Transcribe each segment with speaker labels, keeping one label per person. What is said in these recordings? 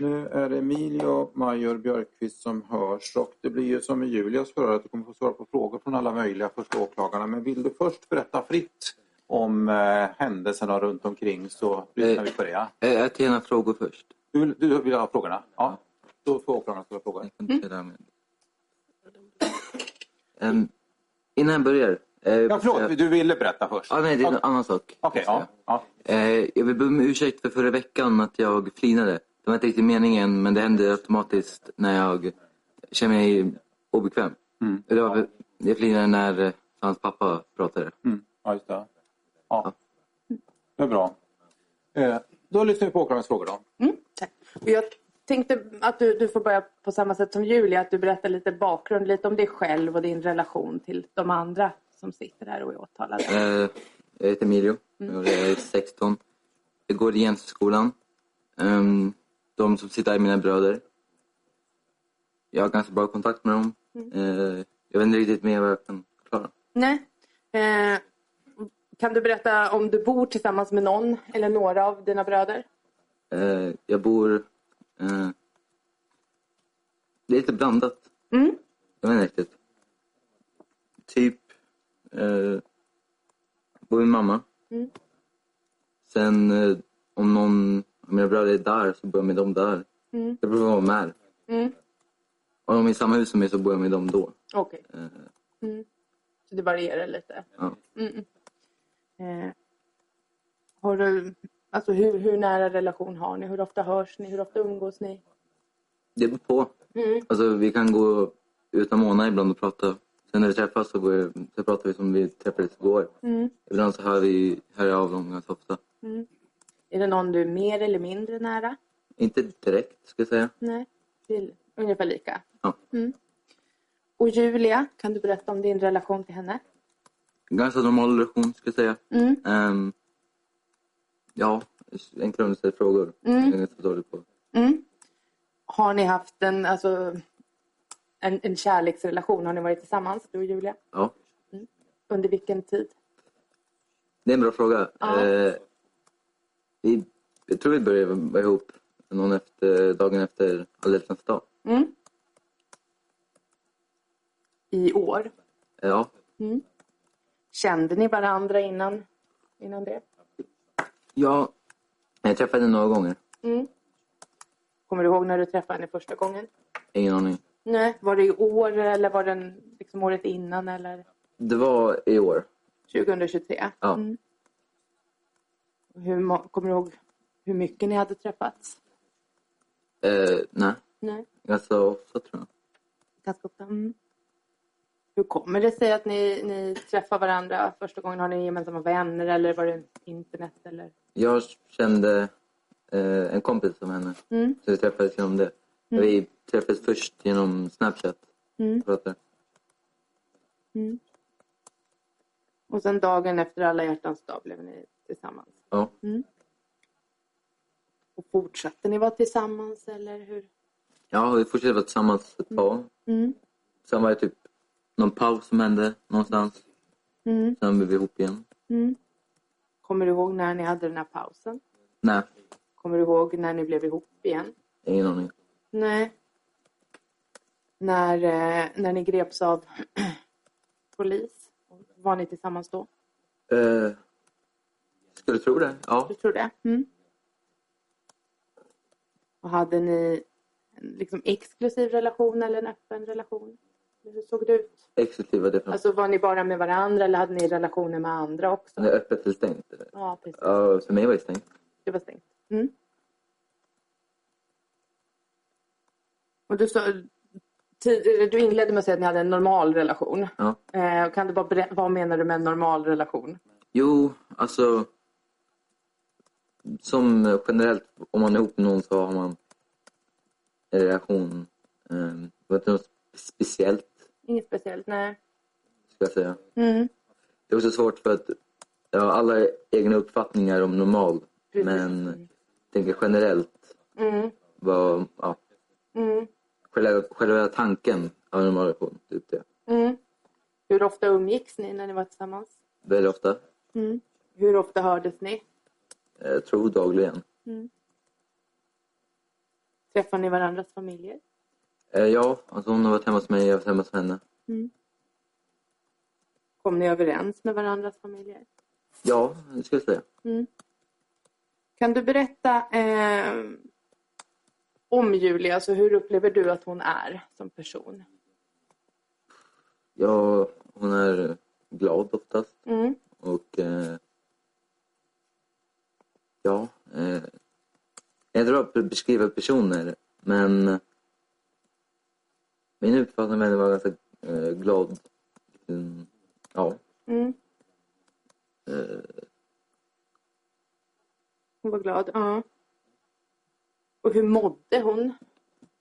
Speaker 1: Nu är det Emilio Major Björkqvist som hörs och det blir ju som i Julias förhör att du kommer få svara på frågor från alla möjliga första åklagarna. Men vill du först berätta fritt om eh, händelserna runt omkring så lyssnar
Speaker 2: Eh.
Speaker 1: vi på det. Ja?
Speaker 2: Eh, Jag tar gärna frågor först.
Speaker 1: Du, vill- du vill ha frågorna? Ja. Då får åklagarna ställa frågor.
Speaker 2: Jag kan inte göra med. Ehm, innan jag börjar. eh,
Speaker 1: Ja, förlåt, du ville berätta först?
Speaker 2: Ja, nej, det är en
Speaker 1: Okej,
Speaker 2: annan sak.
Speaker 1: okay, ja. ja.
Speaker 2: Eh, jag vill be om ursäkt för förra veckan att jag flinade. Det var inte riktigt meningen, men det hände automatiskt när jag känner mig obekväm.
Speaker 1: Mm.
Speaker 2: Det var, jag flinade när eh, hans pappa pratade.
Speaker 1: Mm. Ja, just det. Ja. Det är bra. Eh, då lyssnar vi på åklagarens frågor då.
Speaker 3: Mm, tack. Och jag tänkte att du, du får börja på samma sätt som Julia, att du berättar lite bakgrund, lite om dig själv och din relation till de andra som sitter här och är åtalade.
Speaker 2: Eh, jag heter Emilio. Jag är 16. Jag går i Jensskolan. Ehm, de som sitter här är mina bröder. Jag har ganska bra kontakt med dem. Eh, jag vet inte riktigt mer vad jag kan förklara.
Speaker 3: Nej. Eh, kan du berätta om du bor tillsammans med någon eller några av dina bröder?
Speaker 2: Eh, jag bor... Eh, det är lite blandat.
Speaker 3: Mm.
Speaker 2: Jag vet inte riktigt. Typ... Eh, bor med mamma.
Speaker 3: Mm.
Speaker 2: Sen eh, om någon av mina bröder är där så bor jag med dem där.
Speaker 3: Mm.
Speaker 2: Det beror på vad de är.
Speaker 3: Mm.
Speaker 2: Om de är i samma hus som mig så bor jag med dem då.
Speaker 3: Okej, Mm.
Speaker 2: Eh,
Speaker 3: så det varierar lite.
Speaker 2: ja.
Speaker 3: Mm. Eh, har du, alltså hur, hur nära relation har ni? Hur ofta hörs ni? Hur ofta umgås ni?
Speaker 2: Det beror på.
Speaker 3: Mm.
Speaker 2: Alltså, vi kan gå ut en månad ibland och prata. Sen när vi träffas så, går jag, så pratar vi som vi träffades igår.
Speaker 3: Mm.
Speaker 2: Ibland så hör, vi, hör jag av dem ganska ofta.
Speaker 3: Är det någon du är mer eller mindre nära?
Speaker 2: Inte direkt, ska jag säga.
Speaker 3: Nej, det är ungefär lika.
Speaker 2: Ja.
Speaker 3: Mm. Och Julia, kan du berätta om din relation till henne?
Speaker 2: Ganska normal relation, ska jag säga.
Speaker 3: Mm.
Speaker 2: Ehm, ja, enklare om du ställer frågor.
Speaker 3: Mm.
Speaker 2: Jag är ganska dålig på.
Speaker 3: Mm. Har ni haft en, alltså, en, en kärleksrelation? Har ni varit tillsammans, du och Julia?
Speaker 2: Ja.
Speaker 3: Under vilken tid?
Speaker 2: Det är en bra fråga.
Speaker 3: Ja.
Speaker 2: Eh, vi, jag tror vi började vara ihop någon efter, dagen efter alla hjärtans dag.
Speaker 3: Mm. I år?
Speaker 2: Eh, ja,
Speaker 3: Mm. Kände ni varandra innan, innan det?
Speaker 2: Ja, jag träffade henne några gånger.
Speaker 3: Mm. Kommer du ihåg när du träffade henne första gången?
Speaker 2: Ingen aning.
Speaker 3: Nej, var det i år eller var det en- liksom året innan eller
Speaker 2: Det var i år.
Speaker 3: 2023?
Speaker 2: Ja.
Speaker 3: Mm. Hur, må- kommer du ihåg hur mycket ni hade träffats?
Speaker 2: Eh, nej,
Speaker 3: Nej,
Speaker 2: ganska ofta tror jag.
Speaker 3: ganska ofta. Mm. Hur kommer det sig att ni, ni träffar varandra första gången? Har ni gemensamma vänner eller var det internet? Eller?
Speaker 2: Jag kände eh, en kompis som henne.
Speaker 3: Mm.
Speaker 2: Så vi träffades genom det. Vi träffades först genom Snapchat.
Speaker 3: Mm.
Speaker 2: Pratar.
Speaker 3: Och sen dagen efter alla hjärtans dag blev ni tillsammans.
Speaker 2: Ja.
Speaker 3: Och fortsatte ni vara tillsammans eller hur?
Speaker 2: ja, vi fortsatte vara tillsammans ett tag.
Speaker 3: Mm.
Speaker 2: Sen var det typ någon paus som hände någonstans.
Speaker 3: Mm.
Speaker 2: Sen blev vi ihop igen.
Speaker 3: Mm. Kommer du ihåg när ni hade den här pausen?
Speaker 2: Nej,
Speaker 3: Kommer du ihåg när ni blev ihop igen?
Speaker 2: ingen aning.
Speaker 3: Nej. När, eh, när ni greps av polis, var ni tillsammans då?
Speaker 2: Eh, skulle tro det. Ja.
Speaker 3: Du tror det? Mm. Och hade ni en liksom exklusiv relation eller en öppen relation? Hur såg det ut?
Speaker 2: Exekutiv var det. fram-
Speaker 3: Alltså var ni bara med varandra eller hade ni relationer med andra också?
Speaker 2: Nej, öppet eller stängt?
Speaker 3: Ja, precis.
Speaker 2: Ja, för mig var det stängt.
Speaker 3: Det var stängt. Mm. Och du, sa, tid- du inledde med att säga att ni hade en normal relation.
Speaker 2: Ja.
Speaker 3: Eh, kan du bara berä- vad menar du med en normal relation?
Speaker 2: Jo, alltså... Som generellt, om man är ihop med någon så har man en ehm, relation. Eh, det var inte något speciellt,
Speaker 3: Inget speciellt, nej.
Speaker 2: skulle jag säga.
Speaker 3: Mm.
Speaker 2: Det är också svårt för att jag har alla egna uppfattningar om normal.
Speaker 3: Precis.
Speaker 2: Men jag tänker generellt
Speaker 3: Mm.
Speaker 2: vad, ja,
Speaker 3: Mm.
Speaker 2: själva, själva tanken av en normal relation, typ det.
Speaker 3: Mm. Hur ofta umgicks ni när ni var tillsammans?
Speaker 2: Väldigt ofta.
Speaker 3: Mm. Hur ofta hördes ni?
Speaker 2: Jag eh, tror dagligen.
Speaker 3: Träffade ni varandras familjer?
Speaker 2: Eh, Ja, alltså hon har varit hemma hos mig, jag har varit hemma hos henne.
Speaker 3: Kom ni överens med varandras familjer?
Speaker 2: Ja, det skulle jag säga.
Speaker 3: Kan du berätta eh, om Julia? Alltså hur upplever du att hon är som person?
Speaker 2: Ja, hon är glad oftast.
Speaker 3: Mm.
Speaker 2: Och eh, ja, eh, jag är bra på att beskriva personer men min uppfattning om henne var ganska eh, glad. Mm, ja,
Speaker 3: Mm.
Speaker 2: eh,
Speaker 3: Hon var glad. Ja. Och hur mådde hon?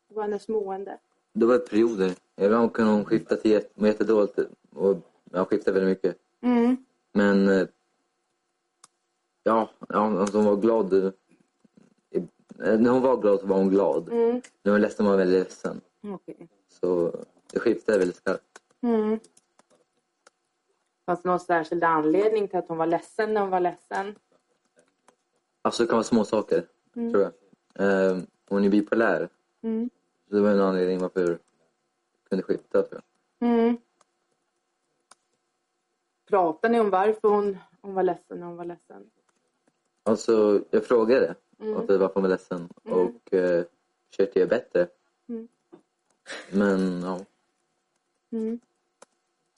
Speaker 3: Hur var hennes mående?
Speaker 2: det var perioder. Ibland kan hon skifta till jätte, må jättedåligt och ja, skifta väldigt mycket.
Speaker 3: Mm.
Speaker 2: Men eh, ja, ja, alltså hon var glad. eh, i- eh, När hon var glad så var hon glad.
Speaker 3: Mm.
Speaker 2: När hon var ledsen var hon väldigt ledsen.
Speaker 3: Okej.
Speaker 2: Så det skiftade väldigt skarpt.
Speaker 3: Mm. Fanns det någon särskild anledning till att hon var ledsen när hon var ledsen?
Speaker 2: Alltså det kan vara små saker, tror jag. Eh, hon är bipolär,
Speaker 3: Mm.
Speaker 2: så det var en anledning varför jag kunde skifta, tror jag.
Speaker 3: Mm. Pratade ni om varför hon, hon var ledsen när hon var ledsen?
Speaker 2: Alltså, jag frågade
Speaker 3: Mm.
Speaker 2: varför varför hon var ledsen och eh, försökte göra bättre.
Speaker 3: Mm.
Speaker 2: Men ja,
Speaker 3: Mm.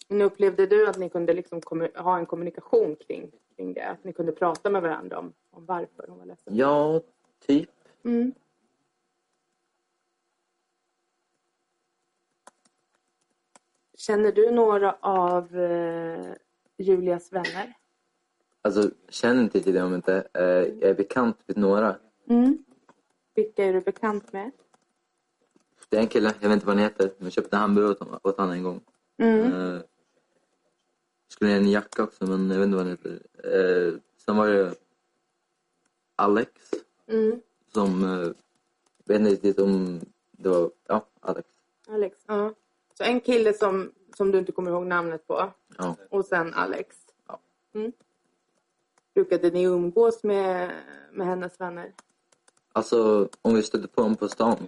Speaker 3: Men upplevde du att ni kunde liksom kommu- ha en kommunikation kring, kring det? Att ni kunde prata med varandra om, om varför hon var ledsen?
Speaker 2: ja typ.
Speaker 3: Mm. Känner du några av eh, Julias vänner?
Speaker 2: Alltså, känner inte till det om inte. Eh, jag är bekant med några.
Speaker 3: Mm. Vilka är du bekant med?
Speaker 2: Det är en kille, jag vet inte vad han heter, men jag köpte en hamburgare åt, honom- åt honom en gång.
Speaker 3: Mm.
Speaker 2: Eh, skulle ha en jacka också, men jag vet inte vad han heter. Eh, sen var det Alex
Speaker 3: Mm.
Speaker 2: som... Eh, vet inte riktigt om det var... Ja, Alex.
Speaker 3: Alex. Ja. Så en kille som, som du inte kommer ihåg namnet på
Speaker 2: Ja.
Speaker 3: och sen Alex.
Speaker 2: Ja.
Speaker 3: Mm. Brukade ni umgås med, med hennes vänner?
Speaker 2: Alltså, om vi stötte på honom på stan.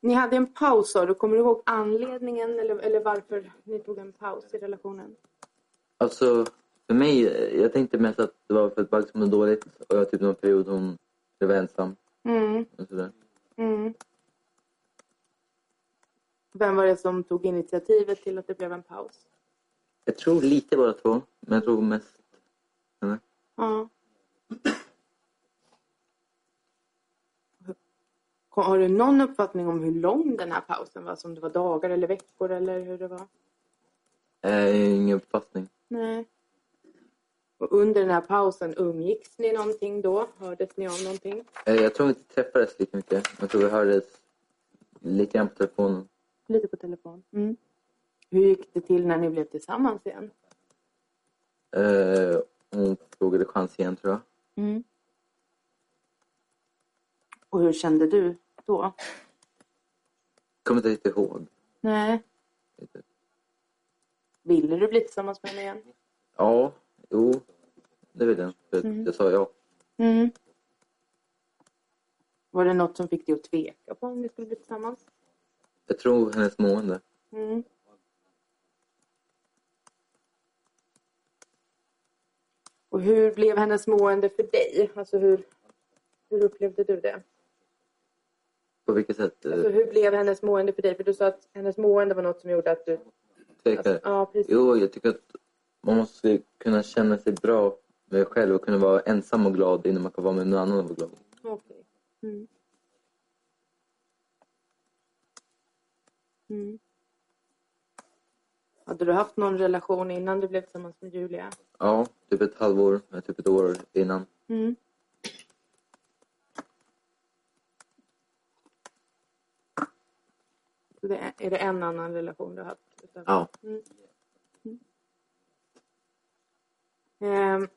Speaker 3: Ni hade en paus sa du. Kommer du ihåg anledningen eller, eller varför ni tog en paus i relationen?
Speaker 2: Alltså, för mig... eh, Jag tänkte mest att det var för att Bugs mådde dåligt och jag typ någon period hon jag var ensam.
Speaker 3: Mm.
Speaker 2: Och sådär.
Speaker 3: Mm. Vem var det som tog initiativet till att det blev en paus?
Speaker 2: Jag tror lite båda två, men jag tror mest... henne.
Speaker 3: Ja. Ko- Har du någon uppfattning om hur lång den här pausen var? Som det var dagar eller veckor eller hur det var?
Speaker 2: Eh, ingen uppfattning.
Speaker 3: Nej. Och under den här pausen, umgicks ni någonting då? Hördes ni av någonting?
Speaker 2: Eh, jag tror inte vi träffades lika mycket. Jag tror vi hördes lite grann på telefonen.
Speaker 3: Lite på telefon. Mm. Hur gick det till när ni blev tillsammans igen?
Speaker 2: Eh, hon frågade chans igen, tror jag.
Speaker 3: Mm. Och hur kände du då?
Speaker 2: Kommer inte riktigt ihåg.
Speaker 3: Nej. Ville du bli tillsammans med henne igen?
Speaker 2: Ja, jo, det vill jag. För att Jag sa ja.
Speaker 3: Mm. Var det något som fick dig att tveka på om ni skulle bli tillsammans?
Speaker 2: Jag tror hennes mående.
Speaker 3: Mm. Och hur blev hennes mående för dig? Alltså hur, hur upplevde du det?
Speaker 2: På vilket sätt? Eh,
Speaker 3: Alltså hur blev hennes mående för dig? För du sa att hennes mående var något som gjorde att du... alltså,
Speaker 2: tvekade.
Speaker 3: ja, precis.
Speaker 2: Eh, Jo, jag tycker att man måste kunna känna sig bra med sig själv och kunna vara ensam och glad innan man kan vara med någon annan och vara glad.
Speaker 3: Okej. Mm. Mm. Hade du haft någon relation innan du blev tillsammans med Julia?
Speaker 2: Ja, typ ett halvår, eh, typ ett år innan.
Speaker 3: Mm. Det är, är det en annan relation du har haft? Utav...
Speaker 2: Ja.
Speaker 3: Mm. Mm. Ehm,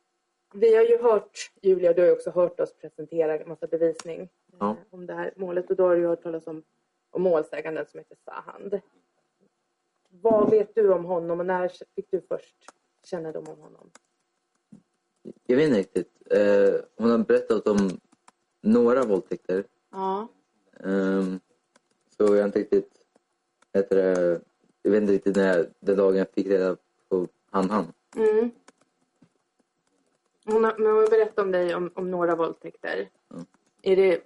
Speaker 3: Vi har ju hört, Julia, du har ju också hört oss presentera en massa bevisning
Speaker 2: Ja.
Speaker 3: eh, om det här målet och då har du ju hört talas om, om målsäganden som heter Sahand. Vad vet du om honom och när fick du först kännedom om honom?
Speaker 2: Jag vet inte riktigt. Eh, hon har berättat om några våldtäkter.
Speaker 3: Ja.
Speaker 2: Ehm, så jag har inte riktigt... Vet du, det, jag vet inte riktigt när jag, den dagen jag fick reda på han han.
Speaker 3: Mm. Hon har, men hon har berättat om dig om, om några våldtäkter.
Speaker 2: Mm.
Speaker 3: Är det,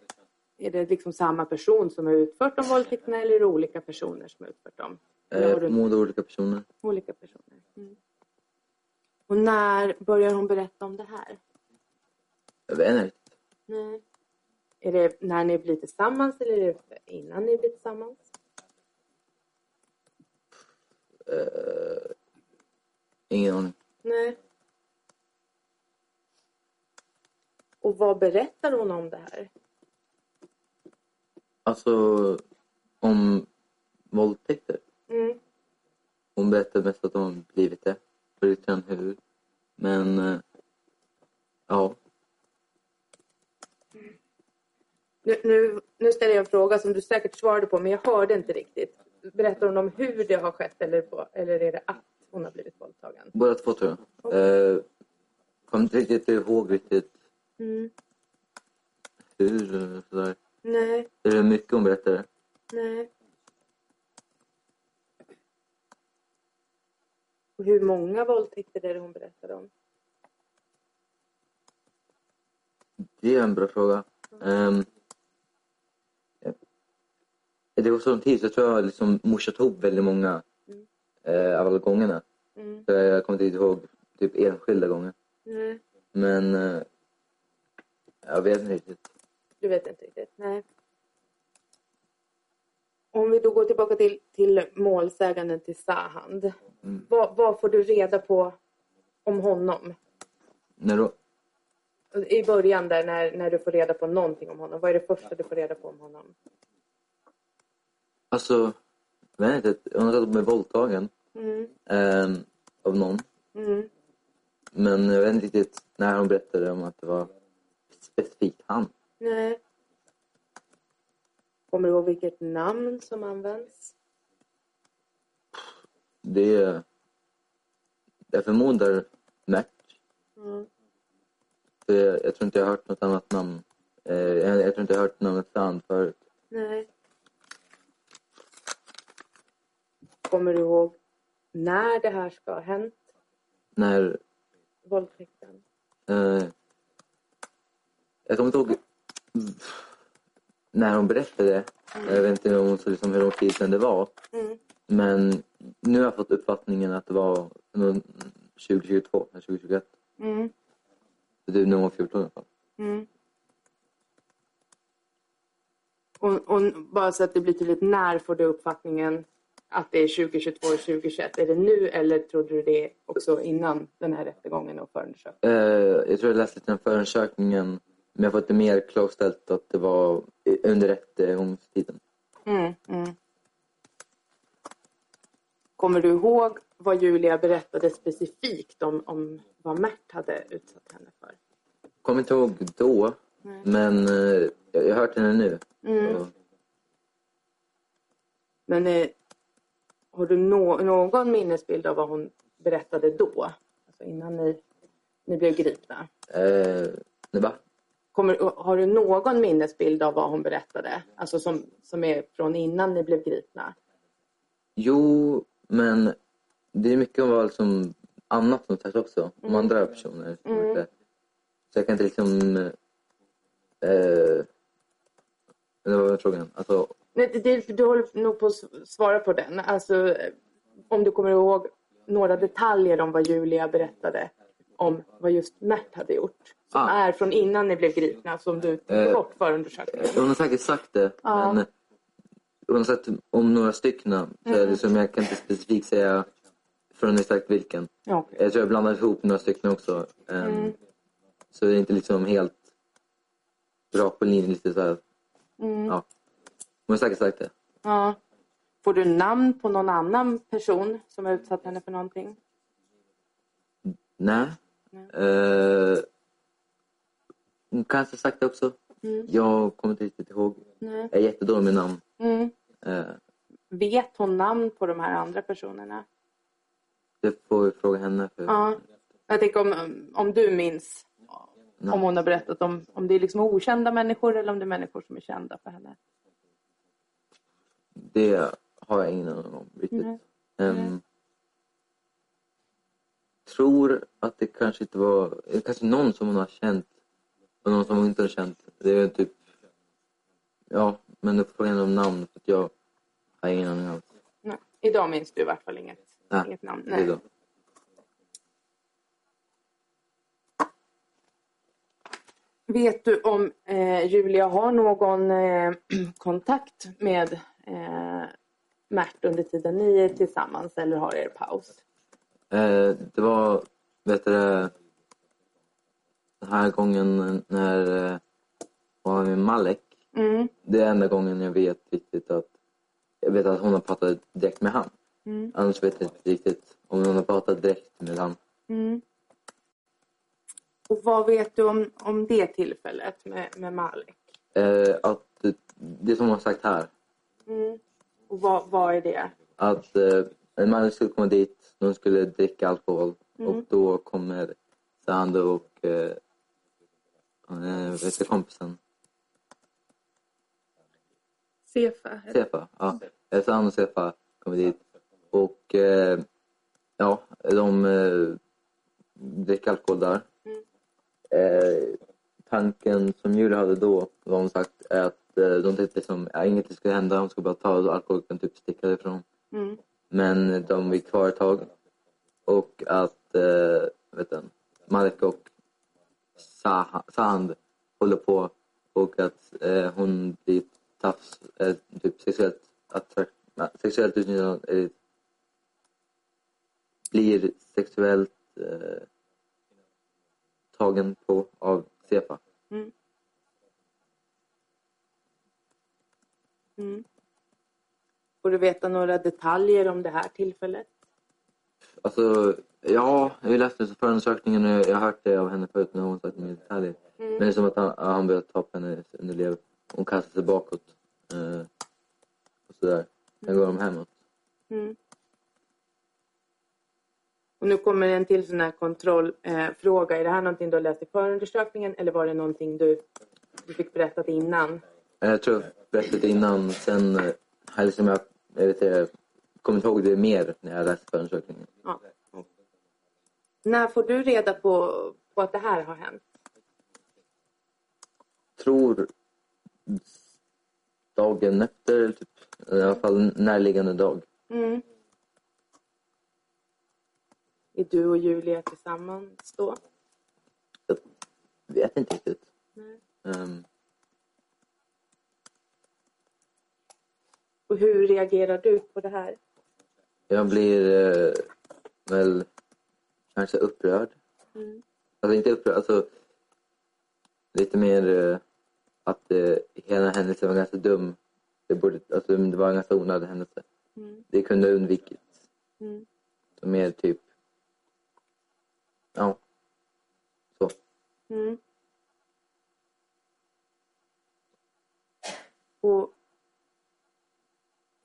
Speaker 3: är det liksom samma person som har utfört de våldtäkterna eller är det olika personer som har utfört dem? Eller har
Speaker 2: Eh,
Speaker 3: du-
Speaker 2: mot olika personer.
Speaker 3: Olika personer. Mm. Och när börjar hon berätta om det här?
Speaker 2: Jag vet inte riktigt.
Speaker 3: Nej. Är det när ni blir tillsammans eller är det innan ni blir tillsammans?
Speaker 2: Eh, ingen aning.
Speaker 3: Nej. Och vad berättar hon om det här?
Speaker 2: Alltså, om våldtäkter.
Speaker 3: Mm.
Speaker 2: Hon berättade mest att hon har blivit det. För lite grann hur. Men, eh, ja.
Speaker 3: Nu, nu, nu ställer jag en fråga som du säkert svarade på men jag hörde inte riktigt. Berättar hon om hur det har skett eller, på, eller är det att hon har blivit våldtagen?
Speaker 2: Båda två tror jag. Eh, kommer inte riktigt ihåg riktigt
Speaker 3: Mm.
Speaker 2: hur eller sådär.
Speaker 3: Nej,
Speaker 2: Det är mycket hon berättade.
Speaker 3: nej. Och hur många våldtäkter är det hon berättar om?
Speaker 2: Det är en bra fråga. Ehm, ja. det går sån tid så jag tror jag har liksom morsat ihop väldigt många
Speaker 3: Mm.
Speaker 2: eh, av alla gångerna.
Speaker 3: Mm.
Speaker 2: Så jag kommer inte riktigt ihåg typ enskilda gånger.
Speaker 3: Nej.
Speaker 2: Men eh, jag vet inte riktigt.
Speaker 3: Du vet inte riktigt? Nej. Om vi då går tillbaka till, till målsäganden till Sahand.
Speaker 2: Mm.
Speaker 3: Vad, vad får du reda på om honom?
Speaker 2: När då?
Speaker 3: I början där när, när du får reda på någonting om honom. Vad är det första du får reda på om honom?
Speaker 2: Alltså, jag vet inte. Hon har sagt att hon blev våldtagen
Speaker 3: Mm.
Speaker 2: ehm, av någon.
Speaker 3: Mm.
Speaker 2: Men jag vet inte riktigt när hon berättade om att det var specifikt han.
Speaker 3: Nej. Kommer du ihåg vilket namn som används?
Speaker 2: Det är... Jag förmodar Mert.
Speaker 3: Mm.
Speaker 2: För eh, jag, jag tror inte jag har hört något annat namn. Eh, jag, jag tror inte jag har hört namnet Sand förut.
Speaker 3: Nej. Kommer du ihåg när det här ska ha hänt?
Speaker 2: När...
Speaker 3: Våldtäkten?
Speaker 2: Eh, jag kommer inte ihåg när hon berättade. Jag vet inte om hon sa liksom hur lång tid sedan det var.
Speaker 3: Mm.
Speaker 2: Men nu har jag fått uppfattningen att det var någon- 2022, eller 2021.
Speaker 3: Mm.
Speaker 2: Det är typ när hon var 14 i alla fall.
Speaker 3: Mm. Och, och bara så att det blir tydligt, när får du uppfattningen att det är 2022 och 2021? Är det nu eller trodde du det också innan den här rättegången och förundersökningen?
Speaker 2: Eh, jag tror jag läste lite om förundersökningen. Men jag har fått det mer klarställt att det var i- under eh, rättegångstiden.
Speaker 3: Mm, mm. Kommer du ihåg vad Julia berättade specifikt om, om vad Mert hade utsatt henne för?
Speaker 2: Kommer inte ihåg då,
Speaker 3: Nej.
Speaker 2: men eh, jag jag har hört henne nu.
Speaker 3: Mm.
Speaker 2: Så,
Speaker 3: Men eh, har du nå- någon minnesbild av vad hon berättade då? Alltså innan ni, ni blev gripna?
Speaker 2: eh, nej, va?
Speaker 3: Kommer, har du någon minnesbild av vad hon berättade? Alltså som, som är från innan ni blev gripna?
Speaker 2: Jo, men det är mycket om vad liksom annat som sagt också. Om andra personer. som
Speaker 3: Mm.
Speaker 2: gjort det. Så jag kan inte liksom... Eh, det var väl frågan. Alltså,
Speaker 3: Nej, det, det, du håller nog på att s- svara på den. Alltså, eh, om du kommer ihåg några detaljer om vad Julia berättade om vad just Mert hade gjort. Som
Speaker 2: Ah.
Speaker 3: är från innan ni blev gripna, som du tog
Speaker 2: Eh.
Speaker 3: bort förundersökningen.
Speaker 2: Hon har säkert sagt det.
Speaker 3: Ja.
Speaker 2: Men hon har sagt om några stycken. Så
Speaker 3: Mm.
Speaker 2: liksom, jag kan inte specifikt säga från exakt vilken.
Speaker 3: Ja, okej.
Speaker 2: Jag tror jag blandade ihop några stycken också. ehm,
Speaker 3: Mm.
Speaker 2: Så det är inte liksom helt rakt på linjen. Lite så här.
Speaker 3: Mm.
Speaker 2: Ja. Hon har säkert sagt det.
Speaker 3: Ja. Får du namn på någon annan person som har utsatt henne för någonting?
Speaker 2: Nej.
Speaker 3: Nej.
Speaker 2: Eh, kanske sagt det också.
Speaker 3: Mm.
Speaker 2: Jag kommer inte riktigt ihåg.
Speaker 3: Nej.
Speaker 2: Jag är jättedålig med namn.
Speaker 3: Mm.
Speaker 2: Eh,
Speaker 3: Vet hon namn på de här andra personerna?
Speaker 2: det får vi fråga henne. För,
Speaker 3: Ja. Jag tänker om, om du minns
Speaker 2: Nej.
Speaker 3: om hon har berättat om, om det är liksom okända människor eller om det är människor som är kända för henne.
Speaker 2: Det har jag ingen aning om riktigt.
Speaker 3: Nej.
Speaker 2: Ehm,
Speaker 3: Nej.
Speaker 2: tror att det kanske inte var... eh, Kanske någon som hon har känt och någon som hon inte har känt. Det är typ... Ja, men du får fråga henne om namn för att jag har ingen aning om
Speaker 3: Nej. Idag minns du i vart fall inget,
Speaker 2: Nej.
Speaker 3: inget namn.
Speaker 2: det.
Speaker 3: Nej.
Speaker 2: Då.
Speaker 3: Vet du om eh, Julia har någon eh, kontakt med eh, Mert under tiden ni är tillsammans eller har er paus?
Speaker 2: Eh, det var, vet du det, den här gången när eh, hon var med Malek.
Speaker 3: Mm.
Speaker 2: Det är enda gången jag vet riktigt att jag vet att hon har pratat direkt med han.
Speaker 3: Mm.
Speaker 2: Annars vet jag inte riktigt om hon har pratat direkt med han.
Speaker 3: Mm. Och vad vet du om, om det tillfället med, med Malik?
Speaker 2: Eh, att det, det som hon har sagt här,
Speaker 3: Mm. Och vad, vad är det?
Speaker 2: att eh, en man skulle komma dit, de skulle dricka alkohol och då kommer Sandro och eh, eh, vad heter kompisen?
Speaker 3: Sefa?
Speaker 2: Sefa, ja. Eh, Sandro och Sefa kommer dit och eh, ja, de eh, dricker alkohol där. Eh, tanken som Julia hade då, vad hon sagt, är att eh, de tyckte som, ja, inget skulle hända, de skulle bara ta alkohol och typ sticka därifrån.
Speaker 3: Mm.
Speaker 2: Men de är kvar ett tag. Och att eh, vet du, Malek och Sah- Sand håller på och att eh, hon blir tafs, eh, typ sexuellt, attrakt, nej, sexuellt utnyttjad. Eh, blir sexuellt eh, tagen på av Sefa.
Speaker 3: Mm. Mm. Får du veta några detaljer om det här tillfället?
Speaker 2: Alltså, ja, jag har ju läst det så förundersökningen och jag har hört det av henne förut när hon sagt med detaljer. Men det är som att han, han börjar ta på hennes underlev. Hon kastar sig bakåt. Eh, och sådär. Sen går de hemåt.
Speaker 3: Mm. Och nu kommer en till sån här kontrollfråga. Eh, fråga. är det här någonting du har läst i förundersökningen eller var det någonting du, du fick berättat innan?
Speaker 2: Eh, Jag tror jag berättade innan. Sen eh, här liksom jag, jag, vet, inte, jag kommer inte ihåg det mer när jag läste förundersökningen.
Speaker 3: Ja. När får du reda på, på att det här har hänt?
Speaker 2: Tror dagen efter, typ, i alla fall närliggande dag.
Speaker 3: Mm. Är du och Julia tillsammans då?
Speaker 2: Jag vet inte riktigt.
Speaker 3: Nej.
Speaker 2: Ehm,
Speaker 3: Och hur reagerar du på det här?
Speaker 2: Jag blir eh, väl kanske upprörd.
Speaker 3: Mm.
Speaker 2: Alltså inte upprörd, alltså lite mer eh, att eh, hela händelsen var ganska dum. Det, borde, alltså, det var en ganska onödig händelse.
Speaker 3: Mm.
Speaker 2: Det kunde ha undvikits.
Speaker 3: Mm.
Speaker 2: Så mer typ... Ja. Så.
Speaker 3: Mm. Och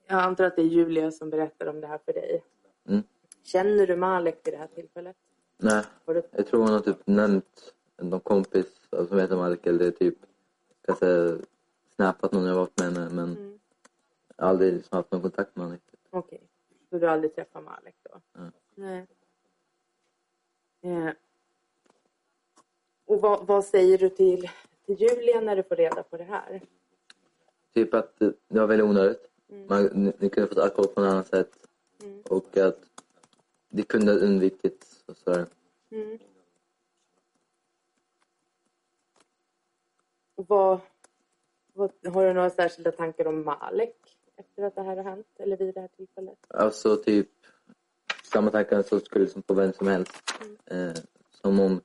Speaker 3: jag antar att det är Julia som berättar om det här för dig.
Speaker 2: Mm.
Speaker 3: Känner du Malek vid det här tillfället?
Speaker 2: Nej,
Speaker 3: Har du...
Speaker 2: jag tror hon har typ nämnt någon kompis alltså, som heter Mark eller typ kanske snappat någon jag varit med henne men
Speaker 3: Mm.
Speaker 2: aldrig liksom haft någon kontakt med honom riktigt.
Speaker 3: Okej. Så du har aldrig träffat Malek då?
Speaker 2: Mm.
Speaker 3: Nej. Eh. Och vad, vad säger du till, till Julia när du får reda på det här?
Speaker 2: Typ att eh, det var väldigt onödigt.
Speaker 3: Mm.
Speaker 2: Man, ni, ni kunde fått alkohol på något annat sätt.
Speaker 3: Mm.
Speaker 2: Och att det kunde ha undvikits. Och så
Speaker 3: Mm. Och vad, vad, har du några särskilda tankar om Malek efter att det här har hänt eller vid det här tillfället?
Speaker 2: alltså typ samma tankar som skulle som på vem som helst.
Speaker 3: Mm.
Speaker 2: Eh, som om,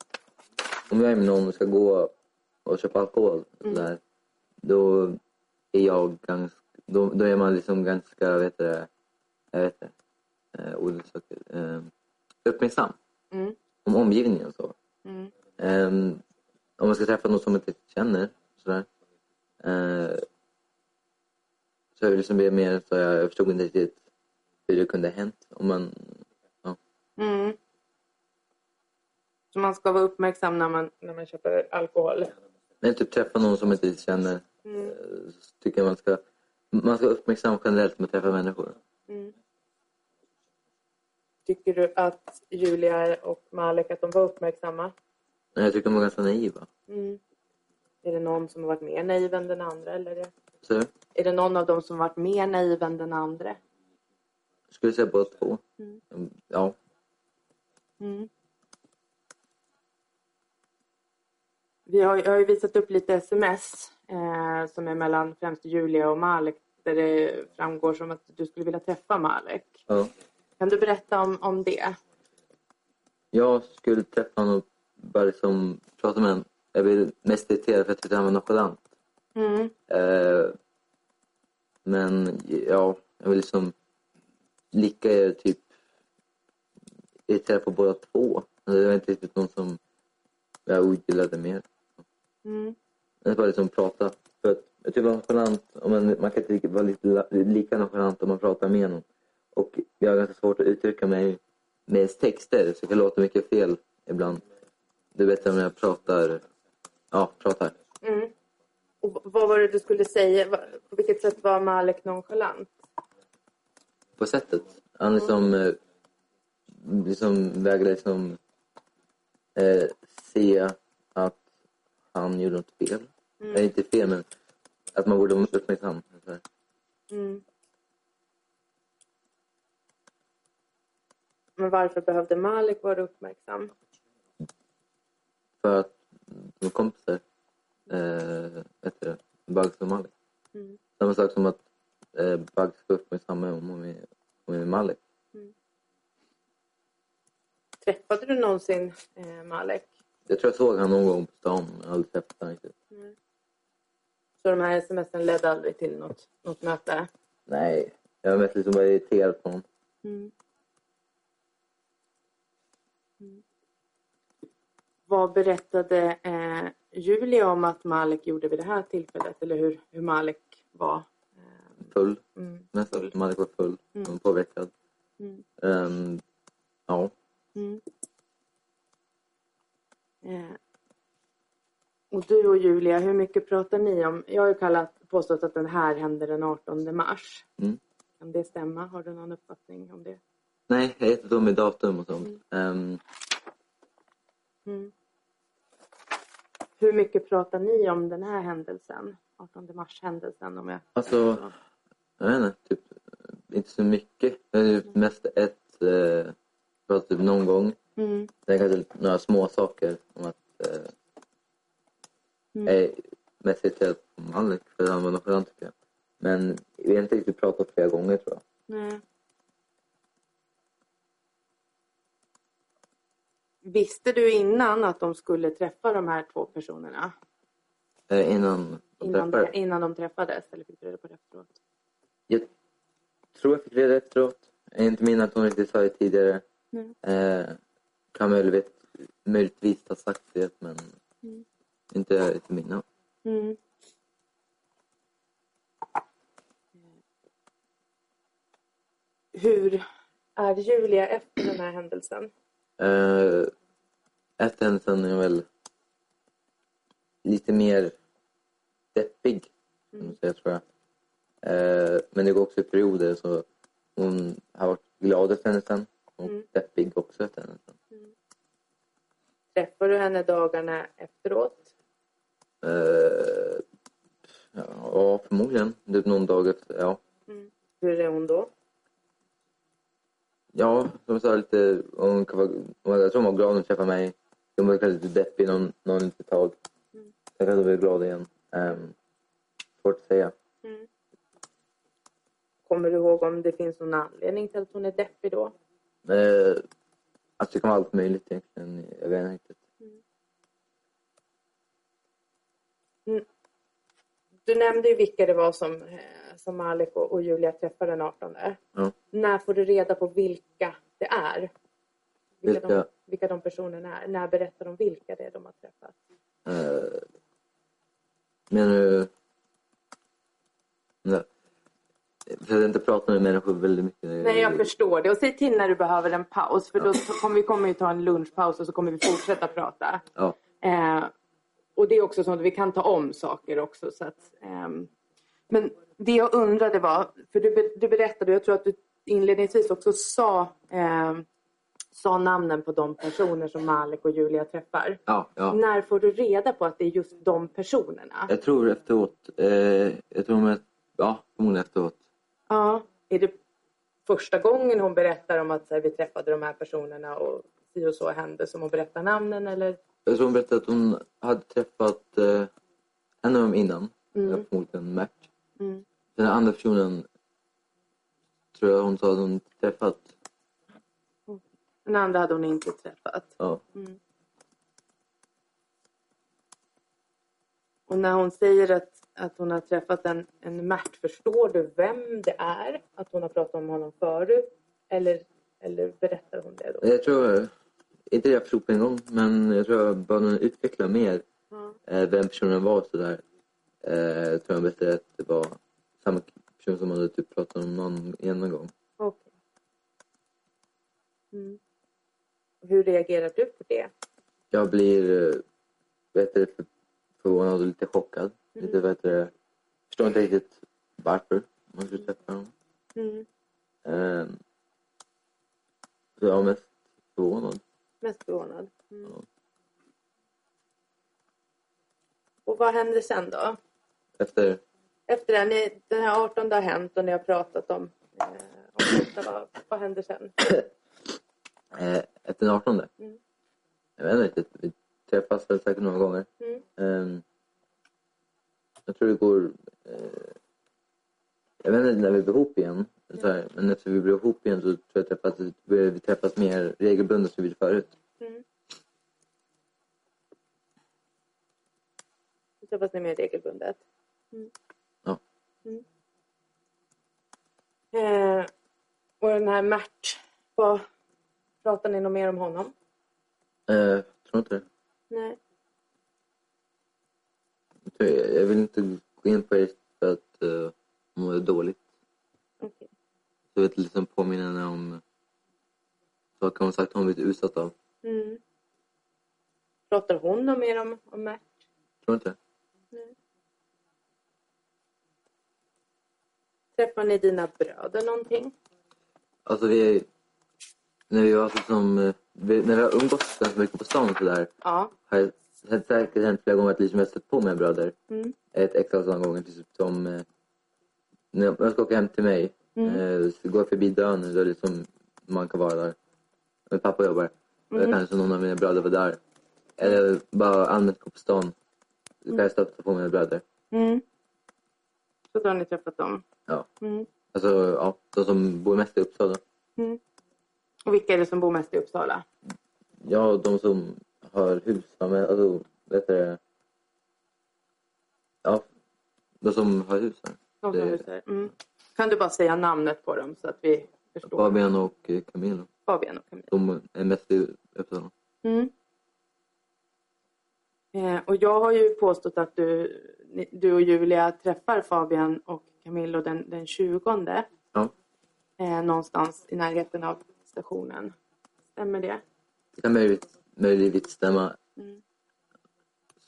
Speaker 2: om jag är med någon och ska
Speaker 3: Mm.
Speaker 2: gå och köpa alkohol. och Så där, då är jag ganska, då, då är man liksom ganska, vet du, det, jag vet det, eh, ordet söker, eh, uppmärksam
Speaker 3: Mm.
Speaker 2: om omgivningen och så.
Speaker 3: Mm.
Speaker 2: Ehm, om man ska träffa någon som man inte känner sådär, eh, så jag vill liksom be mer för jag förstod inte riktigt hur det kunde ha hänt. Om man,
Speaker 3: Mm. Så man ska vara uppmärksam när man, när man köper alkohol.
Speaker 2: men typ träffa någon som man inte känner
Speaker 3: Mm.
Speaker 2: eh, så tycker jag man ska, man ska vara uppmärksam generellt med att träffa människor.
Speaker 3: Mm. Tycker du att Julia och Malek att de var uppmärksamma?
Speaker 2: Men jag tycker de är ganska naiva.
Speaker 3: Mm. Är det någon som har varit mer naiv än den andra? Eller
Speaker 2: Så
Speaker 3: är det någon av dem som har varit mer naiv än den andra?
Speaker 2: jag skulle säga båda två.
Speaker 3: Mm.
Speaker 2: Ja,
Speaker 3: Mm. Vi har, jag har ju visat upp lite sms eh, som är mellan främst Julia och Malek där det framgår som att du skulle vilja träffa Malek.
Speaker 2: ja.
Speaker 3: Kan du berätta om, om det?
Speaker 2: Jag skulle träffa honom och bara liksom prata med honom. Jag blev mest irriterad för att jag tyckte han var nonchalant.
Speaker 3: Mm.
Speaker 2: Eh, men ja, jag vill liksom lika er typ irriterad på båda två. Men Det var inte riktigt någon som jag ogillade mer.
Speaker 3: Mm.
Speaker 2: Men bara liksom prata. För att jag tycker nonchalant, om man, man kan inte lika- vara lite, la- lika nonchalant om man pratar med någon. Och jag har ganska svårt att uttrycka mig med ens texter så jag kan låta mycket fel ibland. Det är bättre när jag pratar, ja, pratar.
Speaker 3: Mm. Och v- vad var det du skulle säga? Va- På vilket sätt var Malek nonchalant?
Speaker 2: på sättet. Han liksom, eh, liksom vägrade liksom, eh, se att han gjorde något fel.
Speaker 3: Mm.
Speaker 2: Eller inte fel, men att man borde vara uppmärksam. Så här.
Speaker 3: Mm. Men varför behövde Malik vara uppmärksam?
Speaker 2: För att de kompisar, eh, vet du, Bugs och Malik.
Speaker 3: Mm.
Speaker 2: Samma sak som att eh, Bugs ska uppmärksamma om hon är, om hon är Malik.
Speaker 3: Träffade du någonsin eh, Malek?
Speaker 2: Jag tror jag såg honom någon gång på stan, men jag har aldrig träffat honom riktigt.
Speaker 3: Så de här sms'en ledde aldrig till något, något möte?
Speaker 2: Nej, jag var mest liksom bara irriterad på honom.
Speaker 3: Vad berättade eh, Julia om att Malik gjorde vid det här tillfället? Eller hur, hur Malik var?
Speaker 2: Full.
Speaker 3: Mm.
Speaker 2: Nästan. Man var full.
Speaker 3: Mm.
Speaker 2: och Påverkad.
Speaker 3: Mm.
Speaker 2: Ehm, ja.
Speaker 3: Mm. Eh. Och du och Julia, hur mycket pratar ni om? Jag har ju kallat, påstått att den här hände den 18 mars.
Speaker 2: Mm.
Speaker 3: Kan det stämma? Har du någon uppfattning om det?
Speaker 2: Nej, jag är inte dum med datum och sånt. Ehm,
Speaker 3: Mm. Hur mycket pratar ni om den här händelsen? 18 mars-händelsen om jag...
Speaker 2: alltså, jag vet inte. Typ, inte så mycket. Jag har typ mest ett... Eh, pratat typ någon gång.
Speaker 3: Mm.
Speaker 2: Sen kanske några små saker om att... Eh,
Speaker 3: Mm.
Speaker 2: Jag är mest irriterad på Malik för han var nonchalant tycker jag. Men vi har inte riktigt pratat flera gånger tror jag.
Speaker 3: Nej. Visste du innan att de skulle träffa de här två personerna?
Speaker 2: Eh, innan de
Speaker 3: Innan,
Speaker 2: träffade.
Speaker 3: innan de träffades? Eller fick du reda på det efteråt?
Speaker 2: Jag tror jag fick reda efteråt. Jag inte minns att hon inte sa det tidigare.
Speaker 3: Nej.
Speaker 2: Eh, kan möjligtvis, möjligtvis ha sagt det, men
Speaker 3: Mm.
Speaker 2: inte till mina.
Speaker 3: Mm. Hur är Julia efter den här händelsen?
Speaker 2: Eh, efter händelsen är jag väl lite mer deppig, kan
Speaker 3: Mm.
Speaker 2: man säga, tror jag. Eh, men det går också i perioder. Så hon har varit glad efter händelsen och
Speaker 3: Mm.
Speaker 2: deppig också efter händelsen.
Speaker 3: Träffar du henne dagarna efteråt?
Speaker 2: Eh, ja, förmodligen. Typ någon dag efter. Ja.
Speaker 3: Hur är hon då?
Speaker 2: Ja, som jag sa, lite, hon kan vara, hon- jag tror hon var glad när hon träffade mig. Hon var kanske lite deppig någon, någon litet tag.
Speaker 3: Mm.
Speaker 2: Sen kanske hon blev glad igen. Um, svårt att säga.
Speaker 3: Kommer du ihåg om det finns någon anledning till att hon är deppig då?
Speaker 2: Uh, alltså det kan vara allt möjligt egentligen. Jag vet inte riktigt.
Speaker 3: Du nämnde ju vilka det var som, eh, som Malik och, och Julia träffar den 18.
Speaker 2: Ja.
Speaker 3: När får du reda på vilka det är? Vilka, De,
Speaker 2: Vilka?
Speaker 3: vilka de personerna är? När berättar de vilka det är de har träffat?
Speaker 2: Eh, men du... Nej. Jag inte prata med människor väldigt mycket.
Speaker 3: Nej, jag förstår det. Och säg till när du behöver en paus. För då kommer vi kommer ju ta en lunchpaus och så kommer vi fortsätta prata.
Speaker 2: Ja.
Speaker 3: Eh, och det är också sånt, vi kan ta om saker också. Så att, ehm, men det jag undrade var, för du, be- du berättade, och jag tror att du inledningsvis också sa, ehm, sa namnen på de personer som Malik och Julia träffar.
Speaker 2: Ja, ja.
Speaker 3: När får du reda på att det är just de personerna?
Speaker 2: Jag tror efteråt. Eh, jag tror med, ja, förmodligen efteråt.
Speaker 3: Ja. Är det första gången hon berättar om att så här, vi träffade de här personerna och si och så hände som hon berättar namnen eller?
Speaker 2: Jag tror hon berättade att hon hade träffat eh, en av dem innan. Mm. Förmodligen Mert.
Speaker 3: Mm.
Speaker 2: Den andra personen tror jag hon sa att hon träffat.
Speaker 3: Den andra hade hon inte träffat.
Speaker 2: Ja.
Speaker 3: Och när hon säger att, att hon har träffat en, en Mert, förstår du vem det är? Att hon har pratat om honom förut? Eller, eller berättar hon det då?
Speaker 2: Jag tror, inte det jag förstod på en gång, men jag tror jag bad hon utveckla mer
Speaker 3: Ja.
Speaker 2: eh, vem personen var. Så där. Eh, jag tror jag berättade att det var samma person som hade typ pratat om någon en gång.
Speaker 3: Okej. Mm. Hur reagerar du på det?
Speaker 2: Jag blir eh, vet du, för- förvånad och lite chockad. Lite, vet du, förstår inte riktigt varför man skulle träffa dem.
Speaker 3: Mm.
Speaker 2: Eh, så jag var mest förvånad.
Speaker 3: Mest förvånad. Mm.
Speaker 2: Ja.
Speaker 3: Och vad händer sen då?
Speaker 2: Efter
Speaker 3: Efter det, ni, den här 18 har hänt och ni har pratat om, eh, om detta, vad, vad händer sen?
Speaker 2: Eh, efter den 18?
Speaker 3: Mm.
Speaker 2: Jag vet inte riktigt. Vi träffas väl säkert några gånger.
Speaker 3: Mm.
Speaker 2: Ehm, jag tror det går... Eh, jag vet inte när vi blir ihop igen.
Speaker 3: Mm.
Speaker 2: Så här, men efter vi blev ihop igen så tror jag träffas, började vi träffas mer regelbundet som vi gjorde förut.
Speaker 3: Mm. Då träffas ni mer regelbundet? Mm.
Speaker 2: Ja.
Speaker 3: Mm. Eh, och den här Mert, vad pratar ni något mer om honom?
Speaker 2: Eh, tror inte det.
Speaker 3: Nej.
Speaker 2: Jag, tror, jag, jag vill inte gå in på det för att eh, må dåligt.
Speaker 3: Okej.
Speaker 2: Så jag vill liksom påminna henne om saker hon sagt hon blivit utsatt av.
Speaker 3: Mm. Pratar hon något mer om, om Mert?
Speaker 2: Tror inte det.
Speaker 3: Träffar ni dina bröder någonting?
Speaker 2: Alltså vi... När vi var liksom, eh, vi, när vi har umgåtts ganska mycket på stan och sådär
Speaker 3: Ja.
Speaker 2: har jag- det har säkert hänt flera gånger att liksom jag har stött på mina bröder.
Speaker 3: Mm.
Speaker 2: Ett extra sådana gånger. Typ som, eh, när jag- när jag ska åka hem till mig eh, så går jag förbi dörren där liksom man kan vara där. Min pappa jobbar. Mm. Jag kanske någon av mina bröder var där. Eller bara allmänt gå på stan. Så kan jag stöta på mina bröder.
Speaker 3: Mm. Så då har ni träffat dem?
Speaker 2: Ja.
Speaker 3: Mm.
Speaker 2: Alltså ja, de som bor mest i Uppsala.
Speaker 3: Och vilka är det som bor mest i Uppsala?
Speaker 2: Ja, de som har hus, ja, men alltså, vet du det? Ja, de som har hus här.
Speaker 3: De som
Speaker 2: Det-
Speaker 3: lyssnar. mm. Kan du bara säga namnet på dem så att vi förstår?
Speaker 2: Fabian och eh, Camilo.
Speaker 3: Fabian och Camilla.
Speaker 2: De är mest i Uppsala.
Speaker 3: Mm. Eh, och jag har ju påstått att du, ni- du och Julia träffar Fabian och Camillo den, den 20
Speaker 2: Ja,
Speaker 3: eh, någonstans i närheten av stationen. Stämmer det?
Speaker 2: det kan möjligt, möjligtvis stämma.
Speaker 3: Mm.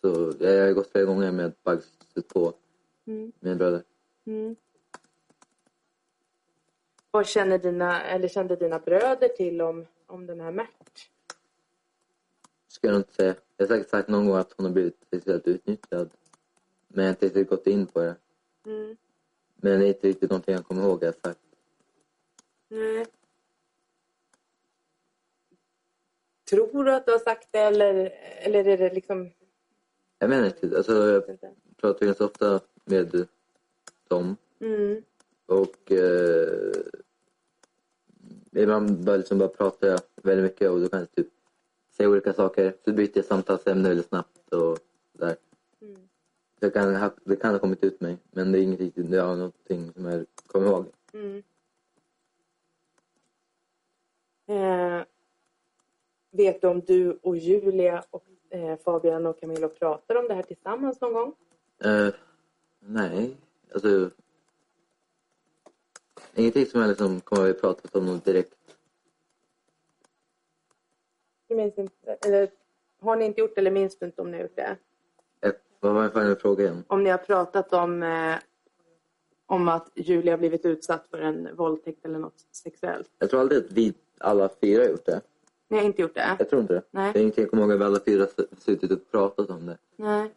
Speaker 2: Så jag har gått flera gånger med att bara stött på
Speaker 3: Mm.
Speaker 2: mina bröder.
Speaker 3: Mm. Vad känner dina, eller kände dina bröder till om, om den här Mert?
Speaker 2: Ska jag nog inte säga. Jag har säkert sagt någon gång att hon har blivit sexuellt utnyttjad. Men jag har inte riktigt gått in på det.
Speaker 3: Mm.
Speaker 2: Men det är inte riktigt någonting jag kommer ihåg. Jag har sagt.
Speaker 3: Nej. Tror du att du har sagt det eller, eller är det liksom...
Speaker 2: Jag menar inte. Alltså, jag
Speaker 3: inte.
Speaker 2: pratar ganska ofta med dem.
Speaker 3: Mm.
Speaker 2: Och eh, ibland bara, liksom bara pratar jag väldigt mycket och då kan jag typ säga olika saker. Så byter jag samtalsämne väldigt snabbt och där.
Speaker 3: Mm.
Speaker 2: Det kan, ha- det kan ha kommit ut mig, men det är inget riktigt, det är någonting som jag kommer ihåg.
Speaker 3: Mm. Eh, vet du om du och Julia och eh, Fabian och Camilla pratar om det här tillsammans någon gång?
Speaker 2: Eh, nej, alltså... Ingenting som jag liksom kommer att prata om något direkt.
Speaker 3: Du minns inte, eller, har ni inte gjort det eller minns du inte om ni har gjort det?
Speaker 2: Ett, Eh, vad var fan fråga igen?
Speaker 3: Om ni har pratat om, eh, om att Julia har blivit utsatt för en våldtäkt eller något sexuellt?
Speaker 2: Jag tror aldrig att vi alla fyra har gjort det.
Speaker 3: Ni har inte gjort det?
Speaker 2: Jag tror inte det.
Speaker 3: Nej.
Speaker 2: Det är ingenting jag kommer ihåg att vi alla fyra har suttit och pratat om det.
Speaker 3: Nej.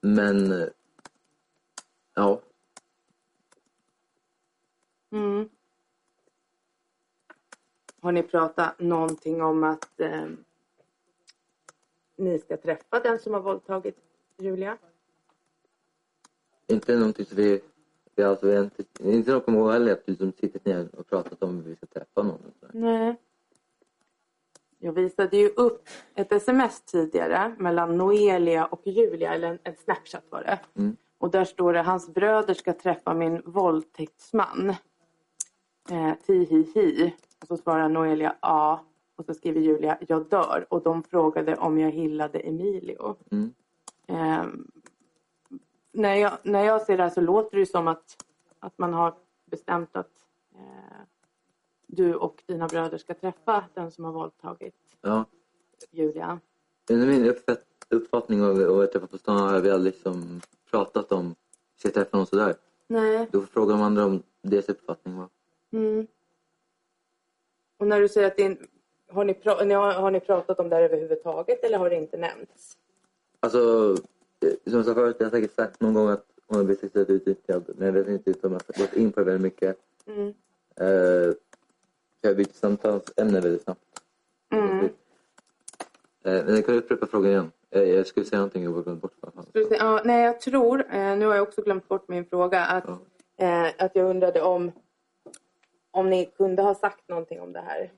Speaker 2: Men... eh, Ja.
Speaker 3: Mm. Har ni pratat någonting om att eh, ni ska träffa den som har våldtagit Julia?
Speaker 2: Inte någonting som vi... vi alltså, vi har inte, inte något kommer ihåg heller att vi liksom suttit ner och pratat om hur vi ska träffa någon. och sådär.
Speaker 3: Nej. Jag visade ju upp ett sms tidigare mellan Noelia och Julia, eller en, en Snapchat var det.
Speaker 2: Mm.
Speaker 3: Och där står det hans bröder ska träffa min våldtäktsman. Eh, Tihihi. Och så svarar Noelia ja. Och så skriver Julia jag dör. Och de frågade om jag gillade Emilio.
Speaker 2: Mm.
Speaker 3: Ehm, när, jag, när jag ser det här så låter det ju som att, att man har bestämt att eh, du och dina bröder ska träffa den som har våldtagit
Speaker 2: Ja.
Speaker 3: Julia.
Speaker 2: Under min uppfatt, uppfattning av av att träffa på stan har vi aldrig liksom pratat om ska jag träffa någon sådär.
Speaker 3: Nej.
Speaker 2: Då frågar de andra om deras uppfattning. Va?
Speaker 3: Mm. Och när du säger att din... Har ni, pra- ni har, har ni pratat om det här överhuvudtaget eller har det inte nämnts?
Speaker 2: Alltså, eh, som jag sa förut, jag har säkert sagt någon gång att hon har blivit sexuellt utnyttjad. Men jag vet inte om jag har gått in på det väldigt mycket.
Speaker 3: Mm.
Speaker 2: Eh, jag byter samtalsämne väldigt snabbt.
Speaker 3: Mm.
Speaker 2: Eh, men jag kan upprepa frågan igen. Eh, jag skulle säga någonting jag har glömt bort. vad fan.
Speaker 3: Ska vi se, Ja, nej, jag tror, eh, nu har jag också glömt bort min fråga, att,
Speaker 2: Ja.
Speaker 3: eh, att jag undrade om, om ni kunde ha sagt någonting om det här.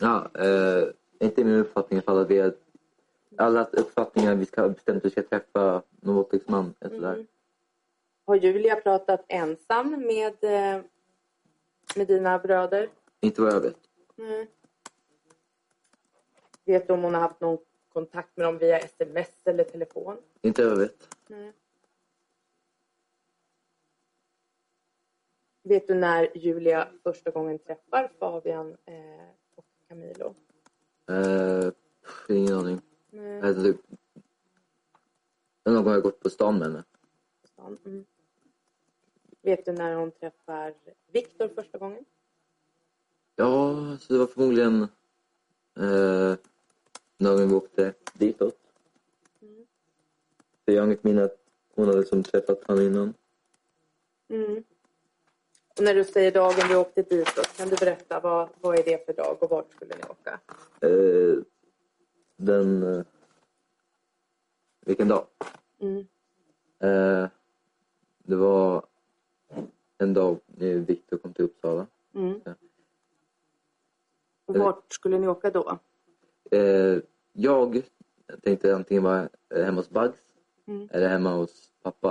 Speaker 2: Ja, eh, inte min uppfattning i alla fall. Att vi har, allas uppfattningar vi ska ha bestämt att vi ska träffa någon våldtäktsman. eller sådär.
Speaker 3: Mm. Har Julia pratat ensam med, eh, med dina bröder?
Speaker 2: Inte vad jag vet.
Speaker 3: Nej. Mm. Vet du om hon har haft någon kontakt med dem via sms eller telefon?
Speaker 2: Inte vad jag vet.
Speaker 3: Nej. Vet du när Julia första gången träffar Fabian eh, och Camilo?
Speaker 2: Eh, pff, ingen aning. Jag
Speaker 3: Nej.
Speaker 2: vet inte. Äh, Någon gång har jag gått på stan med henne.
Speaker 3: Mm. Vet du när hon träffar Viktor första gången?
Speaker 2: Ja, så det var förmodligen eh, dagen vi åkte ditåt.
Speaker 3: Mm.
Speaker 2: Så jag har inget minne att hon hade liksom träffat honom innan.
Speaker 3: Mm. Och när du säger dagen vi åkte ditåt, kan du berätta vad, vad är det för dag och vart skulle ni åka?
Speaker 2: Eh, den... Eh, vilken dag?
Speaker 3: Mm.
Speaker 2: Eh, det var en dag när Viktor kom till Uppsala.
Speaker 3: Mm.
Speaker 2: Ja.
Speaker 3: Och vart skulle ni åka då?
Speaker 2: Eh, jag tänkte antingen vara eh, hemma hos Bugs
Speaker 3: Mm.
Speaker 2: eller hemma hos pappa.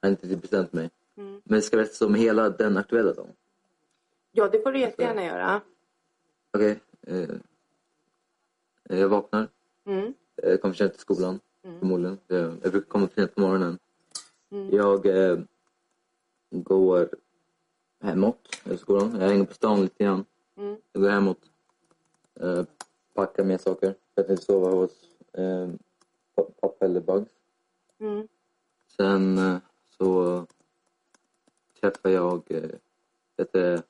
Speaker 2: Jag har inte riktigt bestämt mig.
Speaker 3: Mm.
Speaker 2: Men det ska berättas om hela den aktuella dagen.
Speaker 3: Ja, det får du jättegärna göra.
Speaker 2: Okej. Eh, jag vaknar.
Speaker 3: Mm.
Speaker 2: Jag Eh, kommer sent till skolan,
Speaker 3: Mm.
Speaker 2: förmodligen. Jag, jag brukar komma sent på morgonen.
Speaker 3: Mm.
Speaker 2: Jag eh, går hemåt efter skolan. Jag hänger på stan lite grann.
Speaker 3: Mm.
Speaker 2: Jag går hemåt. Eh, packar med saker. Jag tänkte sova hos eh, pa- pappa eller Bugs.
Speaker 3: Mm.
Speaker 2: Sen eh, så träffar jag eh, vet du,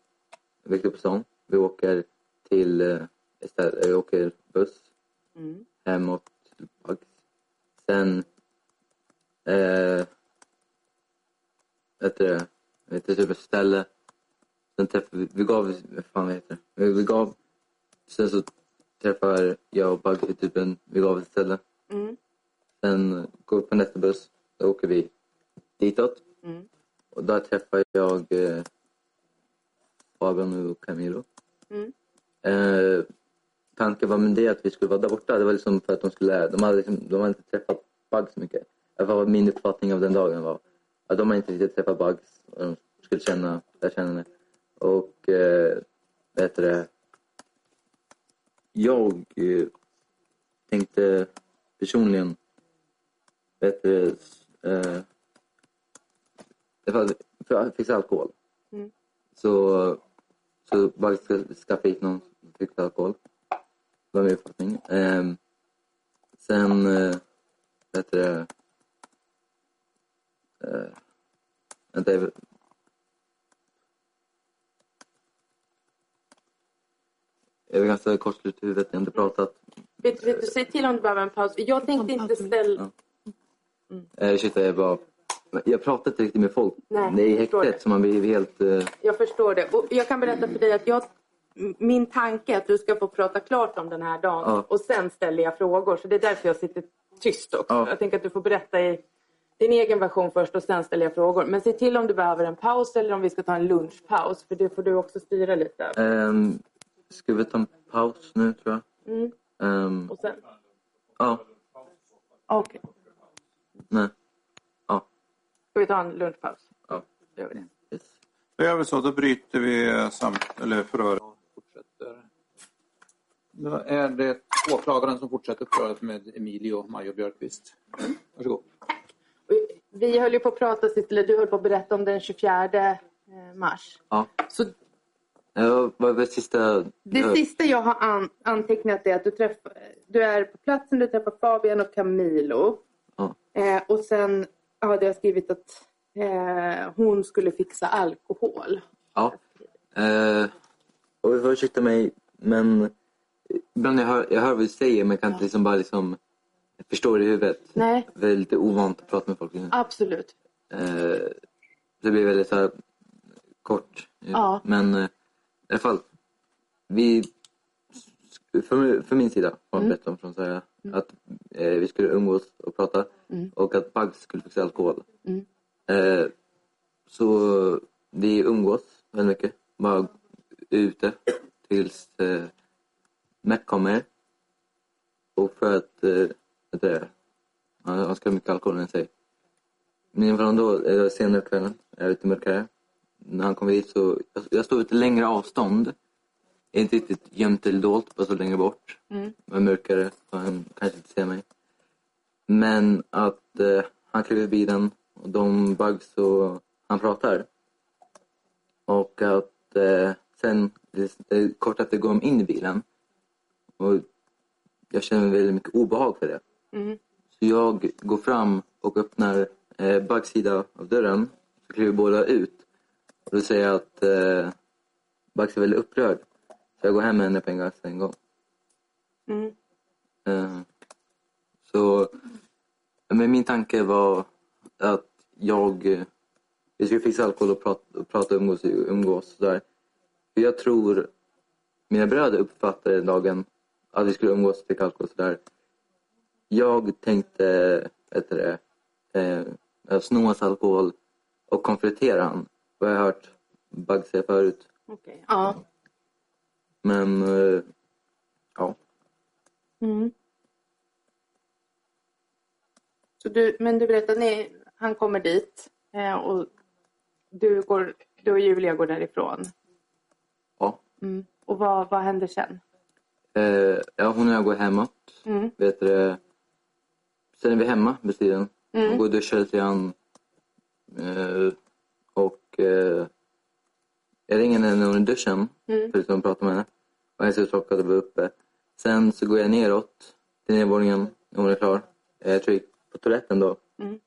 Speaker 2: Victor på stan. Vi åker till eh, istället, vi åker buss
Speaker 3: Mm.
Speaker 2: hemåt till Bugs. Sen eh, vet du, det, vet du typ ett ställe. Sen träffar vi, vi gav, vad fan heter det? Vi, vi gav, sen så träffar jag och Bugs vid typ en, vi gav ett ställe.
Speaker 3: Mm.
Speaker 2: Sen går vi på nästa buss. Då åker vi ditåt.
Speaker 3: Mm.
Speaker 2: Och där träffar jag eh, Fabian och Camilo.
Speaker 3: Mm.
Speaker 2: Eh, tanken var med det att vi skulle vara där borta. Det var liksom för att de skulle... De hade, liksom, de hade inte träffat Bug så mycket. alla fall min uppfattning av den dagen var att de har inte riktigt träffat Bugs och de skulle känna, lära känna henne. Och eh, vad heter det? Jag eh, tänkte personligen, vad heter det, s- eh, för, för att fixa alkohol.
Speaker 3: Mm.
Speaker 2: Så, så Bugs ska skaffa hit någon som fixar alkohol. Det var min uppfattning. Ehm, sen, eh, vad heter det, eh, vänta, jag- jag är ganska kortslut i huvudet, jag har inte pratat.
Speaker 3: Vet, vet du, säg till om du behöver en paus. Jag tänkte inte ställa...
Speaker 2: Eh, shit, jag bara... Jag pratar inte riktigt med folk.
Speaker 3: Nej,
Speaker 2: det är i
Speaker 3: jag förstår
Speaker 2: häktet
Speaker 3: det.
Speaker 2: som man blir helt... Eh,
Speaker 3: Jag förstår det. Och jag kan berätta för dig att jag, m- min tanke är att du ska få prata klart om den här dagen
Speaker 2: Ja.
Speaker 3: och sen ställer jag frågor. Så det är därför jag sitter tyst också.
Speaker 2: Ja.
Speaker 3: Jag tänker att du får berätta i din egen version först och sen ställer jag frågor. Men se till om du behöver en paus eller om vi ska ta en lunchpaus. För det får du också styra lite. över.
Speaker 2: ehm, ska vi ta en paus nu, tror jag?
Speaker 3: Mm.
Speaker 2: Ehm,
Speaker 3: Och sen...
Speaker 2: ja,
Speaker 3: Okej.
Speaker 2: nej. Ja,
Speaker 3: Ska vi ta en lunchpaus?
Speaker 2: ja.
Speaker 3: Då gör vi det.
Speaker 2: Yes.
Speaker 1: Då gör vi så, då bryter vi eh, samt, eller förhöret. och fortsätter. Då är det åklagaren som fortsätter förhöret med Emilio Majo Björkqvist. Varsågod.
Speaker 3: Och Vi höll ju på att prata, Sissela, du höll på att berätta om den 24 eh, mars.
Speaker 2: Ja.
Speaker 3: Så
Speaker 2: Eh, Vad var sista...
Speaker 3: Det
Speaker 2: eh,
Speaker 3: sista jag har an- antecknat är att du, träff- du är på platsen, du träffar Fabian och Camilo.
Speaker 2: Ja.
Speaker 3: Eh, och sen hade jag skrivit att eh, hon skulle fixa alkohol.
Speaker 2: Ja. Eh, och ursäkta mig, men ibland jag hör, jag hör vad du säger men jag kan inte liksom bara liksom förstå det i huvudet.
Speaker 3: Nej.
Speaker 2: Det är lite ovant att prata med folk. Liksom.
Speaker 3: Absolut.
Speaker 2: Eh, det blir väldigt så här, kort.
Speaker 3: Ja.
Speaker 2: Men eh, i alla fall, vi, för, för min sida har jag berättat om från så här, att eh, vi skulle umgås och prata och att Bugs skulle fixa alkohol. Eh, så vi umgås väldigt mycket. Bara ute tills eh, Mac kommer. Och för att... Eh, vet du det, han han ska ha mycket alkohol i sig. Men från då, eh, senare på kvällen, jag är ute mörkare. När han kommer hit så... Jag, jag står ute längre avstånd. Jag är inte riktigt gömt eller dolt, bara så längre bort. Mm. Jag är mörkare, så han kanske inte ser mig. Men att eh, han kliver i bilen och de bugs och han pratar. Och att eh, sen, det, det, kort efter går de in i bilen. Och jag känner väldigt mycket obehag för det. Så jag går fram och öppnar eh, Bugs sida av dörren. Så kliver båda ut. Och då säger jag att eh, Bugs är väldigt upprörd. Så jag går hem med henne på en gång. En gång.
Speaker 3: Mm.
Speaker 2: Eh, så men min tanke var att jag... eh, Vi skulle fixa alkohol och prata, och prata umgås, umgås där. För jag tror... Mina bröder uppfattade den dagen att vi skulle umgås och dricka alkohol och sådär. Jag tänkte vet du det, eh, sno hans alkohol och konfrontera han. Vad jag har hört Bug säga förut.
Speaker 3: Okej. Ja.
Speaker 2: Men eh, ja,
Speaker 3: Mm. Så du, men du berättade att ni- han kommer dit eh, och du, går, du och Julia går därifrån.
Speaker 2: ja.
Speaker 3: Mm. Och vad, vad händer sen?
Speaker 2: Eh, ja, hon och jag går hemåt.
Speaker 3: Mm.
Speaker 2: Vet du, det? sen är vi hemma med tiden. Hon går och duschar lite grann. Eh, och eh, jag ringer henne när hon är i duschen. Förutom att prata med henne. Och hennes husklocka var uppe. Sen så går jag neråt till nedervåningen när hon är klar. Eh, jag tror jag gick på toaletten då.
Speaker 3: Mm.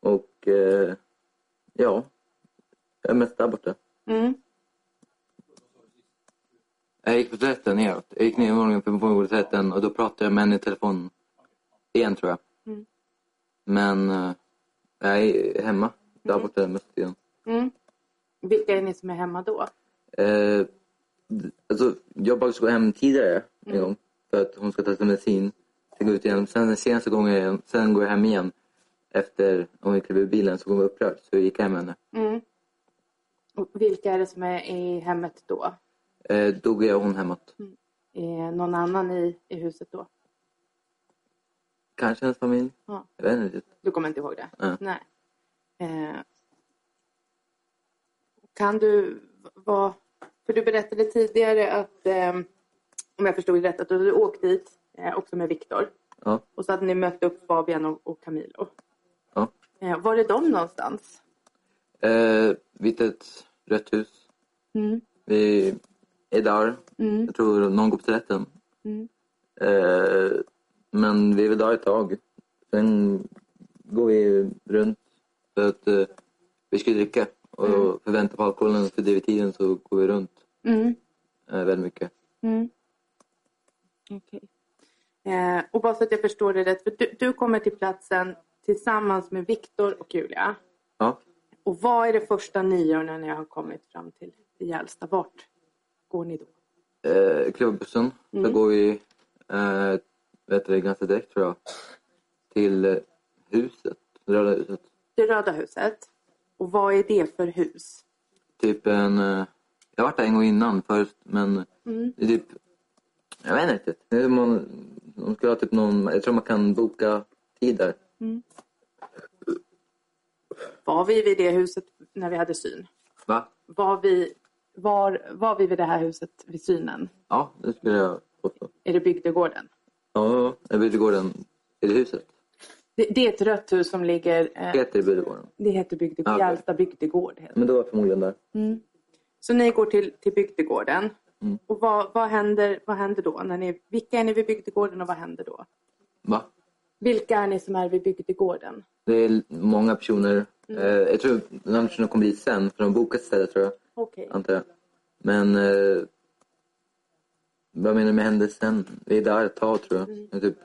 Speaker 2: Och eh, ja, jag är mest där borta.
Speaker 3: Mm.
Speaker 2: Jag gick på toaletten neråt. Jag gick ner i våningen för att gå på toaletten och då pratade jag med henne i telefon igen tror jag.
Speaker 3: Mm.
Speaker 2: Men eh, jag är hemma.
Speaker 3: Mhm.
Speaker 2: Där borta mest igen.
Speaker 3: Mm. Vilka är ni som är hemma då?
Speaker 2: Eh, d- alltså, jag bara ska gå hem tidigare
Speaker 3: Mm.
Speaker 2: en gång för att hon ska testa medicin. Sen går jag ut igen. Sen den senaste gången, sen går jag hem igen. Efter om vi klev ur bilen så hon var upprörd så jag gick hem med henne.
Speaker 3: Mm. Och vilka är det som är i hemmet då?
Speaker 2: Eh, då
Speaker 3: Mm.
Speaker 2: går jag och hon hemåt.
Speaker 3: Är någon annan i, i huset då?
Speaker 2: Kanske hans familj.
Speaker 3: Ja.
Speaker 2: Jag vet inte riktigt.
Speaker 3: Du kommer inte ihåg det?
Speaker 2: Nej.
Speaker 3: Nej. Eh, kan du vad, För du berättade tidigare att, eh, om jag förstod det rätt, att du hade åkt dit eh, också med Viktor.
Speaker 2: Ja.
Speaker 3: Och så hade ni mött upp Fabian och, och Camilo.
Speaker 2: Ja.
Speaker 3: Eh, var är de någonstans?
Speaker 2: Eh, vid ett rött hus.
Speaker 3: Mm.
Speaker 2: Vi är där.
Speaker 3: Mm.
Speaker 2: Jag tror någon går på toaletten.
Speaker 3: Mm.
Speaker 2: Eh, men vi är väl där ett tag. Sen går vi runt för att eh, vi ska dricka. Och
Speaker 3: Mm.
Speaker 2: för vänta på alkoholen för det vid tiden så går vi runt
Speaker 3: Mm.
Speaker 2: eh, väldigt mycket.
Speaker 3: Mm. Okej. Eh, och bara så att jag förstår det rätt, för du, du kommer till platsen tillsammans med Viktor och Julia.
Speaker 2: Ja.
Speaker 3: Och vad är det första ni gör när ni har kommit fram till Gällsta? Vart går ni då?
Speaker 2: Eh, klubbbussen.
Speaker 3: Mm.
Speaker 2: Så går vi eh, vet du, ganska direkt tror jag till eh, huset. Röda huset.
Speaker 3: Det röda huset. Och vad är det för hus?
Speaker 2: Typ en... Eh, jag har varit där en gång innan först men
Speaker 3: Mm.
Speaker 2: det är typ... Jag vet inte. riktigt. Det är som om, de skulle ha typ någon, jag tror man kan boka tid där.
Speaker 3: Var vi vid det huset när vi hade syn?
Speaker 2: Va?
Speaker 3: Var vi, var, var vi vid det här huset vid synen?
Speaker 2: Ja, det skulle jag påstå.
Speaker 3: Är det bygdegården?
Speaker 2: Ja, ja. Bydegården. Är det huset?
Speaker 3: Det, det är ett rött hus som ligger... Eh,
Speaker 2: Heter det Bydegården?
Speaker 3: det heter bygdegård,
Speaker 2: Okej.
Speaker 3: Gällsta bygdegård. Heter. det.
Speaker 2: Men det var förmodligen där.
Speaker 3: Så ni går till, till bygdegården.
Speaker 2: Mm.
Speaker 3: Och vad, vad, händer, vad händer då? När ni, vilka är ni vid bygdegården och vad händer då?
Speaker 2: Va?
Speaker 3: Vilka är ni som är vid bygdegården?
Speaker 2: Det är många personer. Eh, jag tror de personerna kommer dit sen, för de bokade stället tror jag.
Speaker 3: Okej.
Speaker 2: Antar jag. Men... Eh, vad menar du med händer sen? Vi är där ett tag tror jag. Jag typ,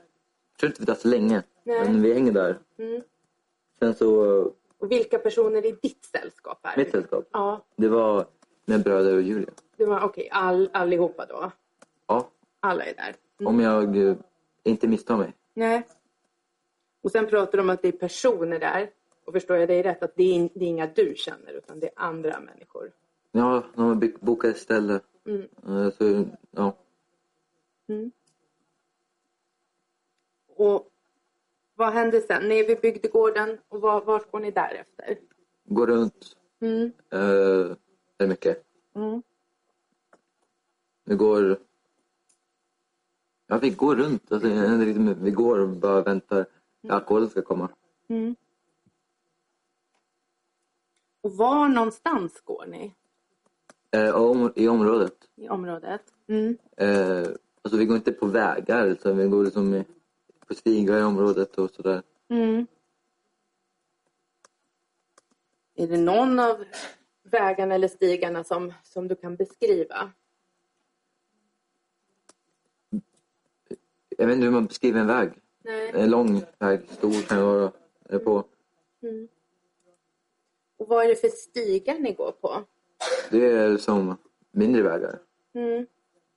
Speaker 2: jag tror inte vi är där så länge.
Speaker 3: Mm. Nej.
Speaker 2: Men vi hänger där.
Speaker 3: Mm.
Speaker 2: Sen så,
Speaker 3: Och vilka personer i ditt sällskap är
Speaker 2: mitt sällskap.
Speaker 3: Ja,
Speaker 2: Det var mina bröder och Julia.
Speaker 3: det var okej. All, allihopa då.
Speaker 2: Ja,
Speaker 3: Alla är där.
Speaker 2: om jag eh, inte misstar mig.
Speaker 3: Nej. Och sen pratar de om att det är personer där. Och förstår jag dig rätt att det är, in, det är inga du känner utan det är andra människor.
Speaker 2: Ja, de har byggt- bokat ett ställe.
Speaker 3: Mm.
Speaker 2: Eh, Så, ja.
Speaker 3: Och vad händer sen? Ni är vid bygdegården och var, vart går ni därefter?
Speaker 2: Går runt
Speaker 3: Mm.
Speaker 2: eh, väldigt mycket.
Speaker 3: Mm.
Speaker 2: Vi går... Ja, vi går runt. Alltså, jag vet inte riktigt, men vi går och bara väntar att alkoholen ska komma.
Speaker 3: Mm. Och var någonstans går ni
Speaker 2: Eh, och om, I området.
Speaker 3: i området? Mm.
Speaker 2: Eh, alltså, vi går inte på vägar, utan vi går liksom i- på stigar i området och sådär.
Speaker 3: Mm. Är det någon av vägarna eller stigarna som, som du kan beskriva?
Speaker 2: Jag vet inte hur man beskriver en väg.
Speaker 3: Nej.
Speaker 2: En lång väg, stor kan det vara. eh, På.
Speaker 3: Och vad är det för stigar ni går på?
Speaker 2: Det är som mindre vägar.
Speaker 3: Mm.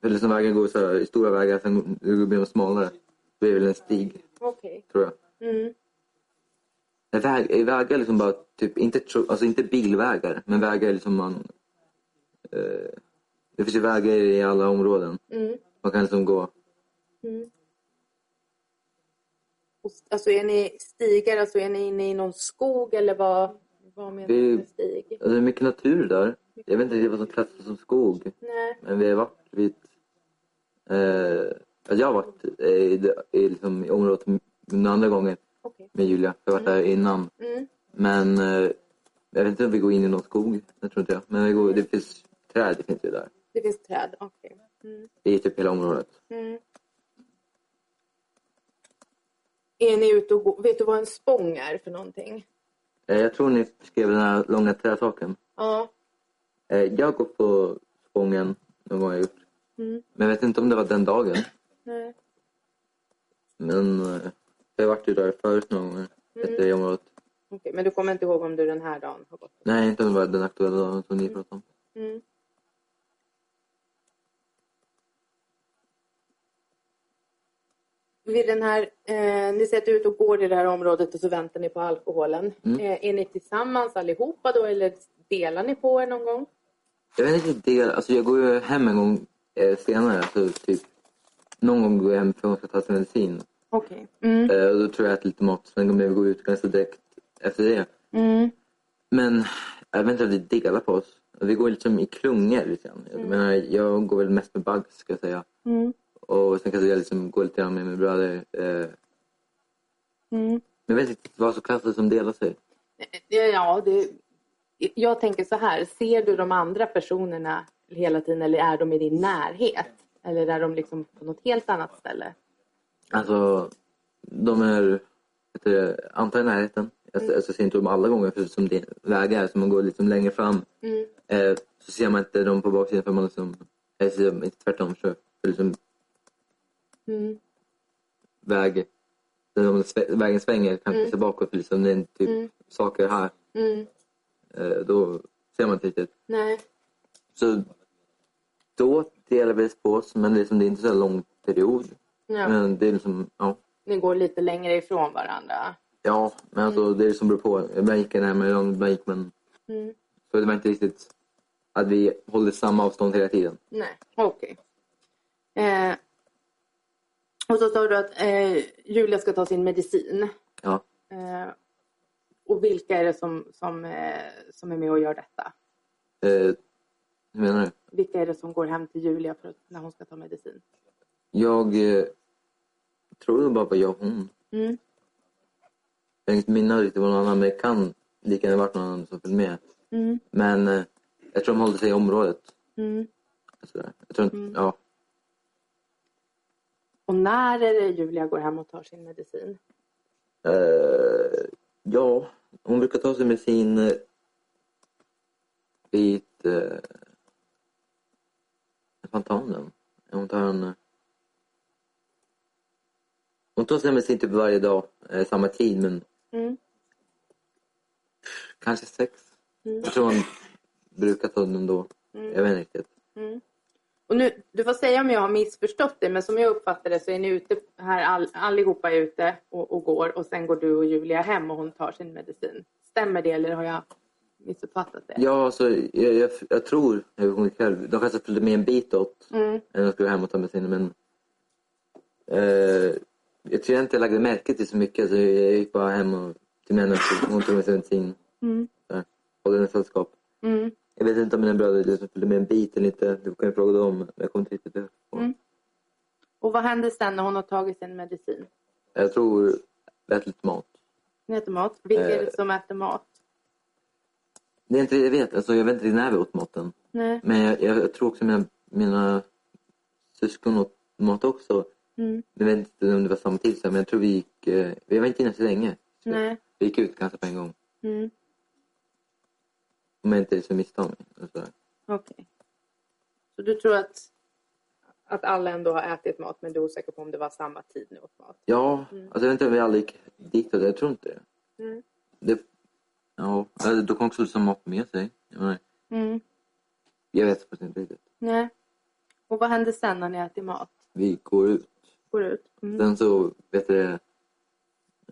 Speaker 2: Eller som vägar går så här, i stora vägar, sen går- blir de smalare. Det blir väl en stig,
Speaker 3: Okej.
Speaker 2: tror jag.
Speaker 3: Mm.
Speaker 2: Nej, Väg, eh, vägar är liksom bara, typ, inte, tro- alltså inte bilvägar, men vägar är liksom man... Eh, det finns ju vägar i alla områden.
Speaker 3: Mm.
Speaker 2: Man kan liksom gå...
Speaker 3: Mm. Och, s- alltså är ni stigar, alltså är ni inne i någon skog eller vad, vad menar
Speaker 2: Vi-
Speaker 3: du med stig?
Speaker 2: Alltså, det är mycket natur där. Jag vet inte riktigt vad som klassas som skog,
Speaker 3: Nej.
Speaker 2: men vi har varit vid... Eh, alltså jag har varit eh, i, det- i, liksom, i området m- den andra gången
Speaker 3: Okej.
Speaker 2: med Julia. Jag har varit där innan.
Speaker 3: Mm.
Speaker 2: Men eh, jag vet inte om vi går in i någon skog. Jag tror inte jag. Men vi går, det finns träd det finns ju där.
Speaker 3: Det finns träd. Okej. Mm.
Speaker 2: I typ hela området.
Speaker 3: Mm. Är ni ute och går? Vet du vad en spång är för någonting?
Speaker 2: Eh, jag tror ni skrev den här långa träsaken.
Speaker 3: Ja.
Speaker 2: Eh, jag går på Spången någon gång jag gjort.
Speaker 3: Mm.
Speaker 2: Men jag vet inte om det var den dagen.
Speaker 3: Nej.
Speaker 2: Men eh, jag har varit ju där förut någon gång. Efter
Speaker 3: Mm.
Speaker 2: det området.
Speaker 3: Okej, men du kommer inte ihåg om du den här dagen har gått?
Speaker 2: Nej, inte om det var den aktuella dagen som ni pratade om.
Speaker 3: Mm. Vid den här, eh, ni sätter ut och går i det här området och så väntar ni på alkoholen. Eh, är ni tillsammans allihopa då eller delar ni på er någon gång?
Speaker 2: Jag vet inte del, alltså jag går Alltså, ju hem en gång eh, senare. Så typ, någon gång går jag hem för att hon ska ta sin medicin.
Speaker 3: Okej. Mm.
Speaker 2: Eh, och då tror jag att lite mat, sen kommer jag gå ut ganska direkt efter det.
Speaker 3: Mm.
Speaker 2: Men jag vet inte om vi delar på oss. Vi går liksom i klungor lite grann. Jag, menar, jag går väl mest med Bugs ska jag säga.
Speaker 3: Mm.
Speaker 2: Och sen kanske jag liksom går lite grann med min bröder. Eh,
Speaker 3: Mm.
Speaker 2: men jag vet inte vad som klassas som delar sig.
Speaker 3: Ja, det, jag tänker så här. Ser du de andra personerna hela tiden eller är de i din närhet? Eller är de liksom på något helt annat ställe?
Speaker 2: Alltså, de är heter det, antagligen i närheten. Jag, mm. alltså, ser inte dem alla gånger för som det är vägar som man går liksom längre fram.
Speaker 3: Mm.
Speaker 2: Eh, så ser man inte dem på baksidan för man liksom, eller ser dem inte tvärtom så för liksom
Speaker 3: Mm.
Speaker 2: väg, när de svä- vägen svänger kanske
Speaker 3: Mm.
Speaker 2: ser bakåt för liksom det är typ
Speaker 3: Mm.
Speaker 2: saker här.
Speaker 3: Mm.
Speaker 2: Eh, då ser man inte riktigt.
Speaker 3: Nej.
Speaker 2: Så då delar vi på oss men liksom, det är inte så här lång period.
Speaker 3: Ja.
Speaker 2: Men det är liksom, ja.
Speaker 3: Ni går lite längre ifrån varandra.
Speaker 2: Ja, men alltså det är som beror på. Ibland gick jag närmare dem, ibland gick man...
Speaker 3: Mm.
Speaker 2: Så det var inte riktigt att vi håller samma avstånd hela tiden.
Speaker 3: Nej, okej. Eh, och så sa du att eh, Julia ska ta sin medicin.
Speaker 2: Ja.
Speaker 3: Eh, och vilka är det som, som, eh, som är med och gör detta?
Speaker 2: Eh, hur menar du?
Speaker 3: Vilka är det som går hem till Julia för att, när hon ska ta medicin?
Speaker 2: Jag eh, tror det bara var jag och hon.
Speaker 3: Mm.
Speaker 2: Jag har inget minne av riktigt vad någon annan, men det kan lika gärna varit någon annan som följde med.
Speaker 3: Mm.
Speaker 2: Men eh, jag tror de håller sig i området.
Speaker 3: Mm.
Speaker 2: Sådär. Jag tror inte,
Speaker 3: Mm.
Speaker 2: ja.
Speaker 3: Och när är det Julia går hem och tar sin medicin?
Speaker 2: Eh, ja, hon brukar ta sig med sin eh, vid eh, fontänen. Hon tar en... eh, Hon tar sig med sin typ varje dag, eh, samma tid, men
Speaker 3: Mm.
Speaker 2: kanske sex.
Speaker 3: Mm.
Speaker 2: Jag tror hon brukar ta den då.
Speaker 3: Mm.
Speaker 2: Jag vet inte riktigt.
Speaker 3: Mm. Och nu, du får säga om jag har missförstått det, men som jag uppfattar det så är ni ute här, all, allihopa är ute och, och går och sen går du och Julia hem och hon tar sin medicin. Stämmer det eller har jag missuppfattat det?
Speaker 2: Ja, alltså, jag, jag, jag tror, jag kommer inte själv, de kanske följde med en bit åt
Speaker 3: Mm,
Speaker 2: än att gå hem och ta med sin. Men, eh, jag tror jag inte jag lagde märke till så mycket. Så jag gick bara hem och, till männen och hon tog med sig en sin.
Speaker 3: mm,
Speaker 2: Och den sällskap.
Speaker 3: mm,
Speaker 2: Jag vet inte om mina bröder liksom följde med en bit eller inte. Du kan ju fråga dem. men Jag kommer inte riktigt ihåg.
Speaker 3: Mm. Och vad händer sen när hon har tagit sin medicin?
Speaker 2: Jag tror jag äter lite mat.
Speaker 3: Ni äter mat. Vilka är det
Speaker 2: Eh.
Speaker 3: som äter mat?
Speaker 2: Det är inte det jag vet. Alltså, jag vet inte riktigt när vi åt maten.
Speaker 3: Nej.
Speaker 2: Men jag, jag, jag tror också mina, mina syskon åt mat också.
Speaker 3: Mm,
Speaker 2: Jag vet inte om det var samtidigt, men jag tror vi gick... Eh, vi var inte inne så länge. Så
Speaker 3: nej.
Speaker 2: Vi gick ut ganska på en gång.
Speaker 3: Mm,
Speaker 2: Om jag inte liksom misstog mig. och sådär.
Speaker 3: Okej. Så du tror att, att alla ändå har ätit mat, men du är osäker på om det var samma tid nu åt mat?
Speaker 2: Ja,
Speaker 3: Mm.
Speaker 2: alltså jag vet inte om vi aldrig gick dit och det. Jag tror inte det.
Speaker 3: Mm.
Speaker 2: det ja, alltså, då kom också liksom mat med sig. Jag, menar,
Speaker 3: Mm.
Speaker 2: jag vet faktiskt inte riktigt.
Speaker 3: Nej. Och vad händer sen när ni äter mat?
Speaker 2: Vi går ut.
Speaker 3: Går ut? Mm.
Speaker 2: Sen så, vet du det,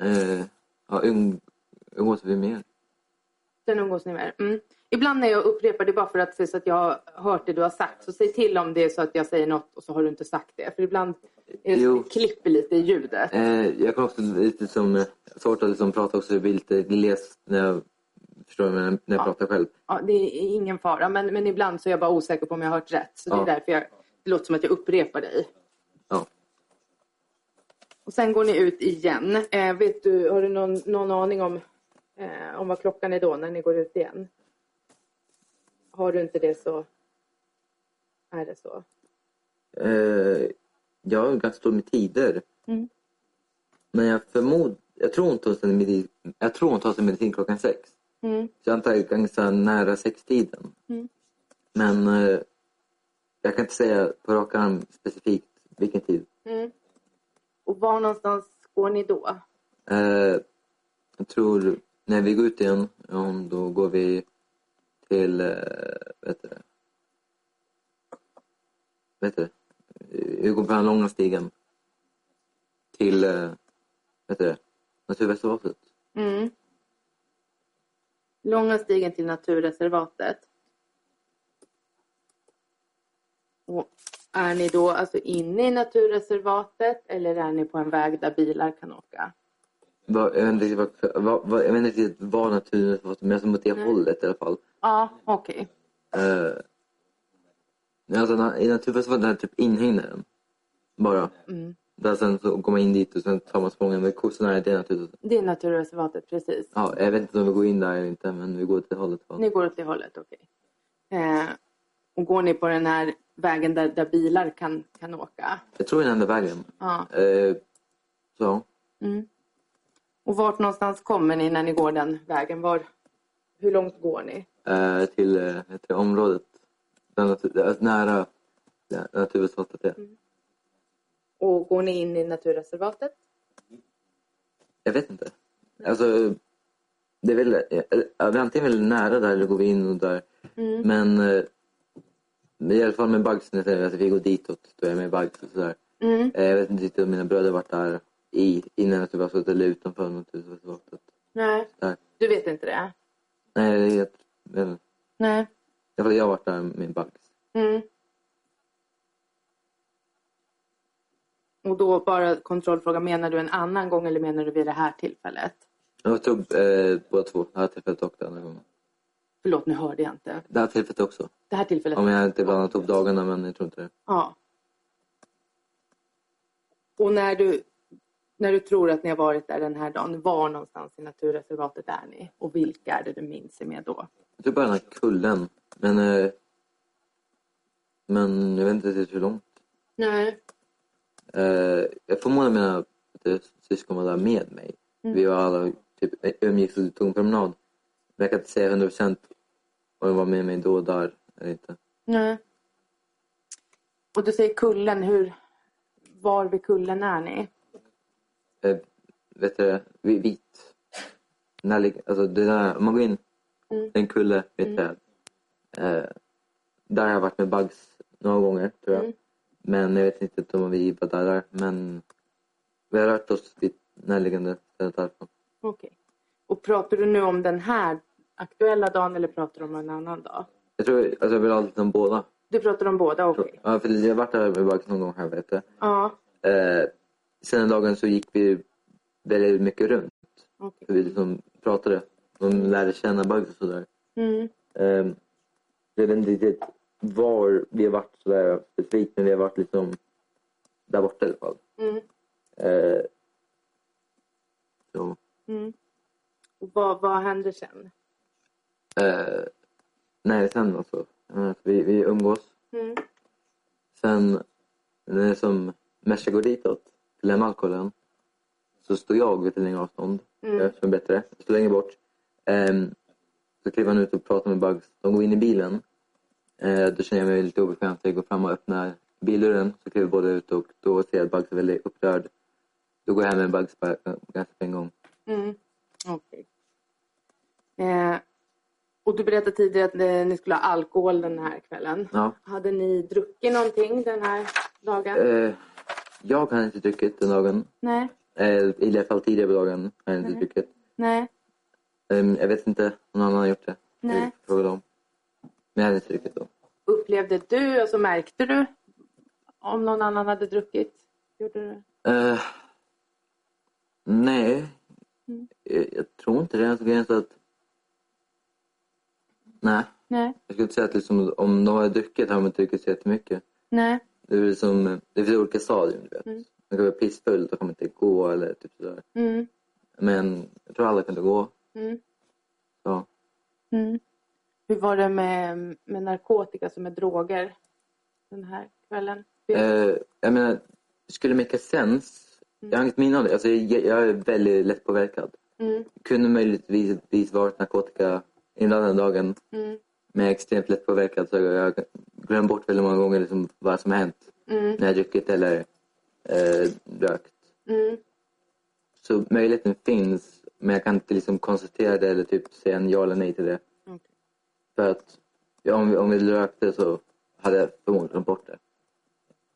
Speaker 2: eh, ja, um, umgås vi mer.
Speaker 3: Sen umgås ni mer? Mm. Ibland när jag upprepar det bara för att se så att jag har hört det du har sagt. Så säg till om det är så att jag säger något och så har du inte sagt det. För ibland är det
Speaker 2: Jo.
Speaker 3: det klipper lite i ljudet.
Speaker 2: Eh, jag kan också lite som, eh, svårt att liksom prata också, jag blir lite gles när jag, förstår du, när jag när jag
Speaker 3: Ja.
Speaker 2: pratar själv.
Speaker 3: Ja, det är ingen fara. Men, men ibland så är jag bara osäker på om jag har hört rätt. Så det är
Speaker 2: Ja.
Speaker 3: därför jag, det låter som att jag upprepar dig.
Speaker 2: Ja.
Speaker 3: Och sen går ni ut igen. Eh, vet du, har du någon, någon aning om, eh, om vad klockan är då när ni går ut igen? Har du inte det så är det så.
Speaker 2: Eh, jag har ganska stor med tider.
Speaker 3: Mm.
Speaker 2: Men jag förmodar, jag tror hon tar sin medicin, jag tror hon tar sin medicin klockan sex.
Speaker 3: Mm.
Speaker 2: Så jag antar att det är ganska nära sextiden.
Speaker 3: Mm.
Speaker 2: Men eh, jag kan inte säga på rak arm specifikt vilken tid.
Speaker 3: Mm. Och var någonstans går ni då?
Speaker 2: Eh, jag tror när vi går ut igen, om då går vi till, eh, vet du det? Vet du det? Vi går på den långa stigen. Till, eh, vet du det? Naturreservatet.
Speaker 3: Mm. Långa stigen till naturreservatet. Och Är ni då alltså inne i naturreservatet eller är ni på en väg där bilar kan åka?
Speaker 2: Vad- Jag vet inte riktigt vad- vad- vad- jag vet inte riktigt vad naturen var, men alltså mot det
Speaker 3: Nej.
Speaker 2: hållet i alla fall.
Speaker 3: Ja, okej.
Speaker 2: Eh, nej, alltså, na- I naturreservatet är det typ inhägnaden. Bara.
Speaker 3: Mm.
Speaker 2: Där sen så går man in dit och sen tar man sprången med kossorna. i Det naturreservatet.
Speaker 3: Det är naturreservatet, precis.
Speaker 2: Ja, jag vet inte om vi går in där eller inte, men vi går åt det hållet. i alla fall.
Speaker 3: Ni går åt det hållet, okej. Eh, och går ni på den här vägen där, där bilar kan, kan åka?
Speaker 2: Jag tror det är den enda vägen.
Speaker 3: Ja.
Speaker 2: Eh, så.
Speaker 3: Mm. Och vart någonstans kommer ni när ni går den vägen? Var, hur långt går ni?
Speaker 2: eh, till, eh, till området. Där natur, alltså nära där naturreservatet är.
Speaker 3: Och går ni in i naturreservatet?
Speaker 2: Jag vet inte. Alltså, det är väl, eh, eh, vi är antingen väldigt nära där eller går vi in och där.
Speaker 3: Mm.
Speaker 2: Men eh, i alla fall med Bugs, alltså, vi går ditåt. Då är jag med Bugs och sådär.
Speaker 3: Mm.
Speaker 2: Eh, jag vet inte riktigt om mina bröder varit där i, innan naturreservatet eller utanför naturreservatet.
Speaker 3: Nej,
Speaker 2: Där.
Speaker 3: du vet inte det?
Speaker 2: Nej, det är helt, men, i
Speaker 3: Nej.
Speaker 2: alla fall jag har varit där med Bugs.
Speaker 3: Mm. Och då bara kontrollfråga, menar du en annan gång eller menar du vid det här tillfället?
Speaker 2: Jag tog eh, båda två. Det här tillfället och den här gången.
Speaker 3: Förlåt, nu hörde jag inte.
Speaker 2: Det här tillfället också.
Speaker 3: Det här tillfället?
Speaker 2: Om jag inte blandat ihop dagarna, men jag tror inte det.
Speaker 3: Ja. Och när du, när du tror att ni har varit där den här dagen, var någonstans i naturreservatet är ni? Och vilka är det du minns er med då?
Speaker 2: Jag tror bara den här kullen. Men, eh, men jag vet inte riktigt hur långt.
Speaker 3: Nej.
Speaker 2: Eh, jag förmodar mina eh, syskon var där med mig.
Speaker 3: Mm.
Speaker 2: Vi var alla typ, umgicks och tog en promenad. Men jag kan inte säga 100 procent om de var med mig då och där eller inte.
Speaker 3: Nej. Och du säger kullen, hur, var vid kullen är ni?
Speaker 2: Eh, vet du det? Vi- Vit. Den här, lig- alltså, det där, om man går in,
Speaker 3: Mm.
Speaker 2: en kulle, vet mm. eh, Där har jag varit med Bugs några gånger, tror jag.
Speaker 3: Mm.
Speaker 2: Men jag vet inte om vi var där, där. Men vi har rört oss vid närliggande stället därifrån.
Speaker 3: Okej. Och pratar du nu om den här aktuella dagen eller pratar du om en annan dag?
Speaker 2: Jag tror alltså, jag vill alltid om båda.
Speaker 3: Du pratar om båda, okej.
Speaker 2: tror jag. Ja, för jag har varit där med Bugs någon gång här, vet du.
Speaker 3: Ja,
Speaker 2: Eh, sen den dagen så gick vi väldigt mycket runt.
Speaker 3: okej.
Speaker 2: För vi liksom pratade. De lärde känna Bugs och sådär.
Speaker 3: Mm.
Speaker 2: Eh, jag vet inte riktigt var vi har varit sådär specifikt, men vi har varit liksom där borta i alla fall.
Speaker 3: Mm.
Speaker 2: Eh, så.
Speaker 3: Mm. Och vad, vad händer sen?
Speaker 2: Eh, nej, sen alltså. Jag menar, Vi, vi umgås.
Speaker 3: Mm.
Speaker 2: Sen när det som Merca går ditåt, till den alkoholen, så står jag vid ett längre avstånd,
Speaker 3: Mm.
Speaker 2: jag som är bättre, jag står längre bort. Ehm, så kliver han ut och pratar med Bugs. De går in i bilen. Eh, då känner jag mig lite obekväm, så jag går fram och öppnar bildörren. Så kliver båda ut och då ser jag att Bugs är väldigt upprörd. Då går jag hem med Bugs bara, eh, ganska på en gång.
Speaker 3: Mm. Okej. Eh, och du berättade tidigare att eh, ni skulle ha alkohol den här kvällen.
Speaker 2: Ja.
Speaker 3: Hade ni druckit någonting den här dagen?
Speaker 2: Eh, jag har inte druckit den dagen.
Speaker 3: Nej.
Speaker 2: Eh, I alla fall tidigare på dagen har jag inte
Speaker 3: Nej.
Speaker 2: druckit.
Speaker 3: Nej.
Speaker 2: Ehm, jag vet inte om någon annan har gjort det.
Speaker 3: Nej.
Speaker 2: Jag Frågade om. Men jag hade inte druckit då.
Speaker 3: Upplevde du, alltså märkte du om någon annan hade druckit? Gjorde du?
Speaker 2: Eh, nej,
Speaker 3: Mm.
Speaker 2: jag, jag tror inte det. Jag ens att... Nej,
Speaker 3: Nej.
Speaker 2: jag skulle inte säga att liksom, om de har druckit har de inte druckit så jättemycket.
Speaker 3: Nej.
Speaker 2: Det, är väl som, det finns olika stadier, du vet.
Speaker 3: Mm.
Speaker 2: Man kan vara pissfull, då kan man inte gå eller typ sådär.
Speaker 3: Mm.
Speaker 2: Men jag tror alla kunde gå.
Speaker 3: Mm.
Speaker 2: Så.
Speaker 3: Mm. Hur var det med, med narkotika, alltså med droger den här kvällen?
Speaker 2: Eh, jag menar, skulle make sense. Jag har inget minne av det. Alltså, jag, jag är väldigt lättpåverkad.
Speaker 3: Mm.
Speaker 2: Kunde möjligtvis varit narkotika innan den dagen.
Speaker 3: Mm.
Speaker 2: Men jag är extremt lättpåverkad så jag glömmer bort väldigt många gånger liksom vad som har hänt
Speaker 3: Mm.
Speaker 2: när jag druckit eller eh, rökt.
Speaker 3: Mm.
Speaker 2: Så möjligheten finns men jag kan inte liksom konstatera det eller typ säga en ja eller nej till det.
Speaker 3: Okej.
Speaker 2: För att ja, om, vi, om vi rökte så hade jag förmodligen glömt bort det.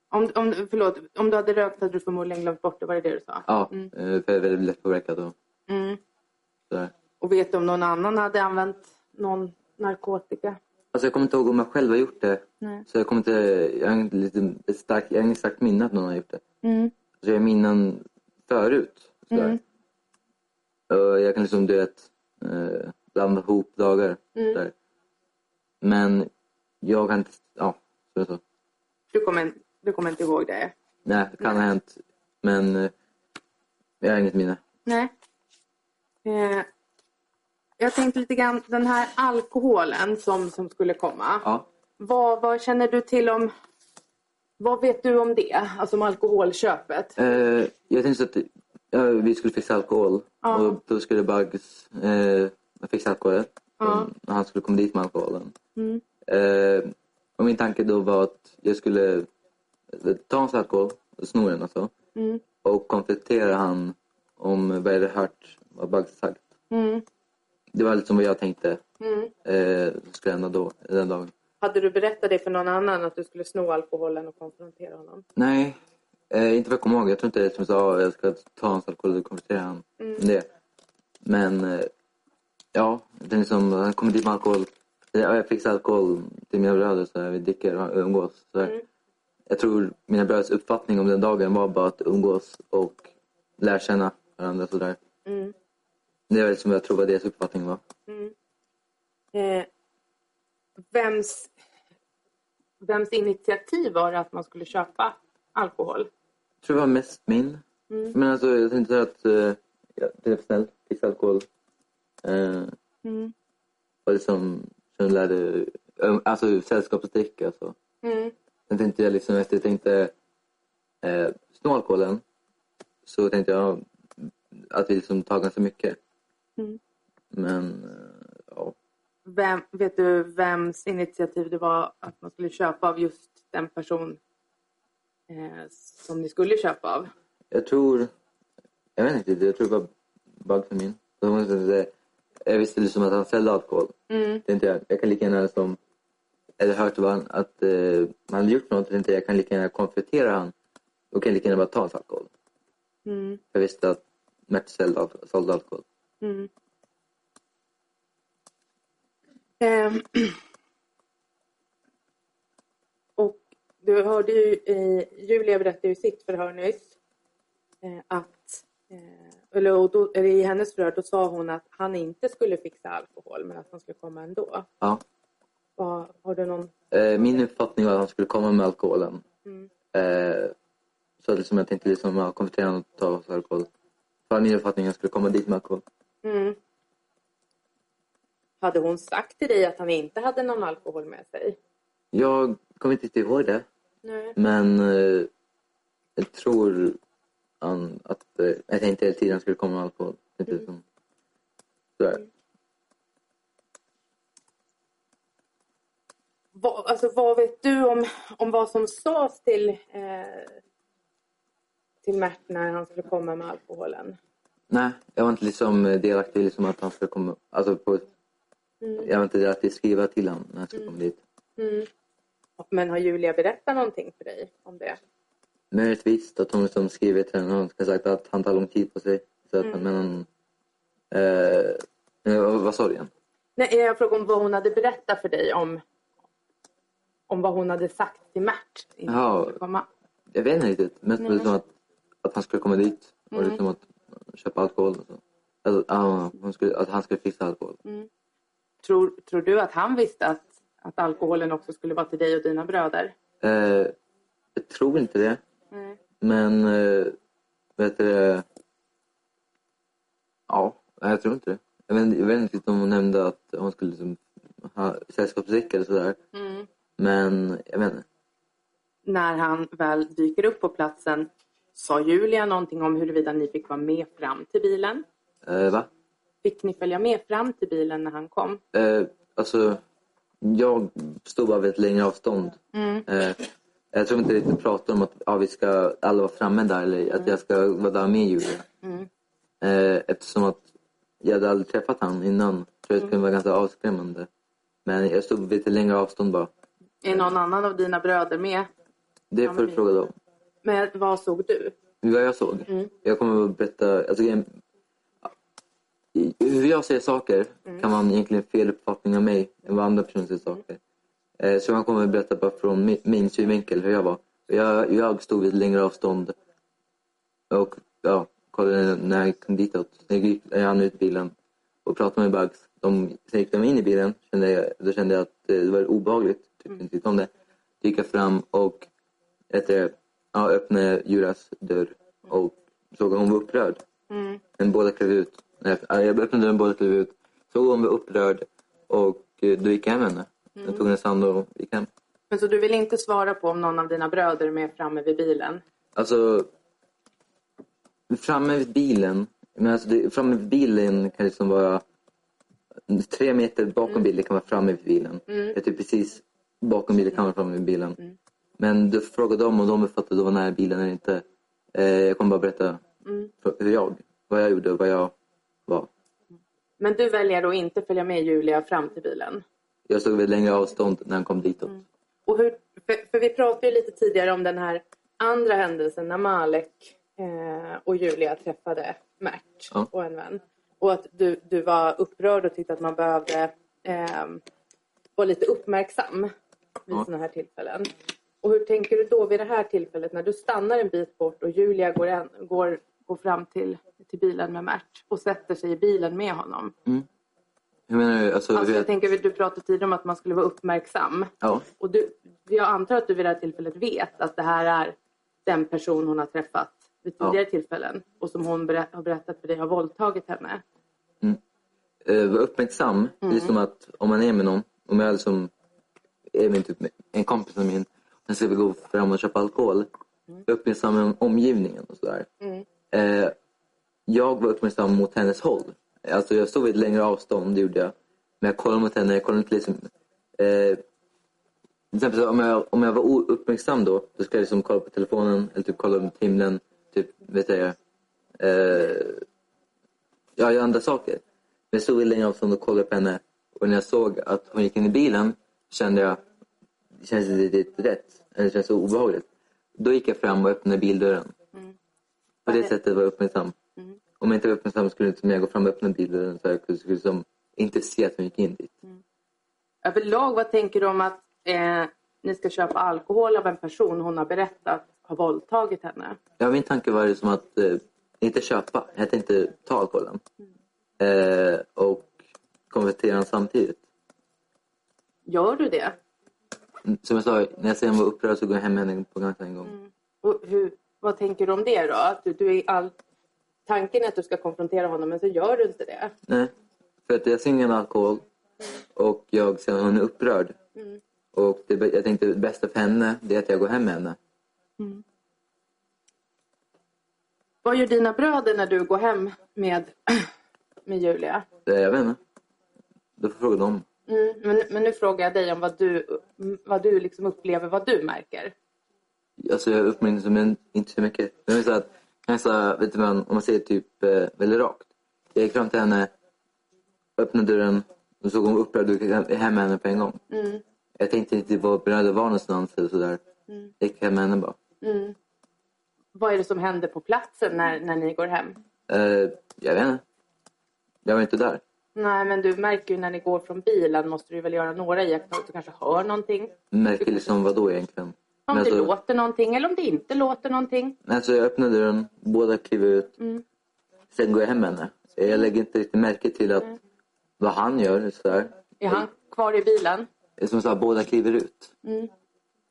Speaker 3: Om, om, förlåt, om du hade rökt hade du förmodligen glömt bort det, var det det du sa?
Speaker 2: Ja,
Speaker 3: Mm.
Speaker 2: eh, för jag är väldigt lättpåverkad och
Speaker 3: Mm.
Speaker 2: sådär.
Speaker 3: Och vet du om någon annan hade använt någon narkotika?
Speaker 2: Alltså jag kommer inte ihåg om jag själv har gjort det.
Speaker 3: Nej.
Speaker 2: Så jag kommer inte... Jag har inte lite ett starkt, jag har inget starkt minne att någon har gjort det.
Speaker 3: Mm.
Speaker 2: Så jag minnen förut. sådär.
Speaker 3: Mm.
Speaker 2: Och jag kan liksom, du vet, eh, blanda ihop dagar.
Speaker 3: Mm.
Speaker 2: sådär. Men jag kan inte... Ja, så är det så.
Speaker 3: Du, kommer, du kommer inte ihåg det?
Speaker 2: Nej, det kan ha hänt. Men eh, jag har inget minne.
Speaker 3: Nej. Eh, jag tänkte lite grann, den här alkoholen som, som skulle komma.
Speaker 2: Ja.
Speaker 3: Vad, vad känner du till om... Vad vet du om det? Alltså om alkoholköpet?
Speaker 2: Eh, jag tänkte så att eh, vi skulle fixa alkohol.
Speaker 3: Ja.
Speaker 2: Och då skulle Bugs eh, fixa alkoholen.
Speaker 3: Ja.
Speaker 2: Och han skulle komma dit med alkoholen.
Speaker 3: Mm.
Speaker 2: Eh, och min tanke då var att jag skulle eh, ta hans alkohol, sno den alltså.
Speaker 3: Mm.
Speaker 2: Och konfrontera han om vad jag hade hört, vad Bugs sagt.
Speaker 3: Mm.
Speaker 2: Det var liksom vad jag tänkte
Speaker 3: Mm.
Speaker 2: eh, skulle hända då, den dagen.
Speaker 3: Hade du berättat det för någon annan att du skulle sno alkoholen och konfrontera honom?
Speaker 2: Nej, eh, inte vad jag kommer ihåg. Jag tror inte det är som jag sa, "Ah, jag ska ta hans alkohol och konfrontera han
Speaker 3: Mm.
Speaker 2: om det. Men eh, ja, det är liksom, han kommer dit med alkohol. Eh, Ja, jag fixar alkohol till mina bröder så här, vi dricker och umgås. Så här.
Speaker 3: Mm.
Speaker 2: Jag tror mina bröders uppfattning om den dagen var bara att umgås och lära känna varandra sådär.
Speaker 3: Mm.
Speaker 2: Det var liksom vad jag tror var deras uppfattning var.
Speaker 3: Mm. Eh, vems, vems initiativ var det att man skulle köpa alkohol?
Speaker 2: Jag tror det var mest min.
Speaker 3: Mm.
Speaker 2: Men alltså jag tänkte så här att eh, jag blev snäll, fixade alkohol. Eh,
Speaker 3: Mm.
Speaker 2: och liksom, sen lärde, um, alltså sällskapsdricka och så.
Speaker 3: Mm.
Speaker 2: Sen tänkte jag liksom efter jag tänkte eh, sno alkoholen så tänkte jag att vi liksom tar ganska mycket.
Speaker 3: Mm.
Speaker 2: Men eh, ja,
Speaker 3: Vem, vet du vems initiativ det var att man skulle köpa av just den person eh, som ni skulle köpa av?
Speaker 2: jag tror, jag vet inte, jag tror det var bug för min. Så jag måste säga, Jag visste liksom att han sålde alkohol.
Speaker 3: Mm.
Speaker 2: Tänkte jag, jag kan lika gärna som, eller hört vad han, att eh, man hade gjort något, tänkte jag, jag kan lika gärna konfrontera han. Då kan jag lika gärna bara ta hans alkohol.
Speaker 3: Mm.
Speaker 2: Jag visste att Mert sålde al- sålde alkohol.
Speaker 3: Mm. Ehm. Och du hörde ju, eh, Julia berättade ju i sitt förhör nyss eh, att, eh, eller, och då, eller i hennes förhör, då sa hon att han inte skulle fixa alkohol men att han skulle komma ändå.
Speaker 2: Ja.
Speaker 3: Vad- har du någon...
Speaker 2: Eh, min uppfattning var att han skulle komma med alkoholen.
Speaker 3: Mm.
Speaker 2: Eh, så att liksom jag tänkte liksom, ja, konfrontera honom och ta oss alkohol. För min uppfattning att han skulle komma dit med alkohol.
Speaker 3: Mm. Hade hon sagt till dig att han inte hade någon alkohol med sig?
Speaker 2: Jag kommer inte riktigt ihåg det,
Speaker 3: Nej.
Speaker 2: men eh, jag tror han, att... Eh, jag tänkte hela tiden att han skulle komma med alkohol. Inte
Speaker 3: Mm.
Speaker 2: liksom, sådär.
Speaker 3: Vad, alltså, vad vet du om, om vad som sades till, eh, till Mert när han skulle komma med alkoholen?
Speaker 2: Nej, jag var inte liksom eh, delaktig i liksom att han skulle komma... Alltså på,
Speaker 3: Mm.
Speaker 2: jag var inte delaktig i att skriva till honom när han skulle komma dit.
Speaker 3: Mm. Men har Julia berättat någonting för dig om det?
Speaker 2: Möjligtvis att hon som skrivit till honom har sagt att han tar lång tid på sig. Så att
Speaker 3: Mm.
Speaker 2: han, men han... Eh, eh, vad sa du igen?
Speaker 3: Nej, jag frågade om vad hon hade berättat för dig om, om vad hon hade sagt till Mert innan
Speaker 2: Jaha.
Speaker 3: han skulle komma.
Speaker 2: Jag vet inte riktigt. Mest var det som att, att han skulle komma dit och
Speaker 3: Mm.
Speaker 2: liksom att köpa alkohol och så. Alltså, att, han- hon skulle, att han skulle fixa alkohol.
Speaker 3: Mm. Tror, tror du att han visste att, att alkoholen också skulle vara till dig och dina bröder?
Speaker 2: Eh, jag tror inte det.
Speaker 3: Nej.
Speaker 2: Men... Eh, vet du det? Ja, nej, jag tror inte det. Jag vet, jag vet inte riktigt om hon nämnde att hon skulle liksom, ha sällskapsdricka eller sådär.
Speaker 3: Mm.
Speaker 2: Men jag vet inte.
Speaker 3: när han väl dyker upp på platsen sa Julia någonting om huruvida ni fick vara med fram till bilen.
Speaker 2: Eh, va?
Speaker 3: Fick ni följa med fram till bilen när han kom?
Speaker 2: Eh, alltså, jag stod bara vid ett längre avstånd. Eh, jag tror inte riktigt pratade om att ja, vi ska alla vara framme där eller att jag ska vara där med Julia. Eh, eftersom att jag hade aldrig träffat han innan. Så det skulle vara ganska avskrämmande. Men jag stod vid ett längre avstånd bara.
Speaker 3: Är någon annan av dina bröder med?
Speaker 2: Det får du
Speaker 3: men-
Speaker 2: fråga dem.
Speaker 3: Men vad såg du?
Speaker 2: Vad jag såg? Jag kommer att berätta... Alltså, jag, i- hur jag ser saker kan man egentligen fel uppfattning av mig än vad andra personer ser saker. Eh, Så jag kommer att berätta bara från mi- min synvinkel hur jag var. Jag, jag stod vid ett längre avstånd och ja, kollade när jag kom ditåt. Sen gick jag hann ut bilen och pratade med Bugs. De, sen gick de in i bilen. Kände jag, då kände jag att eh, det var obehagligt. Tyckte inte om det. Då gick jag fram och vet du, ja, öppnade Juras dörr och såg att hon var upprörd. Men båda klev ut. Nej, ja, Jag öppnade dörren, båda klev ut. Såg hon var upprörd och eh, då gick jag hem henne. Jag tog hennes hand och gick hem.
Speaker 3: Men så du vill inte svara på om någon av dina bröder är med framme vid bilen?
Speaker 2: Alltså, framme vid bilen. Men alltså, det, framme vid bilen kan liksom vara... Tre meter bakom bilen kan vara framme vid bilen. Jag typ precis bakom bilen kan vara framme vid bilen. Men du frågade dem om de uppfattade att det var nära bilen eller inte. Eh, jag kommer bara berätta för- hur jag, vad jag gjorde och vad jag var.
Speaker 3: Men du väljer att inte följa med Julia fram till bilen?
Speaker 2: Jag stod vid ett längre avstånd när han kom ditåt.
Speaker 3: Och hur, för, för vi pratade ju lite tidigare om den här andra händelsen när Malek eh, och Julia träffade Mert
Speaker 2: Ja.
Speaker 3: och en vän. Och att du, du var upprörd och tyckte att man behövde eh, vara lite uppmärksam vid
Speaker 2: Ja.
Speaker 3: sådana här tillfällen. Och hur tänker du då vid det här tillfället när du stannar en bit bort och Julia går, en, går, går fram till, till bilen med Mert och sätter sig i bilen med honom?
Speaker 2: Hur menar du? Alltså,
Speaker 3: Alltså
Speaker 2: hur
Speaker 3: jag
Speaker 2: jag,
Speaker 3: tänker, du pratade tidigare om att man skulle vara uppmärksam.
Speaker 2: ja.
Speaker 3: Och du, jag antar att du vid det här tillfället vet att det här är den person hon har träffat vid
Speaker 2: Ja.
Speaker 3: tidigare tillfällen och som hon berä- har berättat för dig har våldtagit henne.
Speaker 2: eh, vara uppmärksam. Det är som att om man är med någon, om jag liksom är med typ en kompis som min, sen ska vi gå fram och köpa alkohol. Vara uppmärksam om omgivningen och sådär. Eh, jag var uppmärksam mot hennes håll. Alltså jag stod vid ett längre avstånd, det gjorde jag. Men jag kollade mot henne, jag kollade inte liksom... Eh, till exempel så om jag, om jag var ouppmärksam då, då skulle jag liksom kolla på telefonen eller typ kolla mot himlen. Typ, vet jag, eh, jag gör andra saker. Men jag stod i längre avstånd och kollade på henne. Och när jag såg att hon gick in i bilen kände jag, det känns inte riktigt rätt. Eller det känns obehagligt. Då gick jag fram och öppnade bildörren. På det sättet var jag uppmärksam. Om jag inte var uppmärksam skulle inte jag gå fram och öppna bildörren så jag skulle skulle som inte se att hon gick in dit.
Speaker 3: Överlag, vad tänker du om att eh, ni ska köpa alkohol av en person hon har berättat har våldtagit henne?
Speaker 2: Ja, min tanke var ju som att eh, inte köpa. Jag hette inte ta alkoholen. Eh, och konvertera den samtidigt.
Speaker 3: Gör du det?
Speaker 2: Mm, Som jag sa, när jag sen var upprörd så går jag hem med henne på ganska en gång.
Speaker 3: Och hur, vad tänker du om det då? Att du, du är all... Tanken är att du ska konfrontera honom men så gör du inte det.
Speaker 2: Nej, för att jag ser ingen alkohol och jag ser att hon är upprörd. Och det, jag tänkte det bästa för henne det är att jag går hem med henne.
Speaker 3: Vad gör dina bröder när du går hem med, med Julia?
Speaker 2: Eh, Jag vet inte. Då får jag fråga dem.
Speaker 3: Mm, men, men nu frågar jag dig om vad du, mm, vad du liksom upplever, vad du märker.
Speaker 2: Alltså jag uppmärksammar men inte så mycket. Men jag vill säga att, jag sa, vet du vad, om man säger typ eh, väldigt rakt. Jag gick fram till henne, öppnade dörren och såg hon var upprörd och gick hem- hem med henne på en gång. Jag tänkte inte vad bröder var någonstans eller sådär. Jag gick hem med henne bara.
Speaker 3: Mm. Vad är det som händer på platsen när, när ni går hem?
Speaker 2: Eh, jag vet inte. Jag var inte där.
Speaker 3: Nej, men du märker ju när ni går från bilen måste du väl göra några iakttagelser. Du kanske hör någonting.
Speaker 2: märker liksom vad då egentligen?
Speaker 3: Om
Speaker 2: Men
Speaker 3: det
Speaker 2: alltså,
Speaker 3: låter någonting eller om det inte låter någonting.
Speaker 2: alltså jag öppnar dörren, båda kliver ut.
Speaker 3: Mm.
Speaker 2: Sen går jag hem med henne. Jag lägger inte riktigt märke till
Speaker 3: Mm.
Speaker 2: att vad han gör. Så här.
Speaker 3: Är han kvar i bilen?
Speaker 2: Det är Som sagt, båda kliver ut.
Speaker 3: Mm.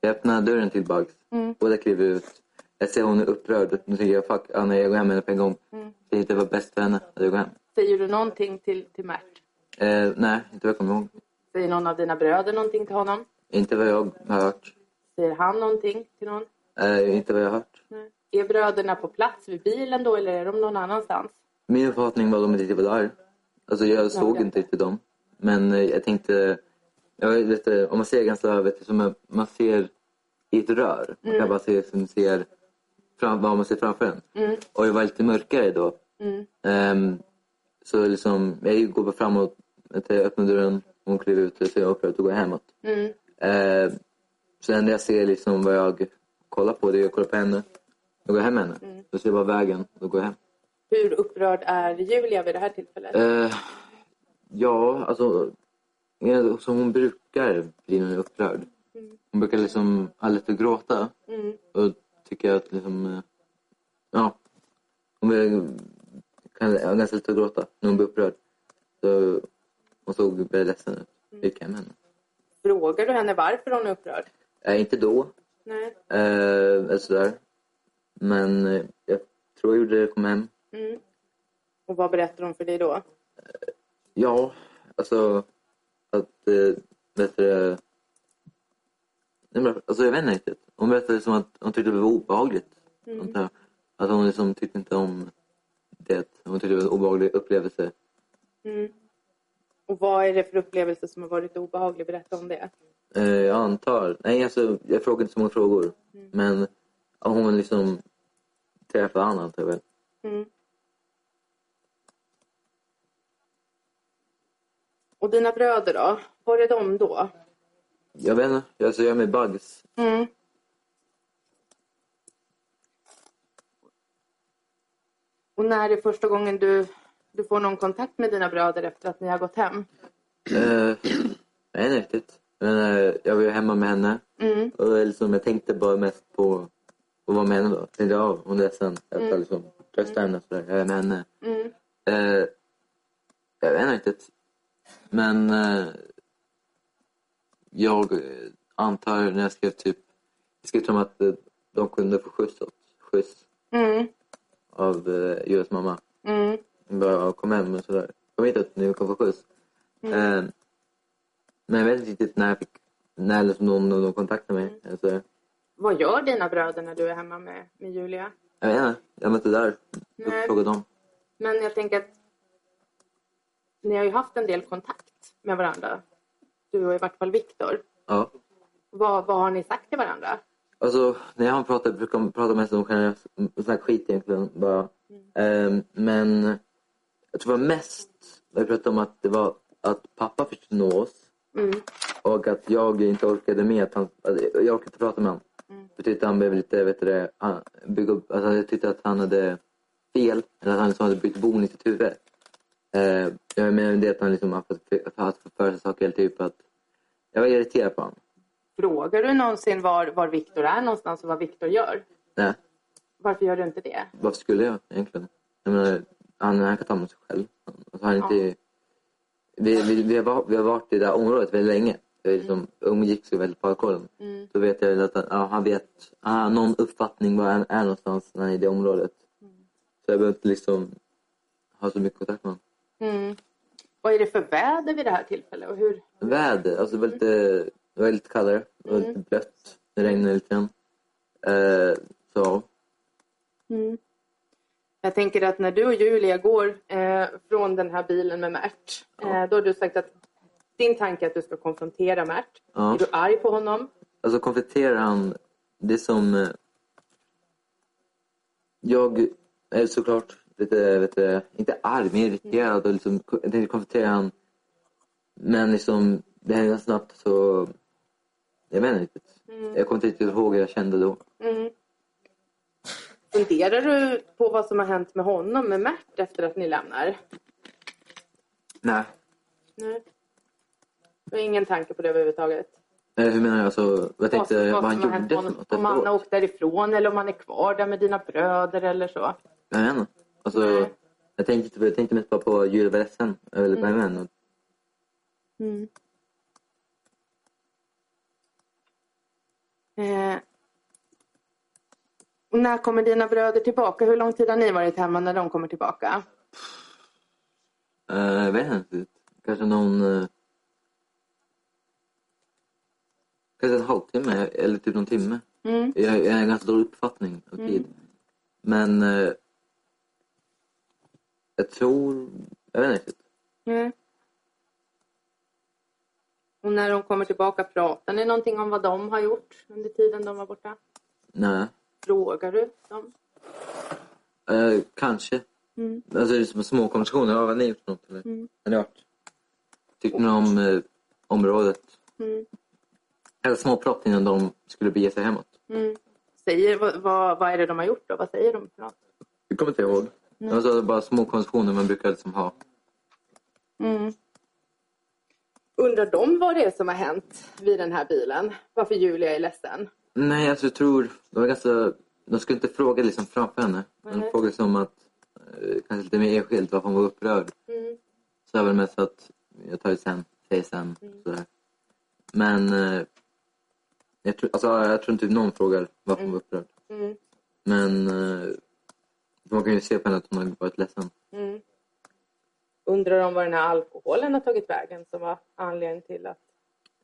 Speaker 2: Jag öppnar dörren till Bugs. Båda kliver ut. Jag ser hon är upprörd. Nu tänker jag fuck, ja, nej, jag går hem med henne på en gång.
Speaker 3: Mm.
Speaker 2: Det är inte vad bäst för henne att jag går hem.
Speaker 3: Säger du någonting till, till Mert?
Speaker 2: Eh, nej, inte vad jag kommer ihåg.
Speaker 3: Säger någon av dina bröder någonting till honom?
Speaker 2: Inte vad jag har hört.
Speaker 3: Säger han någonting till någon?
Speaker 2: Eh, inte vad jag har hört.
Speaker 3: Nej. Är bröderna på plats vid bilen då eller är de någon annanstans?
Speaker 2: Min uppfattning var att de inte var där. Alltså jag såg
Speaker 3: okej.
Speaker 2: inte riktigt dem. Men eh, jag tänkte... Jag vet, inte, om man ser ganska... Vet, du, som man- man ser i ett rör. Man
Speaker 3: Mm.
Speaker 2: kan bara se liksom, ser fram, vad man ser framför en.
Speaker 3: Mm.
Speaker 2: Och jag var lite mörkare då. Ehm, så liksom, jag går bara framåt. vet du, Jag öppnar dörren. Hon kliver ut. och Så jag upprör och går hemåt.
Speaker 3: Mm.
Speaker 2: Ehm, så det enda jag ser liksom,
Speaker 3: Mm.
Speaker 2: vad jag kollar på det är jag kollar på henne. Jag går hem med henne. Då ser jag bara vägen. Då går jag hem.
Speaker 3: Hur upprörd är Julia vid det här tillfället?
Speaker 2: Eh, ja, alltså... eh, Som hon brukar bli när hon är upprörd. Hon brukar liksom alldeles för gråta.
Speaker 3: Mm.
Speaker 2: Och tycker jag att liksom... eh, Ja. Hon blir, kan, jag har ganska lätt att gråta när hon blir upprörd. Så hon såg väldigt ledsen ut. Jag gick hem med henne.
Speaker 3: Frågar du henne varför hon är upprörd?
Speaker 2: Eh, inte då.
Speaker 3: Nej.
Speaker 2: Eh, eller sådär. Men eh, jag tror jag gjorde det kom hem.
Speaker 3: Mm. Och vad berättar hon för dig då?
Speaker 2: Ja, alltså att... Eh, vet du, det- Nej, men alltså jag vet inte riktigt. Hon berättade som att hon tyckte det var obehagligt. Antar jag. Att hon liksom tyckte inte om det. Hon tyckte det var en obehaglig upplevelse.
Speaker 3: Mm. Och vad är det för upplevelse som har varit obehaglig? Berätta om det.
Speaker 2: Eh, jag antar... Nej, alltså jag frågade inte så många frågor. Men ja, hon liksom träffade han antar jag väl.
Speaker 3: Mm. Och dina bröder då? Var är de då?
Speaker 2: Jag vet inte. Alltså, jag är med Bugs.
Speaker 3: Mm. Och när är första gången du, du får någon kontakt med dina bröder efter att ni har gått hem?
Speaker 2: Eh, jag vet inte riktigt. Men, eh, jag var ju hemma med henne.
Speaker 3: Mm.
Speaker 2: Och jag liksom, jag tänkte bara mest på att vara med henne. Då. Tänkte, ja, hon är ledsen. Jag ska liksom trösta henne. och sådär. Jag är med henne.
Speaker 3: Mm.
Speaker 2: Eh, jag vet inte riktigt. Men eh, jag eh, antar när jag skrev typ... Jag skrev till dem att eh, de kunde få skjuts, åt, skjuts
Speaker 3: Mm.
Speaker 2: av eh, Julas mamma.
Speaker 3: Mm.
Speaker 2: Hon bara, ja, kom hem och sådär. Kom hit att ni kan få skjuts. Eh, men jag vet inte riktigt när jag fick... När liksom någon, någon kontaktade mig. Alltså, eller sådär.
Speaker 3: Vad gör dina bröder när du är hemma med, med Julia?
Speaker 2: Jag vet inte. Jag var inte där. Då
Speaker 3: Nej.
Speaker 2: frågade de.
Speaker 3: Men jag tänker att ni har ju haft en del kontakt med varandra. Du och i vart fall Viktor.
Speaker 2: Ja.
Speaker 3: Vad, vad har ni sagt till varandra?
Speaker 2: Alltså, när han pratar brukar han prata mest om generellt snack skit egentligen. Bara. Ehm, men jag tror det var mest när vi pratade om att det var att pappa försökte nå oss
Speaker 3: Mm.
Speaker 2: och att jag inte orkade med att han... Att jag orkade inte prata med honom. Jag tyckte han behövde lite, vet du det, han, bygga upp... Alltså, jag tyckte att han hade fel. Eller att han liksom hade bytt bon i sitt huvud. Uh, jag menar det att han liksom haft haft för sig saker. Typ att jag var irriterad på honom.
Speaker 3: Frågar du någonsin var, var Viktor är någonstans och vad Viktor gör?
Speaker 2: Nej.
Speaker 3: Varför gör du inte det?
Speaker 2: Varför skulle jag egentligen? Jag menar, han, han kan ta hand om sig själv. Alltså, han är inte, vi, vi, vi, har, va- vi har varit i det här området väldigt länge. Jag liksom, umgicks ju väldigt på alkoholen. Då vet jag väl att han, ja, han vet han har någon uppfattning var han är någonstans när han är i det området. Så jag behöver inte liksom ha så mycket kontakt med honom.
Speaker 3: Mm. Vad är det för väder vid det här tillfället? Och hur?
Speaker 2: Väder, alltså det var lite, det var lite kallare. Det var lite blött. Det regnade lite grann. Eh, så
Speaker 3: Jag tänker att när du och Julia går eh, från den här bilen med Mert, eh, då har du sagt att din tanke är att du ska konfrontera Mert.
Speaker 2: Ja.
Speaker 3: Är du arg på honom?
Speaker 2: Alltså konfronterar han det som... eh, Jag är såklart lite, vet du, inte arg men irriterad och liksom, jag tänkte konfrontera han. Men liksom, det hände snabbt så... Jag vet inte riktigt.
Speaker 3: Mm.
Speaker 2: Jag kommer inte riktigt ihåg hur jag kände då.
Speaker 3: Funderar du på vad som har hänt med honom, med Mert, efter att ni lämnar?
Speaker 2: Nej.
Speaker 3: Nej. Du har ingen tanke på det överhuvudtaget?
Speaker 2: Eh, Hur menar jag? Alltså, jag
Speaker 3: Vad som-
Speaker 2: tänkte vad
Speaker 3: vad
Speaker 2: han
Speaker 3: som har hänt
Speaker 2: gjorde
Speaker 3: med
Speaker 2: för
Speaker 3: honom?
Speaker 2: något
Speaker 3: Om han har
Speaker 2: efteråt.
Speaker 3: åkt därifrån eller om han är kvar där med dina bröder eller så.
Speaker 2: Jag vet inte. Alltså,
Speaker 3: Nej.
Speaker 2: jag tänkte, inte- jag tänkte mest bara på Julia var ledsen. Eller på
Speaker 3: Mm.
Speaker 2: henne.
Speaker 3: Eh. Och när kommer dina bröder tillbaka? Hur lång tid har ni varit hemma när de kommer tillbaka?
Speaker 2: Eh, Jag vet inte. riktigt. Kanske någon... eh, Kanske en halvtimme eller typ någon timme.
Speaker 3: Mm.
Speaker 2: Jag, jag har en ganska dålig uppfattning av tid. Men... eh, Jag tror... Jag vet inte riktigt.
Speaker 3: Mm. Och när de kommer tillbaka, pratar ni någonting om vad de har gjort under tiden de var borta?
Speaker 2: Nej.
Speaker 3: Frågar du dem?
Speaker 2: Eh, kanske.
Speaker 3: Mm.
Speaker 2: Alltså det är som små konversationer. Ja, vad har ni gjort för något? Eller? Mm. Har ni varit? Tyckte ni om eh, området?
Speaker 3: Mm.
Speaker 2: Eller små prat innan de skulle bege sig hemåt.
Speaker 3: Säger, vad, vad, vad är det de har gjort då? Vad säger de för något?
Speaker 2: Jag kommer inte ihåg. Alltså, det var bara små konstruktioner man brukar liksom ha.
Speaker 3: Mm. Undrar de vad det är som har hänt vid den här bilen? Varför Julia är ledsen?
Speaker 2: Nej, alltså jag tror... De, var ganska, de skulle inte fråga liksom framför henne. Men
Speaker 3: Nej.
Speaker 2: de frågade som att... eh, Kanske lite mer enskilt varför hon var upprörd.
Speaker 3: Mm.
Speaker 2: Så jag var det mest för att jag tar det sen, säger sen.
Speaker 3: Mm.
Speaker 2: Sådär. Men eh, jag tror, alltså, jag tror inte någon frågar varför hon var upprörd.
Speaker 3: Mm.
Speaker 2: Men eh, man kan ju se på henne att hon har varit ledsen.
Speaker 3: Mm. Undrar om vad den här alkoholen har tagit vägen som var anledningen till att...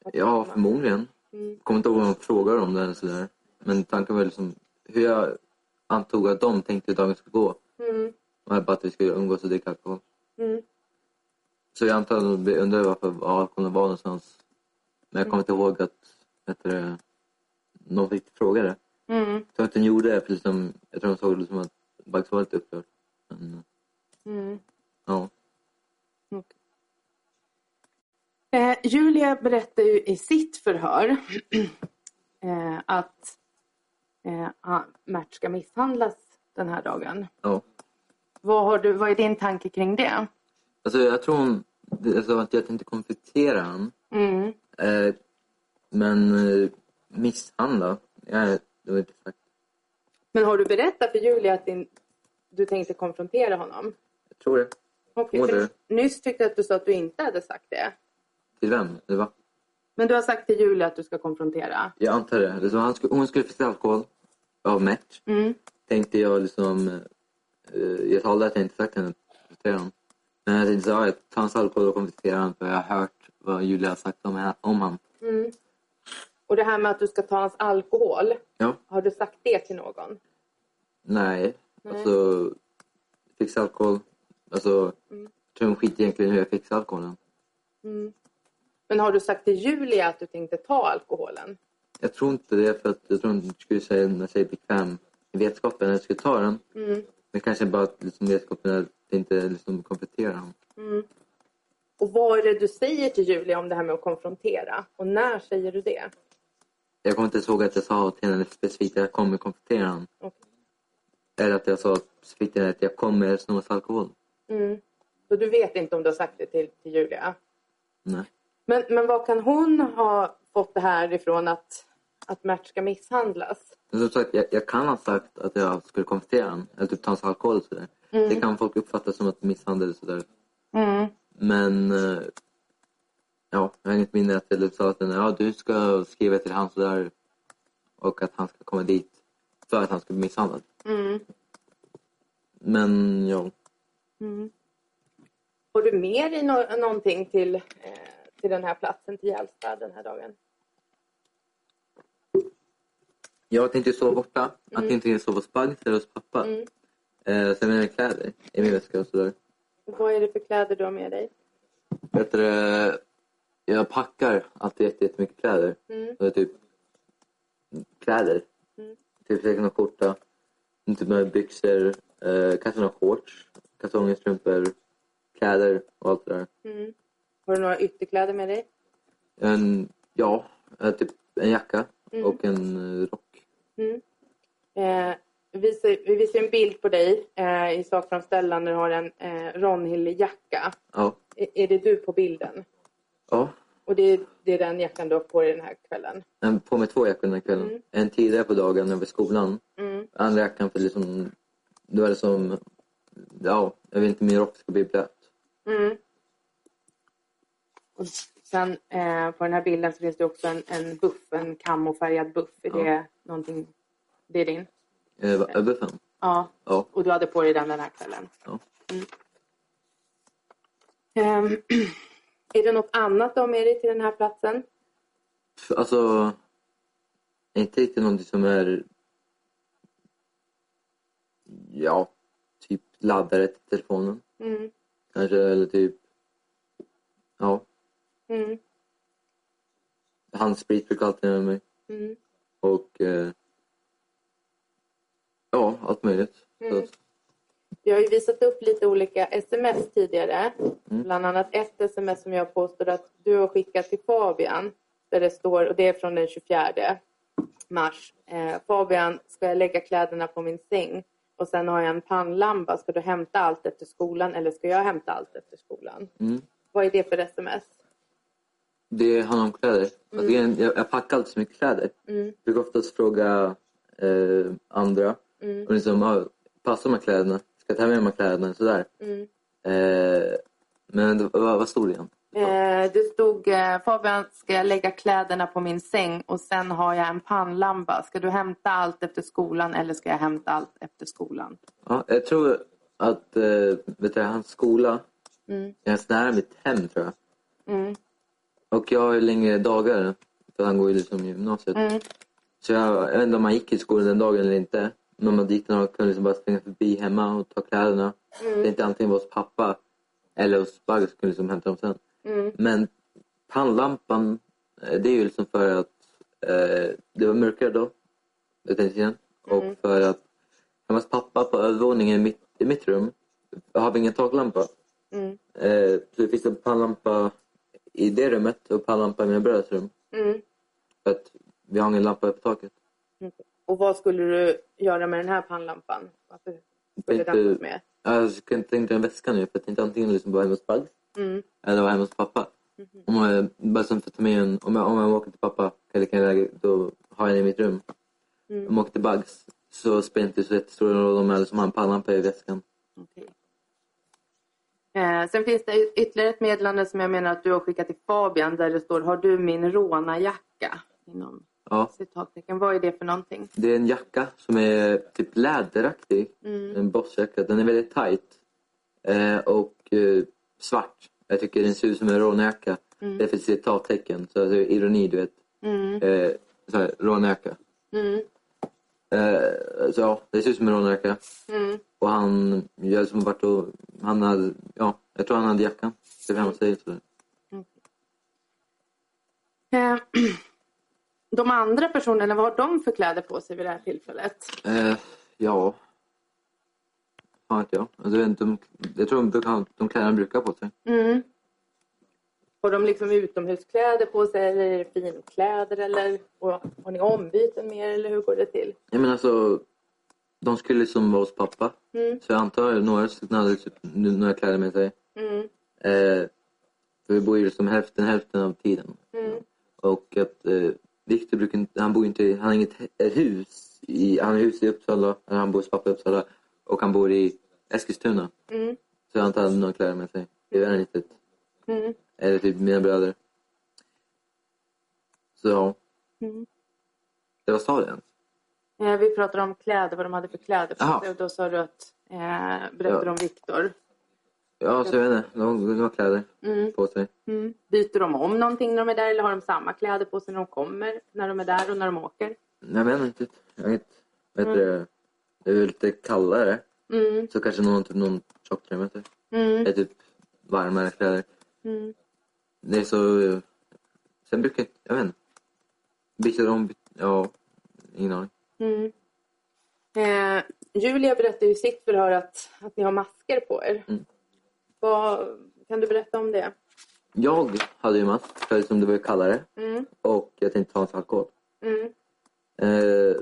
Speaker 3: att
Speaker 2: Ja, förmodligen.
Speaker 3: Mm.
Speaker 2: Kommer inte ihåg vad de frågar om det eller sådär. Men tanken var liksom hur jag antog att de tänkte hur dagen skulle gå.
Speaker 3: Mm.
Speaker 2: Var bara att vi skulle umgås och dricka alkohol.
Speaker 3: Mm.
Speaker 2: Så jag antar att de undrar varför alkoholen var någonstans. Men jag kommer inte ihåg att vet du, det, någon fick fråga det.
Speaker 3: Mm.
Speaker 2: Jag tror att den gjorde det för liksom, jag tror de såg det som att Bugs var lite upprörd. Men
Speaker 3: Mm.
Speaker 2: ja,
Speaker 3: Eh, Julia berättar ju i sitt förhör eh, att eh, han- Mert ska misshandlas den här dagen.
Speaker 2: ja.
Speaker 3: Vad, har du, vad är din tanke kring det?
Speaker 2: Alltså jag tror hon, det- alltså, att jag tänkte konfrontera honom.
Speaker 3: Mm.
Speaker 2: Eh, men eh, misshandla? Jag, det var inte sagt.
Speaker 3: Men har du berättat för Julia att din, du tänkte konfrontera honom?
Speaker 2: Jag tror det.
Speaker 3: Okej,
Speaker 2: Jo,
Speaker 3: för
Speaker 2: det.
Speaker 3: Nyss tyckte jag att du sa att du inte hade sagt det.
Speaker 2: Till vem? Det var,
Speaker 3: Men du har sagt till Julia att du ska konfrontera.
Speaker 2: jag antar det. Liksom, han skulle, hon skulle få sig alkohol av Mert.
Speaker 3: Mm.
Speaker 2: Tänkte jag liksom... Eh, jag talade att jag inte sagt henne konfrontera honom. Men jag tänkte så, ja, jag tar hans alkohol och konfronterar honom för jag har hört vad Julia har sagt om, henne- om honom.
Speaker 3: Mm. Och det här med att du ska ta hans alkohol.
Speaker 2: Ja.
Speaker 3: Har du sagt det till någon?
Speaker 2: Nej.
Speaker 3: Nej.
Speaker 2: Alltså, fixa alkohol. Alltså, jag tror hon skiter egentligen i hur jag fixar alkoholen.
Speaker 3: Mm. Men har du sagt till Julia att du tänkte ta alkoholen?
Speaker 2: Jag tror inte det, för att jag tror inte skulle säga när jag säger bekväm i vetskapen när jag skulle ta den.
Speaker 3: Mm.
Speaker 2: Men kanske bara att liksom, vetskapen att det inte liksom, konfronterar honom.
Speaker 3: Och vad är det du säger till Julia om det här med att konfrontera? Och när säger du det?
Speaker 2: Jag kommer inte ihåg att jag sa till henne specifikt att jag kommer konfrontera honom.
Speaker 3: Okej.
Speaker 2: Eller att jag sa specifikt till henne att jag kommer sno hans alkohol.
Speaker 3: Mm. Så du vet inte om du har sagt det till, till Julia?
Speaker 2: Nej.
Speaker 3: Men, men vad kan hon ha fått det här ifrån att, att Mert ska misshandlas?
Speaker 2: Men som sagt, jag, jag kan ha sagt att jag skulle konfrontera honom. Eller typ ta hans alkohol och sådär. Det kan folk uppfatta som att misshandel och sådär. Men... eh, Ja, jag har inget minne att jag sa att den, ja, du ska skriva till han sådär och att han ska komma dit för att han ska bli misshandlad.
Speaker 3: Mm.
Speaker 2: Men ja,
Speaker 3: Har du med dig nå- någonting till, eh, till den här platsen, till Hjälsta, den här dagen?
Speaker 2: jag tänkte ju sova borta. Antingen tänkte jag sova hos Bugs eller hos pappa.
Speaker 3: Mm.
Speaker 2: Eh, sen mina kläder i min väska och sådär.
Speaker 3: Och Vad är det för kläder du har med dig?
Speaker 2: Vet du, eh, jag packar alltid jätte- jättemycket kläder.
Speaker 3: Mm.
Speaker 2: Och typ kläder. Typ säkert någon skjorta, typ några byxor, eh, kanske några shorts, kalsongerstrumpor, kläder och allt det där.
Speaker 3: Mm. Har du några ytterkläder med dig?
Speaker 2: En, ja, eh, typ en jacka
Speaker 3: Mm.
Speaker 2: och en eh, rock.
Speaker 3: Eh, vi, visar, vi visar en bild på dig eh, i sakframställan när du har en eh, Ronhill-jacka.
Speaker 2: Ja,
Speaker 3: Är, är det du på bilden?
Speaker 2: ja.
Speaker 3: Och det är, det är den jackan du har på dig den här kvällen?
Speaker 2: Jag på mig två jackor den här kvällen.
Speaker 3: Mm.
Speaker 2: En tidigare på dagen över skolan.
Speaker 3: Mm.
Speaker 2: Andra jackan för liksom, det var liksom, ja, jag vill inte min rock ska bli blöt.
Speaker 3: Mm. Och sen eh, på den här bilden så finns det också en, en buff, en kamofärgad buff. Är
Speaker 2: Ja.
Speaker 3: det någonting? Det är din?
Speaker 2: Eh, va- Överfen?
Speaker 3: Ja.
Speaker 2: Ja.
Speaker 3: Och du hade på dig den den här kvällen. Mm.
Speaker 2: ja.
Speaker 3: Ehm, är det något annat du har med dig till den här platsen?
Speaker 2: Pff, Alltså, inte riktigt någonting som är, ja, typ laddare till telefonen.
Speaker 3: Mm.
Speaker 2: Kanske, eller typ, ja,
Speaker 3: Mm.
Speaker 2: handsprit brukar jag alltid med mig.
Speaker 3: Mm.
Speaker 2: Och, eh, ja, allt möjligt.
Speaker 3: Mm.
Speaker 2: Så att,
Speaker 3: Jag har ju visat upp lite olika sms tidigare. Bland annat ett sms som jag påstår att du har skickat till Fabian. Där det står, och det är från den 24 mars. Eh, Fabian, ska jag lägga kläderna på min säng? och sen har jag en pannlampa. Ska du hämta allt efter skolan eller ska jag hämta allt efter skolan?
Speaker 2: Mm.
Speaker 3: Vad är det för sms?
Speaker 2: Det handlar om kläder. Alltså, det är en- jag, jag packar alltid så mycket kläder.
Speaker 3: Mm.
Speaker 2: Jag brukar oftast fråga eh, andra.
Speaker 3: Mm.
Speaker 2: Och liksom, ah, passar de här kläderna? Ska jag ta med mig de här kläderna? Sådär.
Speaker 3: Mm.
Speaker 2: Eh, men det- vad, vad stod det igen?
Speaker 3: Eh, det stod eh, Fabian ska jag lägga kläderna på min säng och sen har jag en pannlampa. Ska du hämta allt efter skolan eller ska jag hämta allt efter skolan?
Speaker 2: Ja, jag tror att eh, vet du, hans skola
Speaker 3: Mm.
Speaker 2: är ganska nära mitt hem, tror jag.
Speaker 3: Mm.
Speaker 2: Och jag har ju längre dagar, för han går ju liksom i gymnasiet.
Speaker 3: Mm.
Speaker 2: Så jag, jag vet inte om han gick i skolan den dagen eller inte. Men om man gick någon kunde liksom bara springa förbi hemma och ta kläderna.
Speaker 3: Mm.
Speaker 2: Det är inte antingen var hos pappa eller hos Bagge som kunde liksom hämta dem sen.
Speaker 3: Mm.
Speaker 2: Men pannlampan, eh, det är ju liksom för att eh, det var mörkare då. Jag tänkte igen.
Speaker 3: Mm.
Speaker 2: Och för att hemmas pappa på övervåningen i mitt, i mitt rum har vi ingen taklampa.
Speaker 3: Mm.
Speaker 2: Eh, så det finns en pannlampa i det rummet och pannlampa i mina bröders rum.
Speaker 3: Mm.
Speaker 2: För att vi har ingen lampa uppe på taket.
Speaker 3: Och vad skulle du göra med den här pannlampan? Varför skulle
Speaker 2: Tänkte-
Speaker 3: den vara med?
Speaker 2: Jag skulle inte tänka en väska nu för jag tänkte antingen liksom vara hemma hos Bugs
Speaker 3: Mm. Mhm.
Speaker 2: eller vara hemma hos pappa. Om jag, bara som för att ta med en, om, jag, om jag åker till pappa eller kan jag, då har jag den i mitt rum.
Speaker 3: Mm.
Speaker 2: Om jag åker till Bugs så spelar det inte så jättestor roll om jag liksom har en pannlampa i väskan.
Speaker 3: Okej. Eh, sen finns det ytterligare ett meddelande som jag menar att du har skickat till Fabian där det står Har du min rånarjacka? Inom
Speaker 2: Ja,
Speaker 3: citattecken. Vad är det för någonting?
Speaker 2: det är en jacka som är typ läderaktig.
Speaker 3: Mm.
Speaker 2: En bossjacka. Den är väldigt tajt eh, och eh, svart. Jag tycker den ser ut som en rånjacka. Det är för citattecken, så alltså, ironi du vet.
Speaker 3: Mm.
Speaker 2: Eh, så här, rånjacka.
Speaker 3: Mm.
Speaker 2: Eh, så ja, det ser ut som en rånjacka.
Speaker 3: Mm.
Speaker 2: Och han, jag som varit och, han hade, ja, jag tror han hade jackan. Det var hemma hos sig. så-
Speaker 3: Eh, de andra personerna, vad har de för kläder på sig vid det här tillfället?
Speaker 2: Eh, ja. Fan vet jag. Alltså, jag, vet inte, de, jag tror de, brukar, ha- de kläderna de brukar ha på sig.
Speaker 3: Mm. Har de liksom utomhuskläder på sig eller är det finkläder? Eller, och, har ni ombyten med er eller hur går det till?
Speaker 2: Jag menar alltså, de skulle liksom vara hos pappa.
Speaker 3: Mm.
Speaker 2: Så jag antar att några skulle kunna ha typ, n- några kläder med sig.
Speaker 3: Mm.
Speaker 2: Eh, för vi bor ju liksom hälften, hälften av tiden.
Speaker 3: Mm.
Speaker 2: Och att eh, Viktor brukar inte, han bor ju inte, han har inget he- ett hus. I, han har hus i Uppsala, eller han bor hos pappa i Uppsala. Och han bor i Eskilstuna.
Speaker 3: Mm.
Speaker 2: Så jag antar att han hade några kläder med sig. Det är riktigt.
Speaker 3: Mm.
Speaker 2: Eller typ mina bröder. Så ja.
Speaker 3: Mm.
Speaker 2: Det var sa du ens?
Speaker 3: Eh, vi pratade om kläder, vad de hade för kläder på
Speaker 2: Aha.
Speaker 3: sig. Och då sa du att, eh, berättade
Speaker 2: Ja.
Speaker 3: om Viktor.
Speaker 2: Ja, så jag vet inte. De, de har kläder
Speaker 3: Mm.
Speaker 2: på sig.
Speaker 3: Mm. Byter de om någonting när de är där eller har de samma kläder på sig när de kommer, när de är där och när de åker?
Speaker 2: Jag vet inte. Jag vet, vet det, det är väl lite kallare.
Speaker 3: Mm.
Speaker 2: Så kanske någon, typ, någon tjocktröja med sig.
Speaker 3: Mm.
Speaker 2: Det är typ varmare kläder.
Speaker 3: Mm.
Speaker 2: Det är så... Sen brukar jag... Jag vet inte. Byter om... byt- Ja, ingen aning.
Speaker 3: Mm. Eh, Julia berättade i sitt förhör att, att ni har masker på er.
Speaker 2: Mm.
Speaker 3: Vad, kan du berätta om det?
Speaker 2: Jag hade ju mask för liksom det var ju kallare
Speaker 3: Mm,
Speaker 2: och jag tänkte ta en alkohol.
Speaker 3: mm,
Speaker 2: Eh,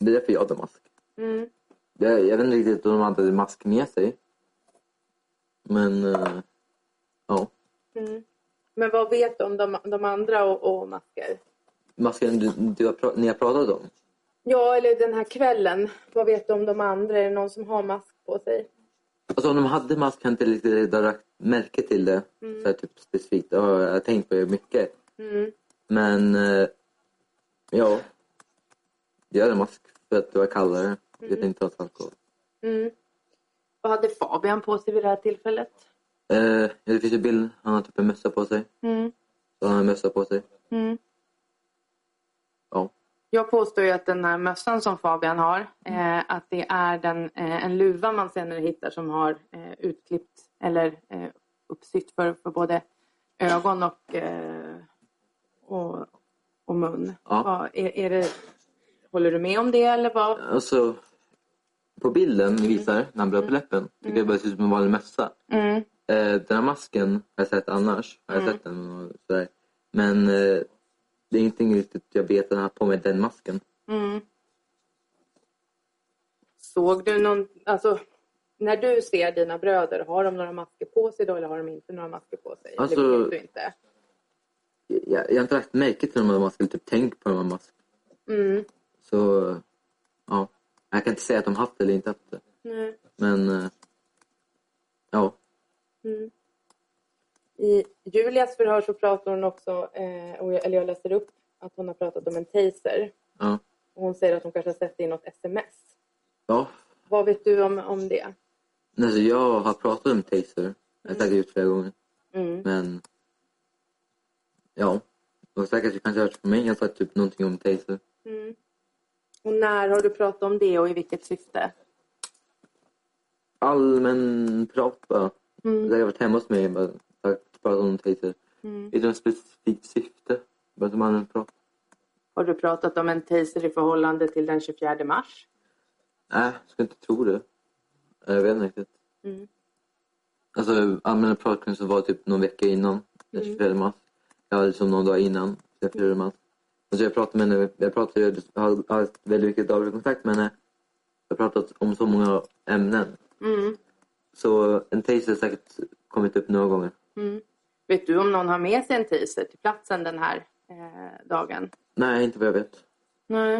Speaker 2: det är därför jag hade mask.
Speaker 3: mm,
Speaker 2: Jag, jag vet inte riktigt om de hade mask med sig. Men... Eh, ja.
Speaker 3: mm. Men vad vet du om de, de andra och, och masker?
Speaker 2: Masken du, du har, pra- ni har pratat om?
Speaker 3: Ja, eller den här kvällen. Vad vet du om de andra? Är det någon som har mask på sig?
Speaker 2: Alltså om de hade mask kan jag inte riktigt ha lagt märke till det. Så här, typ specifikt. Det har jag tänkt på det mycket.
Speaker 3: Mm,
Speaker 2: Men eh, ja, jag hade mask för att det var kallare. Jag tänkte inte ha något alkohol.
Speaker 3: mm. Vad hade Fabian på sig vid det här tillfället?
Speaker 2: Eh, ja, det finns en bild. Han har typ en mössa på sig.
Speaker 3: Mm,
Speaker 2: Så han har en mössa på sig.
Speaker 3: mm.
Speaker 2: Ja.
Speaker 3: Jag påstår ju att den här mössan som Fabian har,
Speaker 2: Mm.
Speaker 3: eh, att det är den, eh, en luva man senare hittar som har eh, utklippt eller eh, uppsytt för, för både ögon och, eh, och, och mun.
Speaker 2: Ja.
Speaker 3: Vad- är, är det, håller du med om det eller vad?
Speaker 2: Alltså, på bilden ni visar när han blöt på läppen tycker jag bara det ser ut som en vanlig mössa.
Speaker 3: Mm,
Speaker 2: Eh, den här masken har jag sett annars. Har jag sett den och sådär. Men eh, det är ingenting riktigt jag vet att han har på mig den masken.
Speaker 3: mm. Såg du någon, alltså när du ser dina bröder, har de några masker på sig då eller har de inte några masker på sig?
Speaker 2: Alltså-
Speaker 3: Eller vet du inte?
Speaker 2: Jag, jag har inte lagt märke till dem om man skulle typ tänkt på dem om man
Speaker 3: Mm,
Speaker 2: Så ja, jag kan inte säga att de haft det eller inte haft det.
Speaker 3: nej.
Speaker 2: Men eh, ja,
Speaker 3: Mm. I Julias förhör så pratar hon också, eh, och jag, eller jag läser upp att hon har pratat om en taser.
Speaker 2: ja,
Speaker 3: Och hon säger att hon kanske har sett det i något sms.
Speaker 2: ja.
Speaker 3: Vad vet du om, om det?
Speaker 2: Alltså, jag har pratat om taser. Jag har sagt det ut flera gånger.
Speaker 3: Mm.
Speaker 2: Men ja, och säkert du kanske har hört på mig. Jag har sagt typ någonting om taser.
Speaker 3: Mm. Och när har du pratat om det och i vilket syfte?
Speaker 2: Allmän prat bara.
Speaker 3: Mm.
Speaker 2: Där jag varit hemma hos mig bara sagt- pratat om taser.
Speaker 3: Mm.
Speaker 2: Utan specifikt syfte. Bara som allmän prat.
Speaker 3: Har du pratat om en taser i förhållande till den 24 mars?
Speaker 2: Nej, jag skulle inte tro det. Jag vet inte riktigt.
Speaker 3: Mm.
Speaker 2: Alltså allmänna pratkursen var typ någon vecka innan
Speaker 3: Mm.
Speaker 2: den 24 mars. Jag hade liksom någon dag innan den 24 mars. Och så jag pratade med henne, jag pratade, jag har har haft väldigt mycket daglig kontakt med henne. Jag har pratat om så många ämnen.
Speaker 3: Mm.
Speaker 2: Så en taser har säkert kommit upp några gånger.
Speaker 3: Mm. Vet du om någon har med sig en taser till platsen den här eh, dagen?
Speaker 2: Nej, inte vad jag vet.
Speaker 3: Nej.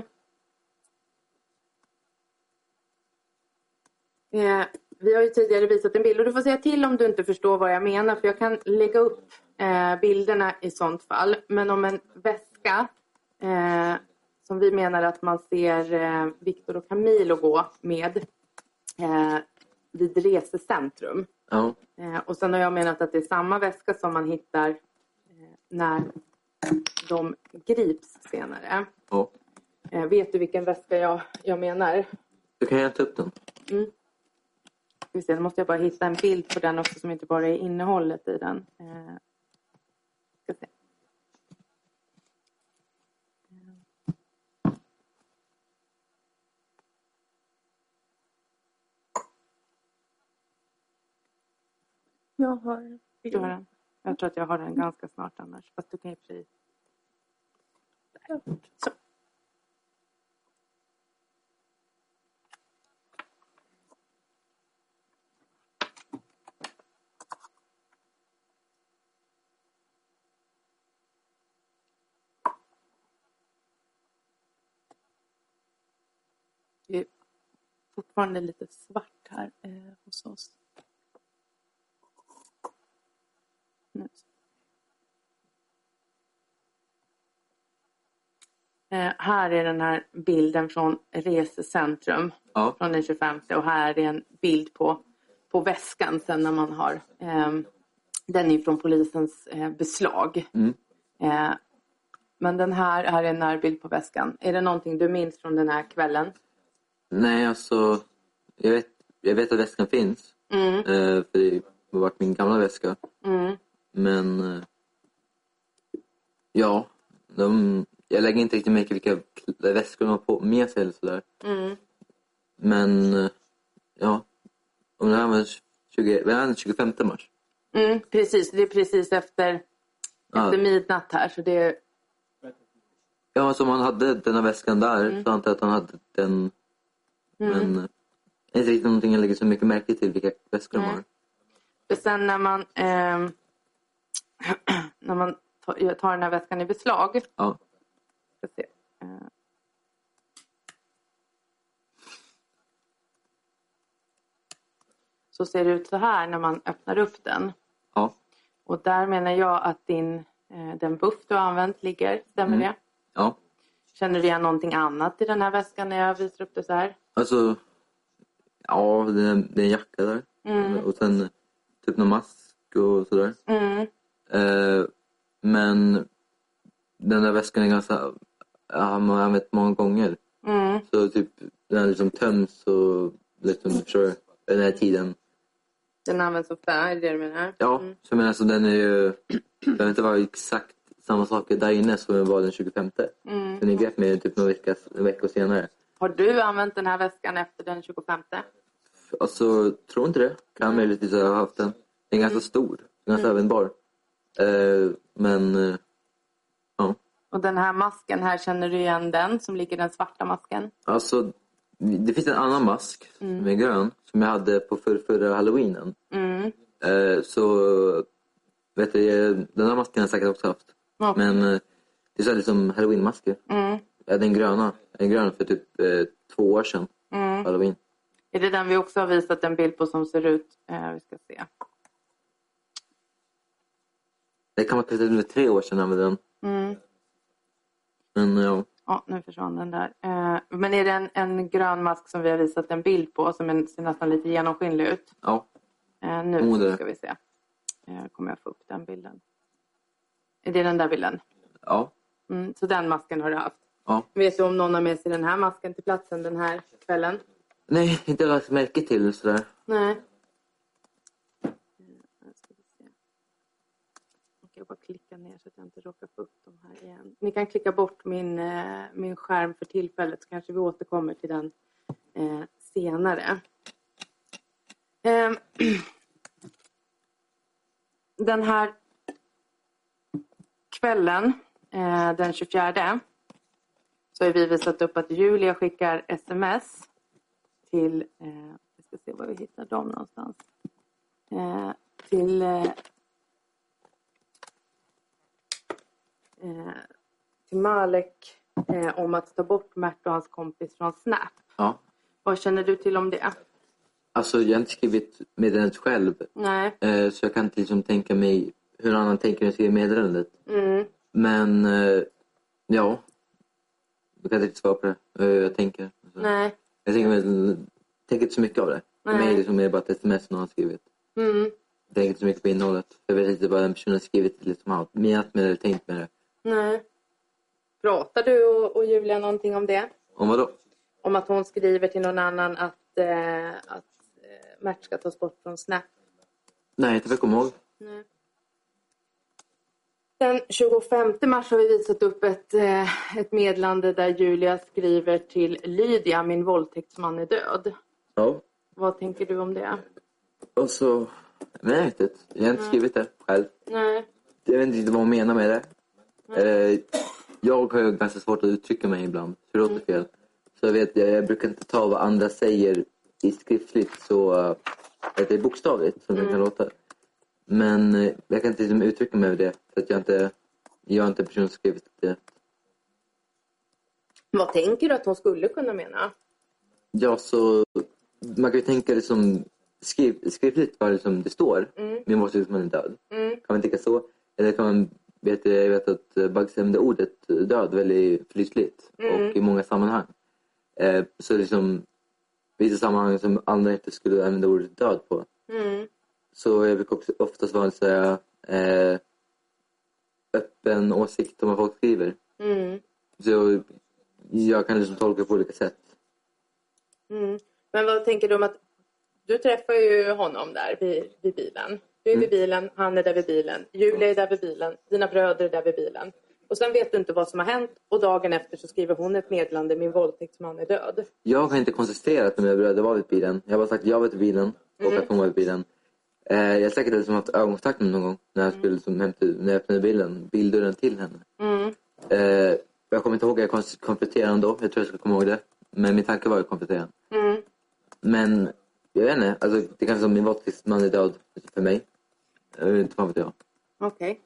Speaker 3: Eh, vi har ju tidigare visat en bild och du får säga till om du inte förstår vad jag menar för jag kan lägga upp eh, bilderna i sånt fall. Men om en väska eh, som vi menar att man ser eh, Viktor och Camilo gå med eh, vid resecentrum.
Speaker 2: Ja,
Speaker 3: Eh, och sen har jag menat att det är samma väska som man hittar eh, när de grips senare.
Speaker 2: ja.
Speaker 3: Eh, vet du vilken väska jag, jag menar?
Speaker 2: Då kan jag ta upp den.
Speaker 3: Ska vi se, Nu måste jag bara hitta en bild på den också som inte bara är innehållet i den. Eh, ska se.
Speaker 4: Jag har...
Speaker 3: Du Mm. har den. Jag tror att jag har den ganska snart annars. Fast du kan ju precis... Där. Så. Det är fortfarande lite svart här eh, hos oss. Nu. Eh, här är den här bilden från resecentrum
Speaker 2: Ja,
Speaker 3: från den 25 och här är en bild på, på väskan sen när man har ehm, den är från polisens eh, beslag.
Speaker 2: Mm.
Speaker 3: Eh, men den här, här är en närbild på väskan. Är det någonting du minns från den här kvällen?
Speaker 2: nej alltså. Jag vet, jag vet att väskan finns.
Speaker 3: Mm,
Speaker 2: Eh, för det har varit min gamla väska.
Speaker 3: mm,
Speaker 2: Men... eh, Ja. De, jag lägger inte riktigt märke till vilka kl- väskor de har på, med sig eller sådär.
Speaker 3: mm,
Speaker 2: Men... eh, Ja. Om det här var 20, vad är det, 25 mars?
Speaker 3: mm, precis, det är precis efter,
Speaker 2: Ja.
Speaker 3: efter midnatt här så det är
Speaker 2: Ja, alltså om han hade den här väskan där
Speaker 3: Mm.
Speaker 2: så antar jag att han hade den. Men... eh, Det är inte riktigt någonting jag lägger så mycket märke till vilka väskor de
Speaker 3: Nej.
Speaker 2: har.
Speaker 3: För sen när man, ehm, när man tar, tar den här väskan i beslag.
Speaker 2: Ja.
Speaker 3: Ska se. Eh. Så ser det ut så här när man öppnar upp den.
Speaker 2: Ja.
Speaker 3: Och där menar jag att din, eh, den buff du har använt ligger. Stämmer det?
Speaker 2: Ja.
Speaker 3: Känner du igen någonting annat i den här väskan när jag visar upp det så här?
Speaker 2: Alltså... Ja, det är, det är en jacka där.
Speaker 3: Mm.
Speaker 2: Och sen eh, typ någon mask och sådär.
Speaker 3: Mm.
Speaker 2: Eh, men den där väskan är ganska... Jag har använt många gånger.
Speaker 3: Mm.
Speaker 2: Så typ den liksom töms och liksom, förstår du? Den här tiden.
Speaker 3: Den används ofta, är det det du menar?
Speaker 2: Ja, så jag menar alltså den är ju... Det behöver inte vara exakt samma saker där inne som den var den 25.
Speaker 3: Mm.
Speaker 2: Den är grepp med typ några veckor, veckor senare.
Speaker 3: Har du använt den här väskan efter den 25?
Speaker 2: Alltså, tror inte det. Kan
Speaker 3: Mm.
Speaker 2: möjligtvis ha haft den. Den är ganska stor. Ganska användbar. Eh, men... eh,
Speaker 3: Och den här masken här, känner du igen den som ligger i den svarta masken?
Speaker 2: Alltså, Det finns en annan mask som är grön som jag hade på för, förra halloweenen.
Speaker 3: Mm.
Speaker 2: Eh, så vet du, eh, den här masken har jag säkert också haft.
Speaker 3: Ja.
Speaker 2: Men eh, det är så här liksom halloweenmasker.
Speaker 3: Mm.
Speaker 2: Jag hade en gröna. En grön för typ eh, två år sedan.
Speaker 3: Mm.
Speaker 2: Halloween.
Speaker 3: Är det den vi också har visat en bild på som ser ut? Eh, vi ska se.
Speaker 2: Det kan vara kanske typ tre år sedan jag använde den.
Speaker 3: Mm.
Speaker 2: Men eh, ja,
Speaker 3: Ja, nu försvann den där. Eh, men är det en, en grön mask som vi har visat en bild på som en, ser nästan lite genomskinlig ut?
Speaker 2: ja.
Speaker 3: Eh,
Speaker 2: Oh,
Speaker 3: nu
Speaker 2: där.
Speaker 3: ska vi se. Eh, kommer jag få upp den bilden. Är det den där bilden?
Speaker 2: ja.
Speaker 3: Mm, så den masken har du haft.
Speaker 2: ja.
Speaker 3: Vet du om någon har med sig den här masken till platsen den här kvällen?
Speaker 2: Nej, inte lagt märke till sådär.
Speaker 3: Nej. Nu Eh, ska vi se. Nu kan jag bara klicka ner så att jag inte råkar få upp dem här igen. Ni kan klicka bort min, eh, min skärm för tillfället så kanske vi återkommer till den eh, senare. Ehm, Den här kvällen eh, den 24 så har vi visat upp att Julia skickar sms till, eh, vi ska se var vi hittar dem någonstans, eh, till eh, eh, till Malek eh, om att ta bort Mert och hans kompis från Snap.
Speaker 2: Ja.
Speaker 3: Vad känner du till om det? Ah,
Speaker 2: Alltså jag har inte skrivit meddelandet själv.
Speaker 3: Nej.
Speaker 2: Eh, så jag kan inte liksom tänka mig hur någon annan tänker när jag skriver meddelandet.
Speaker 3: Mm.
Speaker 2: Men eh, ja. Jag kan inte riktigt svara på det. Eh, jag tänker. Alltså,
Speaker 3: Nej.
Speaker 2: Jag tänker, väl- tänker inte så mycket av det. För
Speaker 3: Nej.
Speaker 2: mig är det liksom mer bara ett sms någon har skrivit.
Speaker 3: Mm.
Speaker 2: Jag tänker inte så mycket på innehållet. Jag vet inte vad den personen har skrivit. Liksom, har menat med det eller tänkt med det.
Speaker 3: Nej. Pratar du och, och Julia någonting om det?
Speaker 2: Om vadå?
Speaker 3: Om att hon skriver till någon annan att, eh, att eh, Mert ska tas bort från Snap?
Speaker 2: Nej, inte vad jag kommer ihåg.
Speaker 3: Nej. Den 25 mars har vi visat upp ett, eh, ett meddelande där Julia skriver till Lydia, min våldtäktsman är död.
Speaker 2: Ja.
Speaker 3: Vad tänker du om det?
Speaker 2: Och så... Nej, jag vet inte. Jag har inte skrivit det själv.
Speaker 3: Nej.
Speaker 2: Jag vet inte vad hon menar med det. Eh, jag har ju ganska svårt att uttrycka mig ibland, så det låter fel. Så jag, vet, jag, jag brukar inte ta vad andra säger i skriftligt så eh, att det är bokstavligt som det kan låta. Men eh, jag kan inte liksom uttrycka mig över det för att jag inte, jag är inte en person som skrivit det.
Speaker 3: Vad tänker du att hon skulle kunna mena?
Speaker 2: Ja, så man kan ju tänka det som skriv, skriftligt vad det, som det står.
Speaker 3: Mm.
Speaker 2: Men måste ut man är död.
Speaker 3: Mm.
Speaker 2: Kan man tänka så? Eller kan man, vet, jag vet att eh, Bugs använder ordet död väldigt flitigt
Speaker 3: Mm.
Speaker 2: och i många sammanhang. Eh, så liksom, vissa sammanhang som andra inte skulle använda ordet död på.
Speaker 3: Mm.
Speaker 2: Så jag brukar också oftast vara så här, eh, öppen åsikt om vad folk skriver.
Speaker 3: Mm.
Speaker 2: Så jag kan liksom tolka på olika sätt.
Speaker 3: Mm. Men vad tänker du om att du träffar ju honom där vid, vid bilen. Du är vid bilen, han är där vid bilen, Julia är där vid bilen, dina bröder är där vid bilen. Och sen vet du inte vad som har hänt och dagen efter så skriver hon ett meddelande, min våldtäktsman är död.
Speaker 2: Jag har inte konstaterat att mina bröder var vid bilen. Jag har bara sagt att jag var vid bilen
Speaker 3: Mm.
Speaker 2: och att hon var vid bilen. Eh, jag har säkert liksom haft ögonkontakt med henne någon gång när jag, skulle, liksom, hämta, när jag öppnade bilen, bildörren till henne.
Speaker 3: Mm.
Speaker 2: Eh, jag kommer inte ihåg att jag kons- kompletterade ändå. Jag tror jag ska komma ihåg det. Men min tanke var att komplettera.
Speaker 3: Mm.
Speaker 2: Men jag vet inte. Alltså, det kanske som min våldtäktsman är död för mig. Jag vet inte vad vet jag.
Speaker 3: Okej.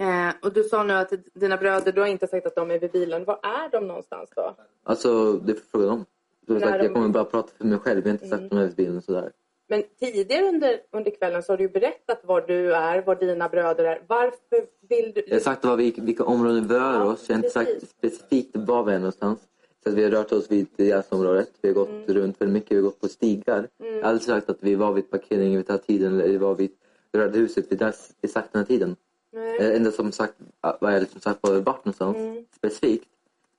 Speaker 3: Eh, och du sa nu att dina bröder, du har inte sagt att de är vid bilen. Var är de någonstans då?
Speaker 2: Alltså, det får fråga dem. Som
Speaker 3: Nej,
Speaker 2: sagt,
Speaker 3: de-
Speaker 2: jag kommer bara prata för mig själv. Jag har inte sagt mm. de här bilen och sådär.
Speaker 3: Men tidigare under, under kvällen så har du ju berättat var du är, var dina bröder är. Varför vill du...
Speaker 2: Jag har sagt vad vi, vilka områden vi rör
Speaker 3: Ja,
Speaker 2: oss. Jag har inte sagt
Speaker 3: precis.
Speaker 2: specifikt var vi är någonstans. Så att vi har rört oss vid jazzområdet. Vi har gått
Speaker 3: Mm.
Speaker 2: runt väldigt mycket. Vi har gått på stigar. Jag har aldrig sagt att vi var vid parkeringen vid den här tiden. Eller vi var vid Röda huset vid dess- exakt den här tiden.
Speaker 3: Nej.
Speaker 2: Det enda som sagt vad jag liksom sagt var vi vart någonstans
Speaker 3: Mm.
Speaker 2: specifikt.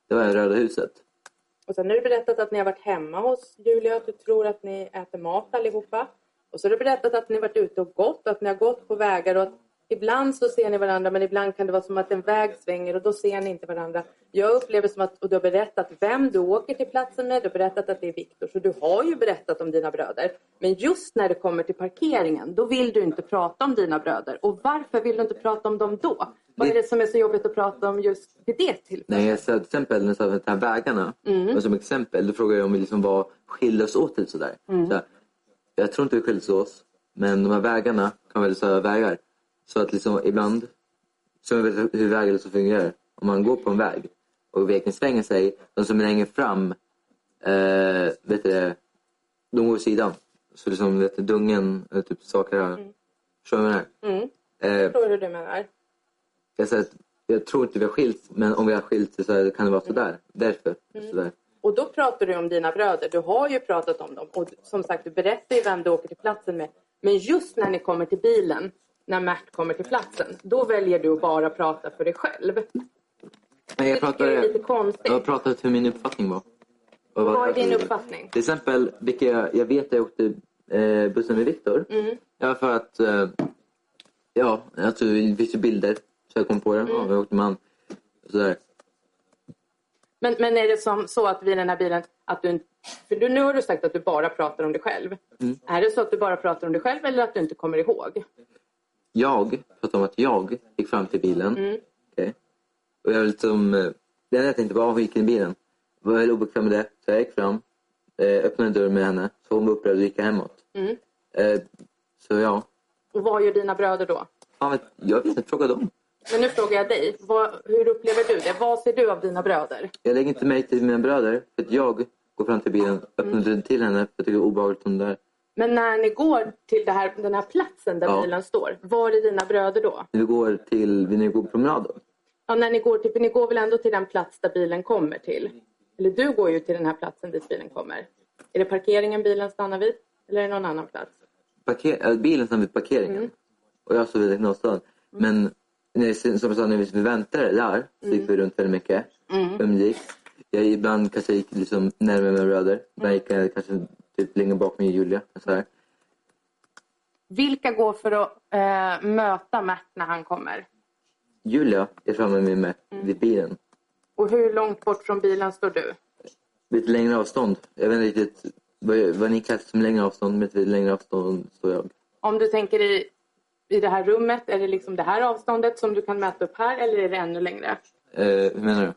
Speaker 2: Det var i Röda huset.
Speaker 3: Och sen har du berättat att ni har varit hemma hos Julia, att du tror att ni äter mat allihopa. Och så har du berättat att ni varit ute och gått, att ni har gått på vägar och att ibland så ser ni varandra men ibland kan det vara som att en väg svänger och då ser ni inte varandra. Jag upplever som att, och du har berättat vem du åker till platsen med, du har berättat att det är Viktor, så du har ju berättat om dina bröder. Men just när det kommer till parkeringen, då vill du inte prata om dina bröder. Och varför vill du inte prata om dem då? Vad är det som är så jobbigt att prata om just vid det tillfället?
Speaker 2: Typ När jag sa till exempel när jag sa de här vägarna, och som exempel, då frågade jag om vi liksom var skiljer oss åt. Typ sådär. Så här, jag tror inte vi skiljer oss åt, men de här vägarna kan vara väldigt stora vägar. Så att liksom ibland, så jag vet hur vägar så fungerar. Om man går på en väg och vägen svänger sig, de som är längre fram, eh, vet du det, de går åt sidan. Så liksom, vet du, dungen, eh, typ saker här. Förstår du vad jag
Speaker 3: Mm.
Speaker 2: menar? Eh,
Speaker 3: Jag förstår hur du menar.
Speaker 2: jag, säger att jag tror inte vi har skilt men om vi har skilt så här, kan det vara sådär. Därför.
Speaker 3: Mm.
Speaker 2: Sådär.
Speaker 3: Och då pratar du om dina bröder. Du har ju pratat om dem. Och som sagt, du berättar ju vem du åker till platsen med. Men just när ni kommer till bilen, när Mert kommer till platsen, då väljer du att bara prata för dig själv.
Speaker 2: Men jag,
Speaker 3: Det tycker jag är lite
Speaker 2: pratade,
Speaker 3: konstigt.
Speaker 2: jag har pratat hur min uppfattning var. Och
Speaker 3: Vad är din uppfattning?
Speaker 2: Till exempel, vilka jag, jag vet jag åkte eh, bussen med Viktor.
Speaker 3: Mm.
Speaker 2: Ja, för att... Eh, ja, alltså, det finns ju bilder. Så jag kom på det.
Speaker 3: Mm.
Speaker 2: Ja, jag åkte med han. och Sådär.
Speaker 3: Men, men är det som så att vid den här bilen, att du, för du, nu har du sagt att du bara pratar om dig själv. Är det så att du bara pratar om dig själv eller att du inte kommer ihåg?
Speaker 2: Jag pratade om att jag gick fram till bilen. Okej. Och jag liksom, eh, det enda jag tänkte var, hon gick in i bilen. Jag var väldigt obekväm med det, så jag gick fram. eh, Öppnade dörren med henne, så hon var upprörd och gick jag hemåt. Eh, Så ja,
Speaker 3: Och vad gör dina bröder då?
Speaker 2: Fan vet, jag vet inte, fråga dem.
Speaker 3: Men nu frågar jag dig, vad, hur upplever du det? Vad ser du av dina bröder?
Speaker 2: Jag lägger inte mig till mina bröder, för att jag går fram till bilen, öppnar dörren till henne, för jag tycker det är obehagligt om det där.
Speaker 3: Men när ni går till det här, den här platsen där
Speaker 2: Ja.
Speaker 3: bilen står, var är dina bröder då?
Speaker 2: När vi går till, när vi går på promenaden.
Speaker 3: Ja, när ni går till, för ni går väl ändå till den plats där bilen kommer till? Eller du går ju till den här platsen dit bilen kommer. Är det parkeringen bilen stannar vid? Eller är det någon annan plats?
Speaker 2: parker, äh, bilen stannade vid parkeringen. Och jag stod vid diagnosstaden. Men när, jag- som jag sa, när vi väntade där så gick vi runt väldigt mycket. Umgicks. Jag ibland kanske gick liksom närmare mina bröder. Ibland gick jag kanske typ längre bak med Julia. och Så här.
Speaker 3: Vilka går för att eh, möta Mert när han kommer?
Speaker 2: Julia är framme med mig vid bilen.
Speaker 3: Och hur långt bort från bilen står du?
Speaker 2: Vid ett längre avstånd. Jag vet inte riktigt vad, vad ni kallar som längre avstånd. Men vid ett längre avstånd står jag.
Speaker 3: Om du tänker i, i det här rummet, är det liksom det här avståndet som du kan mäta upp här eller är det ännu längre?
Speaker 2: Eh, hur menar du?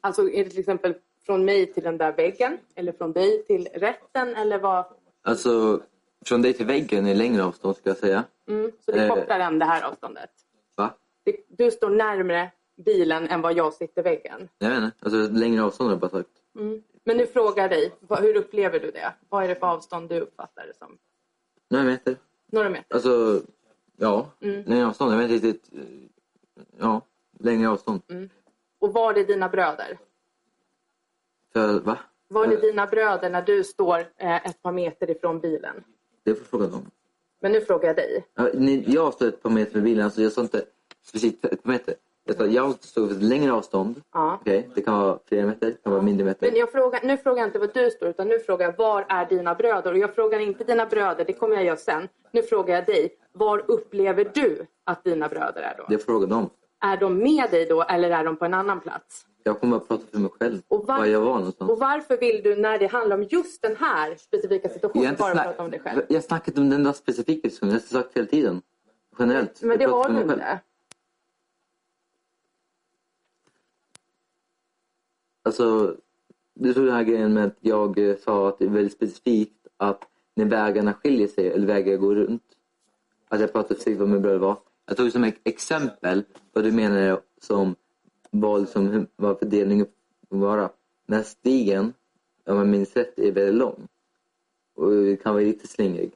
Speaker 3: Alltså är det till exempel från mig till den där väggen eller från dig till rätten eller vad?
Speaker 2: Alltså, från dig till väggen är längre avstånd ska jag säga.
Speaker 3: Mm, så det är
Speaker 2: Eh.
Speaker 3: kortare än det här avståndet.
Speaker 2: Va?
Speaker 3: Det, du står närmre bilen än vad jag sitter väggen.
Speaker 2: Jag vet inte. Alltså, längre avstånd har jag bara sagt.
Speaker 3: Men nu frågar jag dig, vad, hur upplever du det? Vad är det för avstånd du uppfattar det som?
Speaker 2: Några meter.
Speaker 3: Några meter?
Speaker 2: Alltså, ja.
Speaker 3: Mm.
Speaker 2: Längre avstånd. Jag vet inte riktigt. eh, Ja, längre avstånd.
Speaker 3: Mm. Och var är dina bröder?
Speaker 2: För, va?
Speaker 3: Var
Speaker 2: Eh.
Speaker 3: är dina bröder när du står eh, ett par meter ifrån bilen?
Speaker 2: Det får jag fråga dem.
Speaker 3: Men nu frågar jag dig.
Speaker 2: Ja, ni- Jag stod ett par meter från bilen. Alltså jag sa inte specifikt ett par meter. Jag, sa, jag stod för ett längre avstånd.
Speaker 3: Ja.
Speaker 2: Okej, Det kan vara flera meter, det kan vara mindre meter.
Speaker 3: Men jag frågar, nu frågar jag inte vad du står utan nu frågar jag var är dina bröder? Och jag frågar inte dina bröder, det kommer jag göra sen. Nu frågar jag dig, var upplever du att dina bröder är då?
Speaker 2: Det får jag fråga dem.
Speaker 3: Är de med dig då eller är de på en annan plats?
Speaker 2: Jag kommer att prata för mig själv.
Speaker 3: Och var-
Speaker 2: var jag var någonstans.
Speaker 3: Och varför vill du när det handlar om just den här specifika
Speaker 2: jag, har
Speaker 3: situationen
Speaker 2: inte
Speaker 3: bara
Speaker 2: snack-
Speaker 3: prata om dig själv?
Speaker 2: jag har snackat om den där specifika diskussionen. Jag har sagt hela tiden. Generellt.
Speaker 3: Men det
Speaker 2: Jag pratar
Speaker 3: har
Speaker 2: för
Speaker 3: du
Speaker 2: mig själv.
Speaker 3: inte.
Speaker 2: Alltså, du tog den här grejen med att jag eh, sa att det är väldigt specifikt att när vägarna skiljer sig eller vägar går runt. Att jag typ pratade precis vad min bröder var. Jag tog som ett exempel vad du menar som vad, liksom, hur- vad fördelningen får vara. Den här stigen, om jag minns rätt, är väldigt lång. Och det kan vara lite slingrig.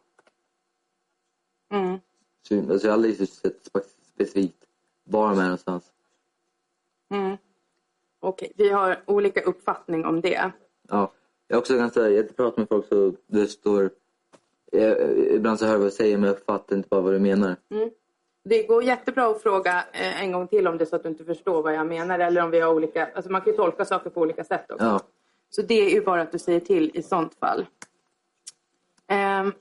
Speaker 3: Mm.
Speaker 2: Så, alltså, jag har aldrig just sett spe- specifikt var de är någonstans.
Speaker 3: Mm. Okej, vi har olika uppfattning om det.
Speaker 2: Ja. Jag är också ganska, jag pratar med folk så det står... Jag, ibland så hör jag vad du säger men jag fattar inte bara vad du menar.
Speaker 3: Det går jättebra att fråga eh, en gång till om det är så att du inte förstår vad jag menar eller om vi har olika, alltså man kan ju tolka saker på olika sätt också.
Speaker 2: Ja.
Speaker 3: Så det är ju bara att du säger till i sånt fall. Ehm,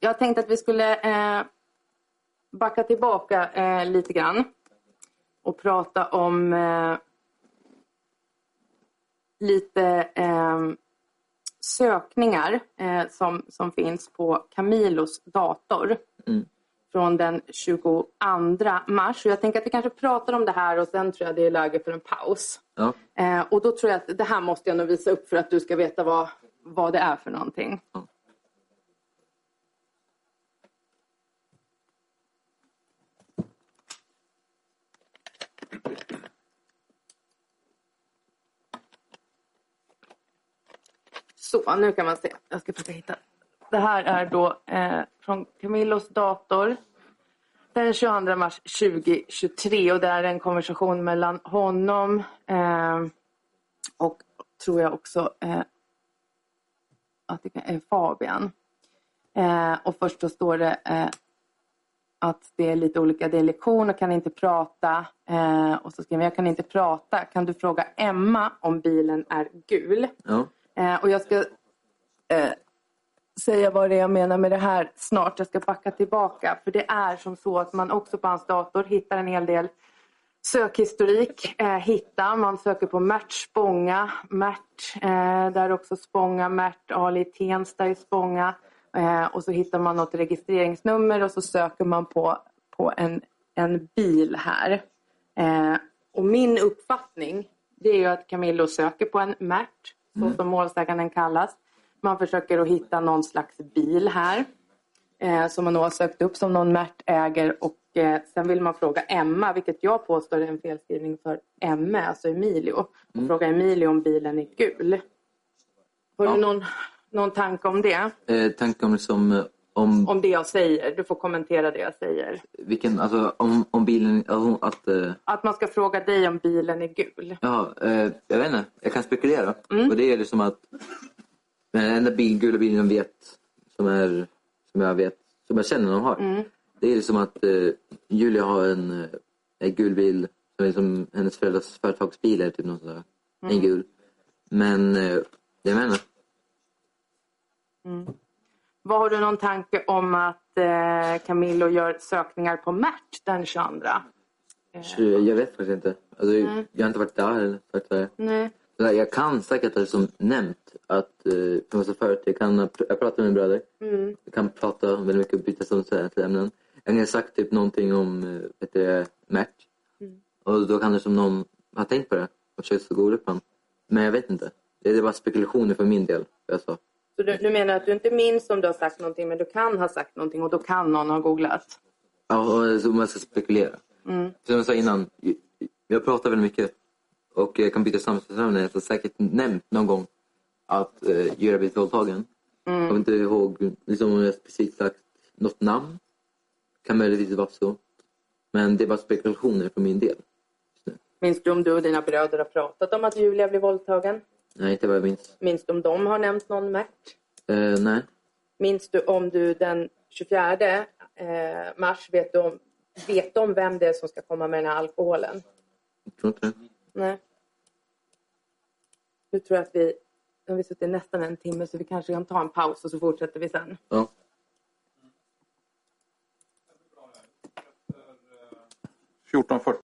Speaker 3: jag tänkte att vi skulle eh, backa tillbaka eh, lite grann och prata om eh, lite eh, sökningar eh, som, som finns på Camilos dator
Speaker 2: Mm.
Speaker 3: från den 22 mars. Och jag tänker att vi kanske pratar om det här och sen tror jag det är läge för en paus.
Speaker 2: Ja.
Speaker 3: Eh, och då tror jag att det här måste jag nog visa upp för att du ska veta vad, vad det är för någonting.
Speaker 2: Ja.
Speaker 3: Så, nu kan man se. Jag ska försöka hitta. Det här är då eh, från Camillos dator den 22 mars 2023 och det är en konversation mellan honom eh, och tror jag också eh, att det kan- är Fabian. Eh, och först då står det eh, att det är lite olika, det är lektion och kan inte prata. Eh, och så skriver jag, jag kan inte prata, kan du fråga Emma om bilen är gul?
Speaker 2: Ja.
Speaker 3: Eh, och jag ska eh, säga vad det är jag menar med det här snart. Jag ska backa tillbaka. För det är som så att man också på hans dator hittar en hel del sökhistorik. Eh, hittar. Man söker på Mert Spånga, Mert, eh, där också Spånga, Mert Ali Tensta i Spånga. Eh, och så hittar man något registreringsnummer och så söker man på, på en, en bil här. Eh, och min uppfattning det är ju att Camillo söker på en Mert, så som målsäganden kallas. Man försöker att hitta någon slags bil här eh, som man då har sökt upp som någon Mert äger och eh, sen vill man fråga Emma, vilket jag påstår är en felskrivning för Emme, alltså Emilio, och fråga Emilio om bilen är gul. Har
Speaker 2: Ja.
Speaker 3: du någon, någon tanke om det?
Speaker 2: Eh, tanken om, liksom, eh, om,
Speaker 3: Om det jag säger? Du får kommentera det jag säger.
Speaker 2: vilken, alltså, om, om bilen, ja, hon- att, eh,
Speaker 3: Att man ska fråga dig om bilen är gul.
Speaker 2: ja, eh, jag vet inte, jag kan spekulera. Och det är liksom att men den enda bil, gula bilen jag vet, som, är, som jag vet, som jag känner de har, det är liksom att eh, Julia har en, eh, en gul bil som är liksom hennes föräldrars företagsbil, är typ någon sån där, en gul. Men, eh, jag menar,
Speaker 3: Vad har du någon tanke om att eh, Camillo gör sökningar på Mert den 22?
Speaker 2: jag vet faktiskt inte. Alltså, Jag har inte varit där. Eller, varit där.
Speaker 3: Nej.
Speaker 2: Så här, Jag kan säkert ha som nämnt att, eh, som jag sa förut, jag, kan, jag pratar med min bröder. Jag kan prata väldigt mycket och byta sånt här till ämnen. Jag kan ha sagt typ någonting om eh, vet du, Mert. Och då kan det som någon har tänkt på det och försökt så god upp honom. Men jag vet inte. Det är bara spekulationer för min del. Jag sa.
Speaker 3: Så du, du menar att du inte minns om du har sagt någonting men du kan ha sagt någonting och då kan någon ha googlat?
Speaker 2: Ja, och så man ska spekulera. Som jag sa innan, jag pratar väldigt mycket. Och jag kan byta samtalsämne. Jag har säkert nämnt någon gång att eh, Jura blivit våldtagen. Jag kommer inte ihåg liksom, om jag precis sagt något namn. Kan möjligtvis vara så. Men det är bara spekulationer för min del.
Speaker 3: Minns du om du och dina bröder har pratat om att Julia blev våldtagen?
Speaker 2: Nej, inte vad jag minns.
Speaker 3: Minns du om de har nämnt någon Mert?
Speaker 2: Eh, nej.
Speaker 3: Minns du om du den 24 eh, mars vet du om, vet om vem det är som ska komma med den här alkoholen?
Speaker 2: Jag tror inte det.
Speaker 3: Nej. Nu tror jag att vi... Nu har vi suttit nästan en timme så vi kanske kan ta en paus och så fortsätter vi sen.
Speaker 2: Ja.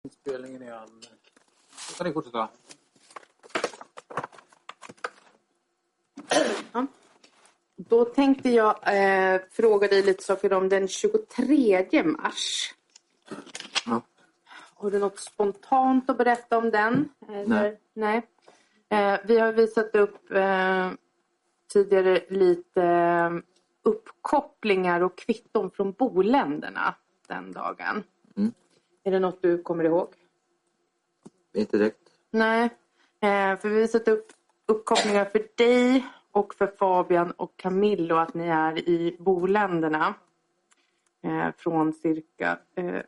Speaker 1: Inspelningen är an... Då kan ni fortsätta.
Speaker 3: Då tänkte jag eh, fråga dig lite saker om den 23 mars.
Speaker 2: Ja.
Speaker 3: Har du något spontant att berätta om den? Eller?
Speaker 2: Nej.
Speaker 3: Nej. Eh, vi har visat upp eh, tidigare lite eh, uppkopplingar och kvitton från boländerna den dagen.
Speaker 2: Mm.
Speaker 3: Är det något du kommer ihåg?
Speaker 2: Inte direkt.
Speaker 3: Nej, eh, för vi har satt upp uppkopplingar för dig och för Fabian och Camillo att ni är i boländerna. Eh, från cirka eh,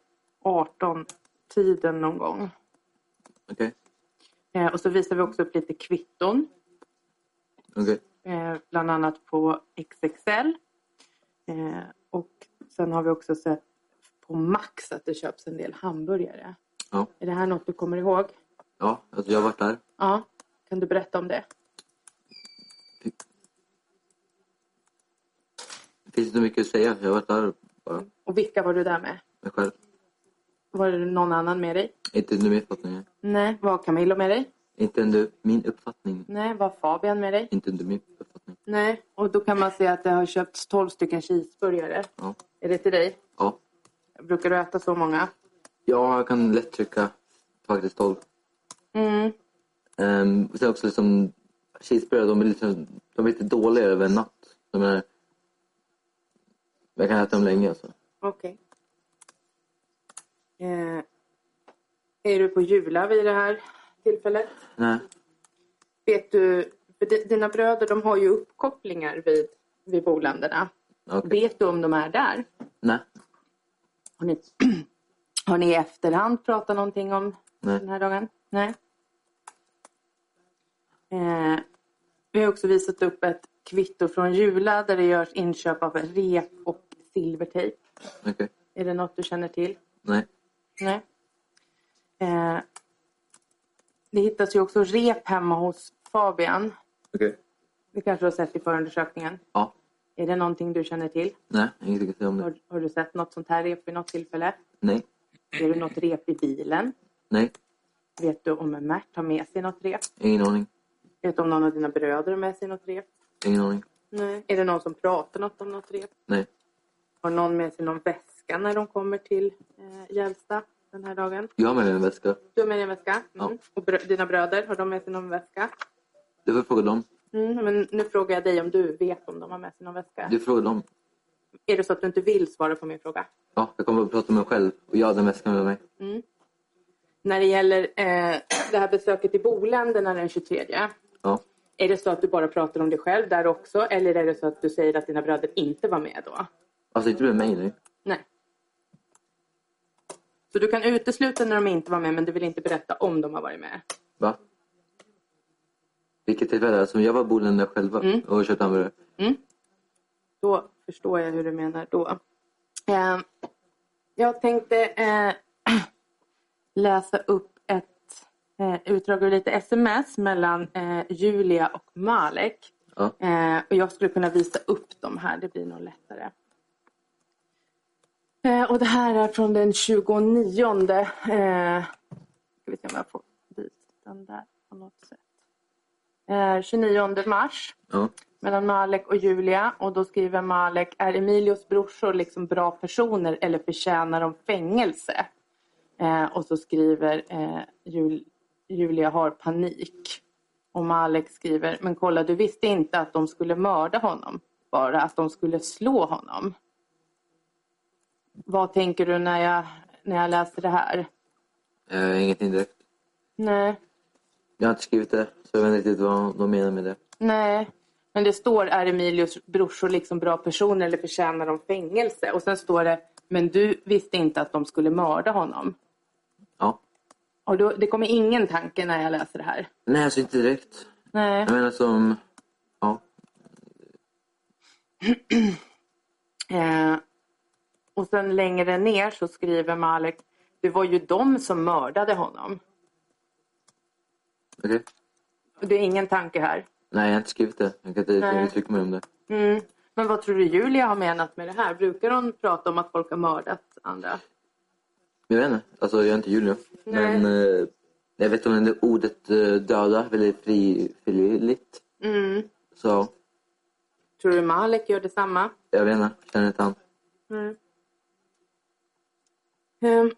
Speaker 3: 18-tiden någon gång.
Speaker 2: Okej.
Speaker 3: Eh, och så visar vi också upp lite kvitton.
Speaker 2: Okej.
Speaker 3: Eh, bland annat på XXL. Eh, och sen har vi också sett på Max att det köps en del hamburgare.
Speaker 2: Ja.
Speaker 3: Är det här något du kommer ihåg?
Speaker 2: Ja, alltså jag har varit där.
Speaker 3: Ja. Kan du berätta om det?
Speaker 2: Det finns inte mycket att säga. Jag har varit där bara.
Speaker 3: Och vilka var du där med?
Speaker 2: mig själv.
Speaker 3: Var det någon annan med dig?
Speaker 2: Inte under min uppfattning.
Speaker 3: Nej. Var Camilla med dig?
Speaker 2: Inte under min uppfattning.
Speaker 3: Nej. Var Fabian med dig?
Speaker 2: Inte under min uppfattning.
Speaker 3: Nej. Och då kan man säga att det har köpts 12 stycken cheeseburgare.
Speaker 2: Ja.
Speaker 3: Är det till dig?
Speaker 2: Ja.
Speaker 3: Brukar du äta så många?
Speaker 2: ja, jag kan lätt trycka faktiskt 12.
Speaker 3: Mm.
Speaker 2: Um, och sen också liksom, cheeseburgare, de är, liksom, de är lite dåliga över en natt. De är, jag kan äta dem länge alltså.
Speaker 3: Okej. Eh, är du på Jula vid det här tillfället?
Speaker 2: Nej,
Speaker 3: Vet du, för di- dina bröder de har ju uppkopplingar vid, vid boländerna.
Speaker 2: okej.
Speaker 3: Vet du om de är där?
Speaker 2: Nej,
Speaker 3: Har ni, har ni i efterhand pratat någonting om
Speaker 2: nej.
Speaker 3: den här dagen? Nej. Eh, vi har också visat upp ett kvitto från Jula där det görs inköp av rep och silvertejp.
Speaker 2: Okej.
Speaker 3: Är det något du känner till?
Speaker 2: Nej.
Speaker 3: Nej. Eh, det hittas ju också rep hemma hos Fabian.
Speaker 2: Okej.
Speaker 3: Det kanske du har sett i förundersökningen.
Speaker 2: Ja.
Speaker 3: Är det någonting du känner till?
Speaker 2: Nej, ingenting att säga om det.
Speaker 3: Har, har du sett något sånt här rep vid något tillfälle?
Speaker 2: Nej,
Speaker 3: Ser du något rep i bilen?
Speaker 2: nej.
Speaker 3: Vet du om Mert har med sig något rep?
Speaker 2: Ingen aning.
Speaker 3: Vet du om någon av dina bröder har med sig något rep?
Speaker 2: Ingen aning.
Speaker 3: Nej. Är det någon som pratar något om något rep?
Speaker 2: Nej,
Speaker 3: Har någon med sig någon väska när de kommer till eh, Gävsta den här dagen?
Speaker 2: jag har med mig en väska.
Speaker 3: Du har med dig en väska? Mm.
Speaker 2: Ja.
Speaker 3: Och brö- dina bröder, har de med sig någon väska?
Speaker 2: Du får fråga dem.
Speaker 3: Mm, men nu frågar jag dig om du vet om de har med sig någon väska.
Speaker 2: Du frågar dem.
Speaker 3: Är det så att du inte vill svara på min fråga?
Speaker 2: Ja, jag kommer att prata med mig själv och jag har den väskan med mig.
Speaker 3: Mm. När det gäller eh, det här besöket i Boländerna den 23.
Speaker 2: Ja.
Speaker 3: Är det så att du bara pratar om dig själv där också? Eller är det så att du säger att dina bröder inte var med då?
Speaker 2: Alltså inte med mig nu.
Speaker 3: Nej. Så du kan utesluta när de inte var med men du vill inte berätta om de har varit med?
Speaker 2: Va? Vilket tillfälle? Alltså jag var i Boliden själva
Speaker 3: Mm.
Speaker 2: och köpte hamburgare.
Speaker 3: Då förstår jag hur du menar då. Eh, jag tänkte eh, läsa upp ett eh, utdrag ur lite sms mellan eh, Julia och Malek.
Speaker 2: Ja.
Speaker 3: Eh, och jag skulle kunna visa upp dem här, det blir nog lättare. Eh, och det här är från den 29. Eh, ska vi se om jag får visa den där på något sätt. Eh, 29 mars
Speaker 2: Ja.
Speaker 3: mellan Malek och Julia och då skriver Malek, är Emilios brorsor liksom bra personer eller förtjänar de fängelse? Eh, och så skriver eh, Jul- Julia har panik. Och Malek skriver, men kolla du visste inte att de skulle mörda honom, bara att de skulle slå honom. Vad tänker du när jag, när jag läser det här?
Speaker 2: Eh, ingenting direkt.
Speaker 3: Nej,
Speaker 2: Jag har inte skrivit det, så jag vet inte riktigt vad de menar med det.
Speaker 3: Nej, men det står är Emilios brorsor liksom bra personer eller förtjänar de fängelse? Och sen står det men du visste inte att de skulle mörda honom.
Speaker 2: Ja.
Speaker 3: Och då, det kommer ingen tanke när jag läser det här.
Speaker 2: Nej, alltså inte direkt.
Speaker 3: Nej.
Speaker 2: Jag menar som... Ja.
Speaker 3: Eh, och sen längre ner så skriver Malek det var ju de som mördade honom.
Speaker 2: Okej.
Speaker 3: Och det är ingen tanke här.
Speaker 2: Nej, jag har inte skrivit det. Jag kan inte
Speaker 3: Nej.
Speaker 2: uttrycka mig om det.
Speaker 3: Mm. Men vad tror du Julia har menat med det här? Brukar hon prata om att folk har mördat andra?
Speaker 2: Jag vet inte. Alltså, jag är inte Julia.
Speaker 3: Nej.
Speaker 2: Men eh, jag vet om det ordet eh, döda väldigt fri- frivilligt.
Speaker 3: Mm.
Speaker 2: Så
Speaker 3: Tror du Malek gör detsamma?
Speaker 2: jag vet inte. Känner inte han.
Speaker 3: Nej. Ehm.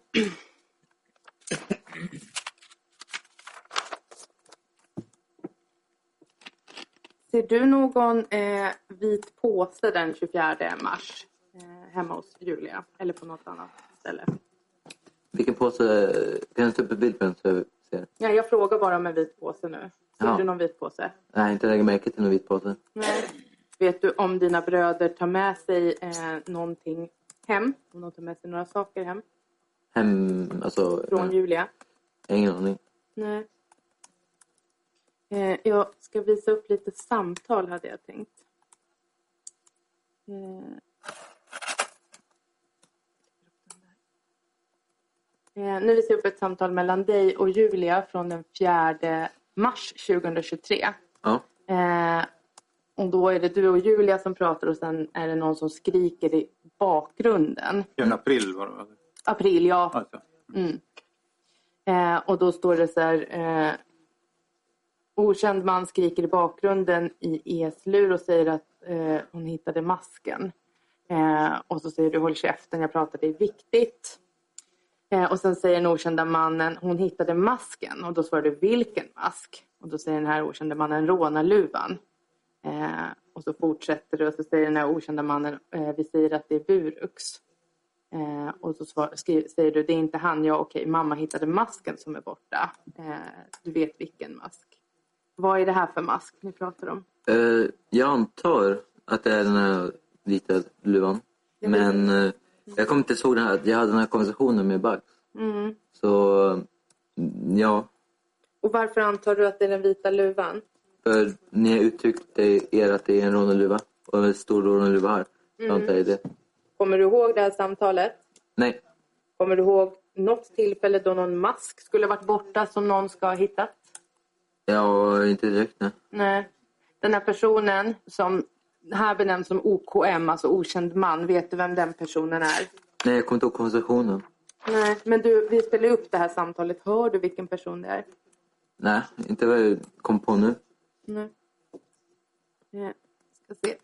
Speaker 3: Ser du någon eh, vit påse den 24 mars eh, hemma hos Julia eller på något annat ställe?
Speaker 2: Vilken påse... Kan du ta upp en bild på den så jag ser?
Speaker 3: Ja, jag frågar bara om en vit påse nu. Ser
Speaker 2: Ja.
Speaker 3: du någon vit påse?
Speaker 2: Nej, inte lägga märke till någon vit påse.
Speaker 3: Nej. Vet du om dina bröder tar med sig eh, någonting hem? Om de tar med sig några saker hem
Speaker 2: Hem... Alltså...
Speaker 3: från
Speaker 2: eh,
Speaker 3: Julia?
Speaker 2: jag har ingen aning.
Speaker 3: Nej. Eh, jag ska visa upp lite samtal hade jag tänkt. Eh. Eh, nu visar jag upp ett samtal mellan dig och Julia från den 4 mars 2023.
Speaker 2: Ja.
Speaker 3: Eh, och då är det du och Julia som pratar och sen är det någon som skriker i bakgrunden.
Speaker 1: I april var det va?
Speaker 3: April, ja.
Speaker 1: Alltså.
Speaker 3: Mm. Eh, och då står det så här. Eh, okänd man skriker i bakgrunden i eslur och säger att eh, hon hittade masken. Eh, och så säger du håll käften, jag pratar, det är viktigt. Eh, och sen säger den okända mannen, hon hittade masken. Och då svarar du, vilken mask? Och då säger den här okända mannen, rånarluvan. Eh, och så fortsätter du och så säger den här okända mannen, eh, vi säger att det är Burux. Eh, och så svar, skri, säger du, det är inte han, ja okej, mamma hittade masken som är borta. Eh, du vet vilken mask. Vad är det här för mask ni pratar om?
Speaker 2: Eh, jag antar att det är den här vita luvan.
Speaker 3: Jag vet
Speaker 2: Men eh, jag kommer inte ihåg den här. Jag hade den här konversationen med Bugs.
Speaker 3: Mm.
Speaker 2: Så mm, ja,
Speaker 3: Och varför antar du att det är den vita luvan?
Speaker 2: för ni har uttryckt det- er att det är en rånarluva. Och en stor rånarluva här. Jag
Speaker 3: Mm.
Speaker 2: antar det är det.
Speaker 3: Kommer du ihåg det här samtalet?
Speaker 2: Nej,
Speaker 3: Kommer du ihåg något tillfälle då någon mask skulle ha varit borta som någon ska ha hittat?
Speaker 2: jag inte direkt nej.
Speaker 3: Nej. Den här personen som här benämns som OKM, alltså okänd man, vet du vem den personen är?
Speaker 2: Nej, jag kommer inte ihåg konversationen.
Speaker 3: Nej, men du, vi spelar ju upp det här samtalet. Hör du vilken person det är?
Speaker 2: Nej, inte vad jag kom på nu.
Speaker 3: Nej. Nej. Ska se.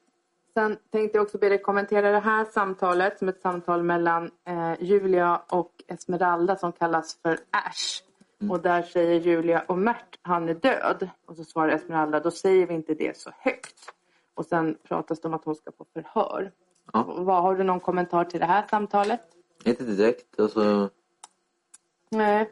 Speaker 3: Sen tänkte jag också be dig kommentera det här samtalet som ett samtal mellan eh, Julia och Esmeralda som kallas för Ash. Och där säger Julia och Mert, han är död. Och så svarar Esmeralda, då säger vi inte det så högt. Och sen pratas det om att hon ska på förhör.
Speaker 2: Ja.
Speaker 3: Och Vad, har du någon kommentar till det här samtalet?
Speaker 2: Inte direkt. Alltså,
Speaker 3: Nej.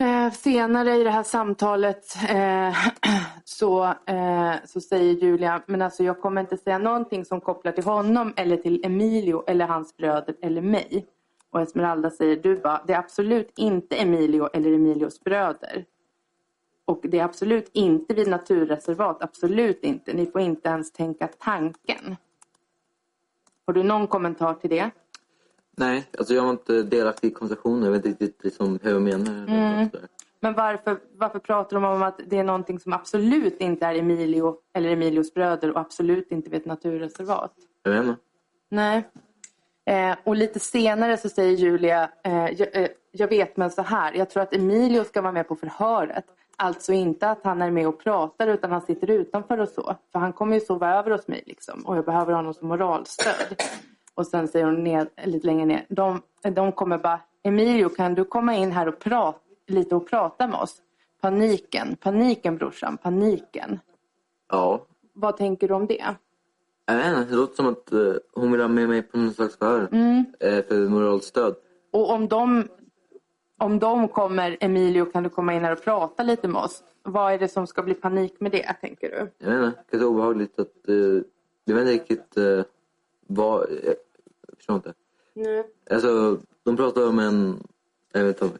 Speaker 3: Eh, senare i det här samtalet eh, så, eh, så säger Julia, men alltså jag kommer inte säga någonting som kopplar till honom eller till Emilio eller hans bröder eller mig. Och Esmeralda säger, du bara, det är absolut inte Emilio eller Emilios bröder. Och det är absolut inte vid naturreservat, absolut inte. Ni får inte ens tänka tanken. Har du någon kommentar till det?
Speaker 2: nej, alltså jag var inte delaktig i konversationen. Jag vet inte riktigt liksom, hur jag menar.
Speaker 3: Mm. Men varför, varför pratar de om att det är någonting som absolut inte är Emilio eller Emilios bröder och absolut inte vid ett naturreservat?
Speaker 2: Jag vet inte.
Speaker 3: Nej. Eh, och lite senare så säger Julia, eh, jag, eh, jag vet men så här, jag tror att Emilio ska vara med på förhöret. Alltså inte att han är med och pratar utan han sitter utanför och så. För han kommer ju sova över hos mig liksom och jag behöver honom som moralstöd. Och sen säger hon ned, lite längre ner, de, de kommer bara, Emilio kan du komma in här och prata lite och prata med oss? Paniken, paniken brorsan, paniken.
Speaker 2: Ja,
Speaker 3: Vad tänker du om det?
Speaker 2: jag vet inte. Det låter som att eh, hon vill ha med mig på någon slags förhör.
Speaker 3: Mm.
Speaker 2: Eh, för moralstöd.
Speaker 3: Och om de, om de kommer, Emilio kan du komma in här och prata lite med oss? Vad är det som ska bli panik med det, tänker du?
Speaker 2: Jag vet inte. Kanske obehagligt att... Eh, jag vet inte riktigt eh, vad... eh, Jag förstår inte.
Speaker 3: Nej.
Speaker 2: Alltså, de pratar om en... Jag vet inte.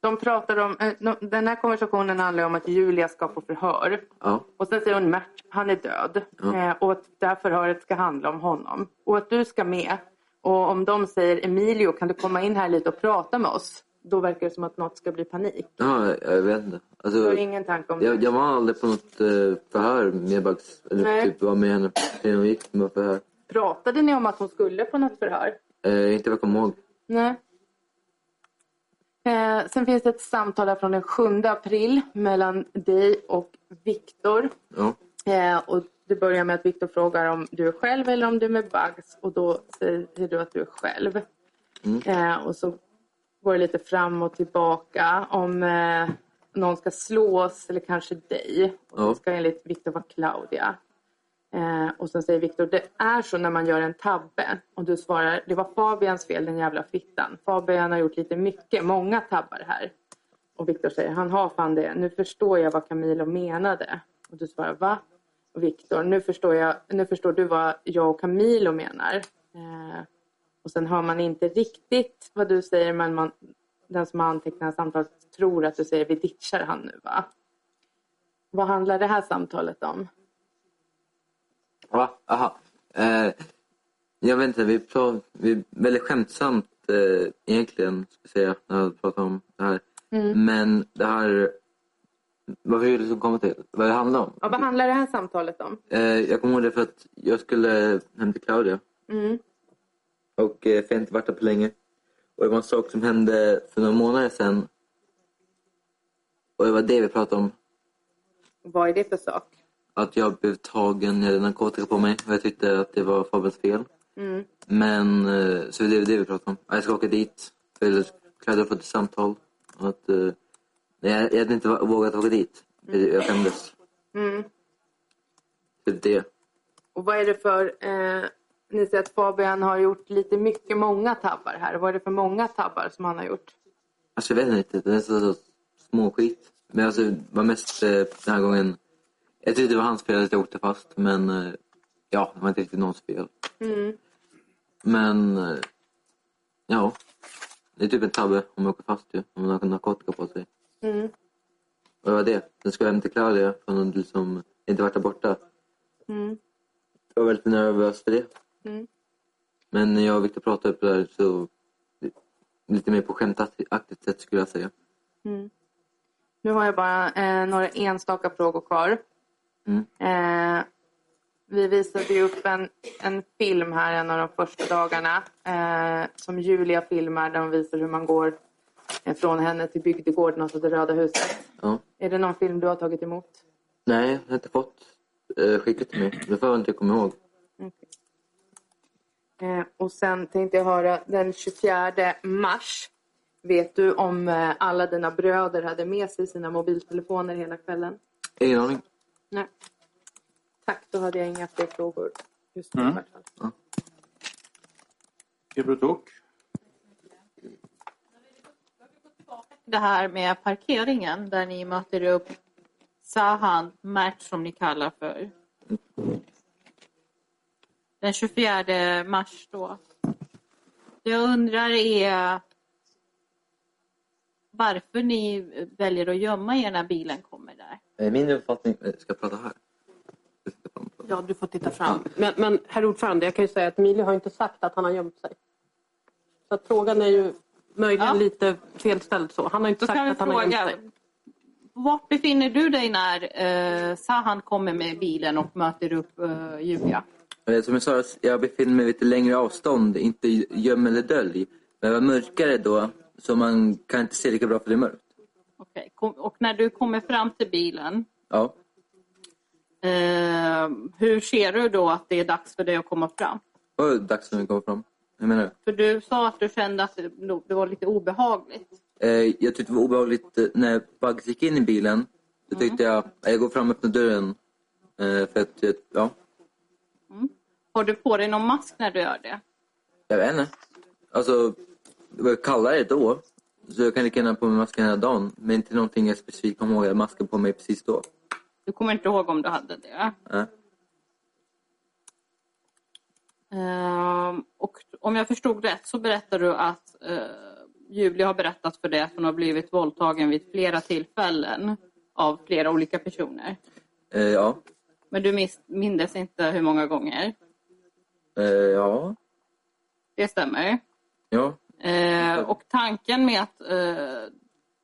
Speaker 3: De pratar om, eh, no- den här konversationen handlar ju om att Julia ska på förhör.
Speaker 2: Ja.
Speaker 3: Och sen säger hon Mert, han är död. Eh, och att det här förhöret ska handla om honom. Och att du ska med. Och om de säger Emilio, kan du komma in här lite och prata med oss? Då verkar det som att något ska bli panik.
Speaker 2: ja, jag vet inte. Alltså,
Speaker 3: Du har ingen tanke om det?
Speaker 2: Jag, jag var aldrig på något eh, förhör med Bugs. Eller
Speaker 3: Nej.
Speaker 2: typ var med henne när hon gick med förhör.
Speaker 3: Pratade ni om att hon skulle på något förhör?
Speaker 2: Eh, inte vad jag kommer ihåg.
Speaker 3: Nej. Eh, sen finns det ett samtal här från den 7 april mellan dig och Viktor.
Speaker 2: Ja.
Speaker 3: Eh, och det börjar med att Viktor frågar om du är själv eller om du är med Bugs. Och då säger du att du är själv. Eh, och så går det lite fram och tillbaka om eh, någon ska slås eller kanske dig. Och
Speaker 2: Ja.
Speaker 3: det ska enligt Viktor vara Claudia. Eh, och sen säger Viktor, det är så när man gör en tabbe. Och du svarar, det var Fabians fel den jävla fittan. Fabian har gjort lite mycket, många tabbar här. Och Viktor säger, han har fan det. Nu förstår jag vad Camilo menade. Och du svarar, va? Och Viktor, nu, förstår jag- nu förstår du vad jag och Camilo menar. Eh, och sen hör man inte riktigt vad du säger men man, den som har antecknat samtalet tror att du säger vi ditchar han nu va? Vad handlar det här samtalet om?
Speaker 2: Va? Aha. Eh, jag vet inte, vi pratar vi, väldigt skämtsamt eh, egentligen, ska jag säga, när jag pratar om det här. Men det här... Vad vill du liksom komma till? Vad det handlar om?
Speaker 3: Ja, vad handlar det här samtalet om?
Speaker 2: Eh, jag kommer ihåg det för att jag skulle hem till Claudia
Speaker 3: Mm.
Speaker 2: Och eh, för jag har inte varit där på länge. Och det var en sak som hände för några månader sedan. Och det var det vi pratade om.
Speaker 3: Vad är det för sak?
Speaker 2: Att jag blev tagen, jag hade narkotika på mig. Och jag tyckte att det var Fabians fel.
Speaker 3: Mm.
Speaker 2: Men eh, så det är det vi pratar om. Jag ska åka dit. För jag hade fått ett samtal. Och att, eh, nej, jag, jag hade inte vågat åka dit. Jag- Jag skämdes.
Speaker 3: Mm.
Speaker 2: Typ det.
Speaker 3: Och vad är det för... Eh, ni säger att Fabian har gjort lite mycket många tabbar här. Vad är det för många tabbar som han har gjort?
Speaker 2: Alltså jag vet inte, det är så, så småskit. Men alltså det var mest eh, den här gången. Jag tyckte det var hans fel att jag åkte fast men eh, ja, det var inte riktigt någons fel.
Speaker 3: Mm.
Speaker 2: Men eh, ja, det är typ en tabbe om man åker fast ju. Om man har narkotika på sig.
Speaker 3: Mm.
Speaker 2: Och det var det. Sen ska jag hem till Claudia för hon hade liksom inte varit där borta.
Speaker 3: Mm.
Speaker 2: Jag var väldigt nervös för det.
Speaker 3: Mm.
Speaker 2: Men när jag och Victor pratade upp det där så lite mer på skämtaktigt sätt skulle jag säga.
Speaker 3: Mm. Nu har jag bara eh, några enstaka frågor kvar.
Speaker 2: Mm.
Speaker 3: Eh, vi visade ju upp en, en film här en av de första dagarna eh, som Julia filmar där hon visar hur man går eh, från henne till bygdegården, alltså det röda huset.
Speaker 2: Ja.
Speaker 3: Är det någon film du har tagit emot?
Speaker 2: Nej, jag har inte fått eh, skickat till mig. Det får jag inte komma ihåg.
Speaker 3: Eh, och sen tänkte jag höra, den 24 mars, vet du om eh, alla dina bröder hade med sig sina mobiltelefoner hela kvällen?
Speaker 2: Ingen aning.
Speaker 3: Nej. Tack, då hade jag inga fler frågor. Just nu, i
Speaker 1: Mm.
Speaker 3: vart fall.
Speaker 1: Kebrotok?
Speaker 5: det här med parkeringen där ni möter upp Sahan Mert som ni kallar för. Den 24 mars då. Det jag undrar är varför ni väljer att gömma er när bilen kommer där.
Speaker 2: Eh, Min uppfattning... eh, Ska jag prata här? Jag ska prata om-
Speaker 6: Ja, du får titta fram. Men, men herr ordförande, jag kan ju säga att Emilio har inte sagt att han har gömt sig. Så att frågan är ju möjligen
Speaker 5: Ja.
Speaker 6: lite felställd så. Han har inte
Speaker 5: Då kan
Speaker 6: sagt
Speaker 5: vi
Speaker 6: att han har gömt
Speaker 5: fråga,
Speaker 6: sig.
Speaker 5: vart befinner du dig när eh, Sahan kommer med bilen och möter upp eh, Julia?
Speaker 2: Eh, Som jag sa, jag befinner mig lite längre avstånd. Inte göm eller dölj. Men jag var mörkare då, så man kan inte se lika bra för det är mörkt.
Speaker 5: Okej, kom- Och när du kommer fram till bilen,
Speaker 2: Ja.
Speaker 5: Eh, hur ser du då att det är dags för dig att komma fram?
Speaker 2: Och det är dags när vi kommer fram. Jag menar,
Speaker 5: För du sa att du kände att det det var lite obehagligt.
Speaker 2: eh, jag tyckte det var obehagligt eh, när Bugs gick in i bilen. Då tyckte jag, eh, jag går fram och öppnar dörren. Eh, för att, eh, ja,
Speaker 5: Har du på dig någon mask när du gör det?
Speaker 2: Jag vet inte. Alltså, det var kallare då. Så jag kan lika gärna ha på mig masken hela dagen. Men inte någonting jag specifikt kommer ihåg. Jag hade masken på mig precis då.
Speaker 5: Du kommer inte ihåg om du hade det.
Speaker 2: Äh.
Speaker 5: Eh, och om jag förstod rätt så berättar du att eh, Julia har berättat för dig att hon har blivit våldtagen vid flera tillfällen av flera olika personer.
Speaker 2: Eh, ja.
Speaker 5: Men du mis- mindes inte hur många gånger.
Speaker 2: Eh, ja.
Speaker 5: Det stämmer.
Speaker 2: Ja.
Speaker 5: Eh, och tanken med att eh,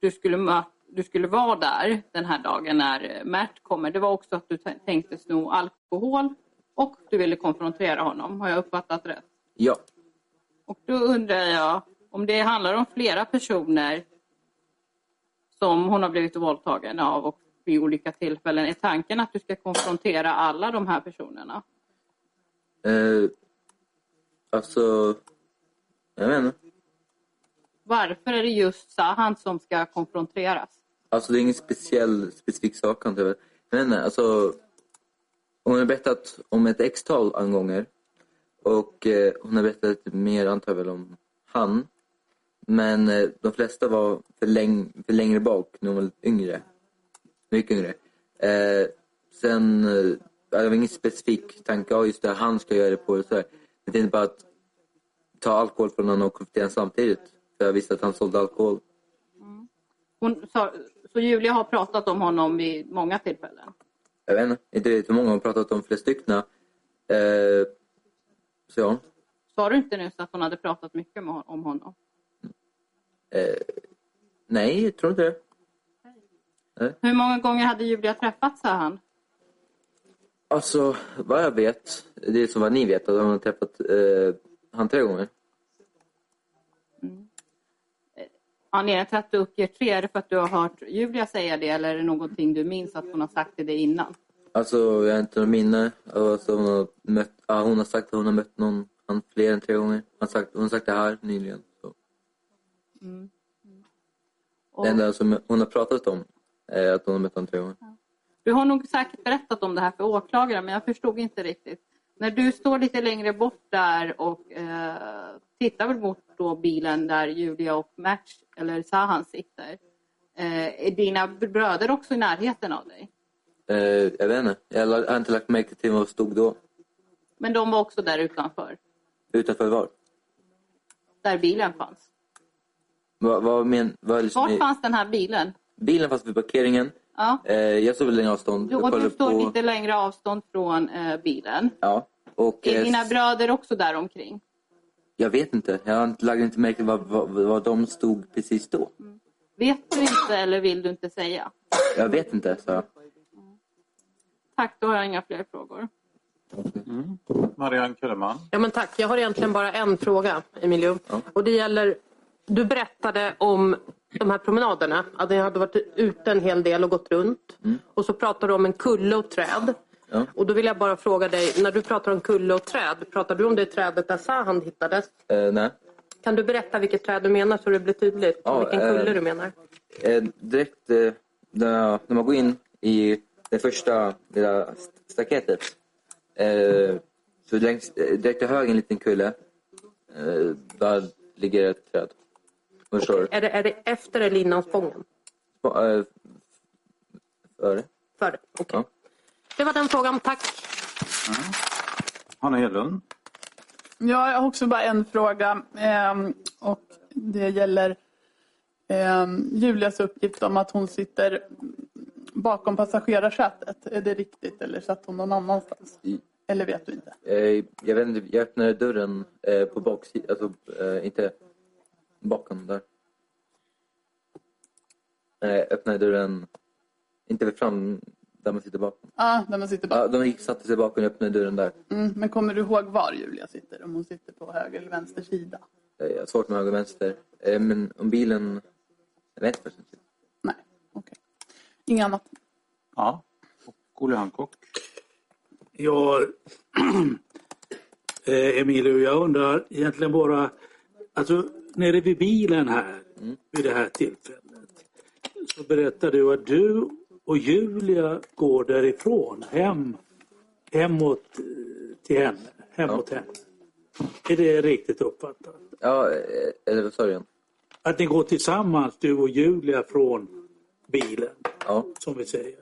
Speaker 5: du, skulle mö- du skulle vara där den här dagen när eh, Mert kommer, det var också att du t- tänkte sno alkohol och du ville konfrontera honom. Har jag uppfattat rätt?
Speaker 2: Ja.
Speaker 5: Och då undrar jag om det handlar om flera personer som hon har blivit våldtagen av och vid olika tillfällen. Är tanken att du ska konfrontera alla de här personerna?
Speaker 2: Eh, alltså... Jag vet inte.
Speaker 5: Varför är det just Sahan som ska konfronteras?
Speaker 2: Alltså det är ingen speciell, specifik sak antar jag. Jag vet inte, alltså... Hon har berättat om ett X-tal angånger. Och eh, hon har berättat lite mer antar jag väl om han. Men eh, de flesta var för, läng- för längre bak när hon var lite yngre. Mycket yngre. Eh, sen, eh, det var ingen specifik tanke, ja just det, han ska göra det på och sådär. Jag tänkte bara att ta alkohol från honom och konfrontera honom samtidigt. För jag visste att han sålde alkohol.
Speaker 5: Hon sa, så Julia har pratat om honom vid många tillfällen.
Speaker 2: Jag vet inte, inte vet hur många hon pratat om, flera stycken. Eh, så ja,
Speaker 5: Sa du inte nyss att hon hade pratat mycket med, hon- om honom?
Speaker 2: Eh, nej, jag tror inte det.
Speaker 5: Hur många gånger hade Julia träffat Sahan?
Speaker 2: Alltså, vad jag vet, det är som vad ni vet, att han har träffat eh, han tre gånger.
Speaker 5: Anledningen till att du uppger tre, är det för att du har hört Julia säga det eller är det någonting du minns att hon har sagt till dig innan?
Speaker 2: Alltså, jag har inte något minne. Alltså, hon, har mött, ja, hon har sagt att hon har mött någon han fler än tre gånger. Hon har sagt, hon har sagt det här nyligen. Så.
Speaker 5: Och
Speaker 2: Det enda som hon har pratat om är att hon har mött honom tre gånger.
Speaker 5: du har nog säkert berättat om det här för åklagaren men jag förstod inte riktigt. När du står lite längre bort där och eh, tittar väl mot då bilen där Julia och Match eller Sahan sitter. Eh, är dina bröder också i närheten av dig?
Speaker 2: Eh, jag vet inte. Jag la- har inte lagt märke till vad som stod då.
Speaker 5: Men de var också där utanför,
Speaker 2: Utanför var.
Speaker 5: där bilen fanns.
Speaker 2: Vad, vad men, vad liksom,
Speaker 5: Var fanns den här bilen?
Speaker 2: Bilen fanns vid parkeringen.
Speaker 5: Ja.
Speaker 2: Eh, jag såg väl längre avstånd.
Speaker 5: Du,
Speaker 2: Jag
Speaker 5: och du
Speaker 2: kollade
Speaker 5: står
Speaker 2: på-
Speaker 5: lite längre avstånd från eh, bilen.
Speaker 2: Ja. Och,
Speaker 5: Är
Speaker 2: eh,
Speaker 5: dina bröder också där omkring?
Speaker 2: Jag vet inte. Jag har inte- lagt inte märke till vad, vad, vad de stod precis då.
Speaker 5: Vet du inte eller vill du inte säga?
Speaker 2: Jag vet inte, så. jag.
Speaker 5: Tack, då har jag inga fler frågor.
Speaker 1: Marianne Kellerman.
Speaker 6: Ja, men tack. Jag har egentligen bara en fråga, Emilio.
Speaker 2: Ja.
Speaker 6: Och det gäller, du berättade om de här promenaderna. Att ni hade varit ute en hel del och gått runt. Och så pratade du om en kulle och träd.
Speaker 2: Mm. Ja.
Speaker 6: Och då vill jag bara fråga dig, när du pratar om kulle och träd, pratar du om det trädet där Sahan hittades?
Speaker 2: Eh, nej.
Speaker 6: Kan du berätta vilket träd du menar så det blir tydligt?
Speaker 2: Ja,
Speaker 6: vilken
Speaker 2: eh,
Speaker 6: kulle du menar?
Speaker 2: Eh, direkt eh, när, när man går in i det första lilla st- staketet. Eh, så längs, eh, direkt till höger en liten kulle. Eh, där ligger ett träd. Förstår du?
Speaker 6: Är det, är det efter eller innan spången?
Speaker 2: Spa- eh, Före?
Speaker 6: Före? Okej.
Speaker 2: Ja.
Speaker 6: Det var den frågan. Tack.
Speaker 1: Hanna Hedlund.
Speaker 7: Ja, jag har också bara en fråga. ehm, Och det gäller ehm, Julias uppgift om att hon sitter bakom passagerarsätet. Är det riktigt eller satt hon någon annanstans?
Speaker 2: I-
Speaker 7: Eller vet du inte?
Speaker 2: Eh, jag, vet inte, jag öppnade dörren eh, på baksidan, alltså eh, inte bakom där. Eh, öppnade dörren, inte fram, där man sitter bakom.
Speaker 7: Ja, när man sitter
Speaker 2: Ja,
Speaker 7: bak.
Speaker 2: de gick, satte sig bakom och öppnade dörren där.
Speaker 7: Mm, men kommer du ihåg var Julia sitter? Om hon sitter på höger eller vänster sida?
Speaker 2: Eh, jag har svårt med höger och vänster. Eh, men om bilen, jag vet faktiskt inte.
Speaker 7: Nej, okej. Inget annat?
Speaker 1: Ja. Och Olle Hancock.
Speaker 8: Ja, eh, Emilio, jag undrar egentligen bara, alltså nere vid bilen här vid det här tillfället så berättar du att du och Julia går därifrån hem, hemåt eh, till henne, hemåt henne. Är det riktigt uppfattat?
Speaker 2: Ja, eh, eller vad sa du igen?
Speaker 8: Att ni går tillsammans, du och Julia, från bilen,
Speaker 2: Ja.
Speaker 8: som vi säger.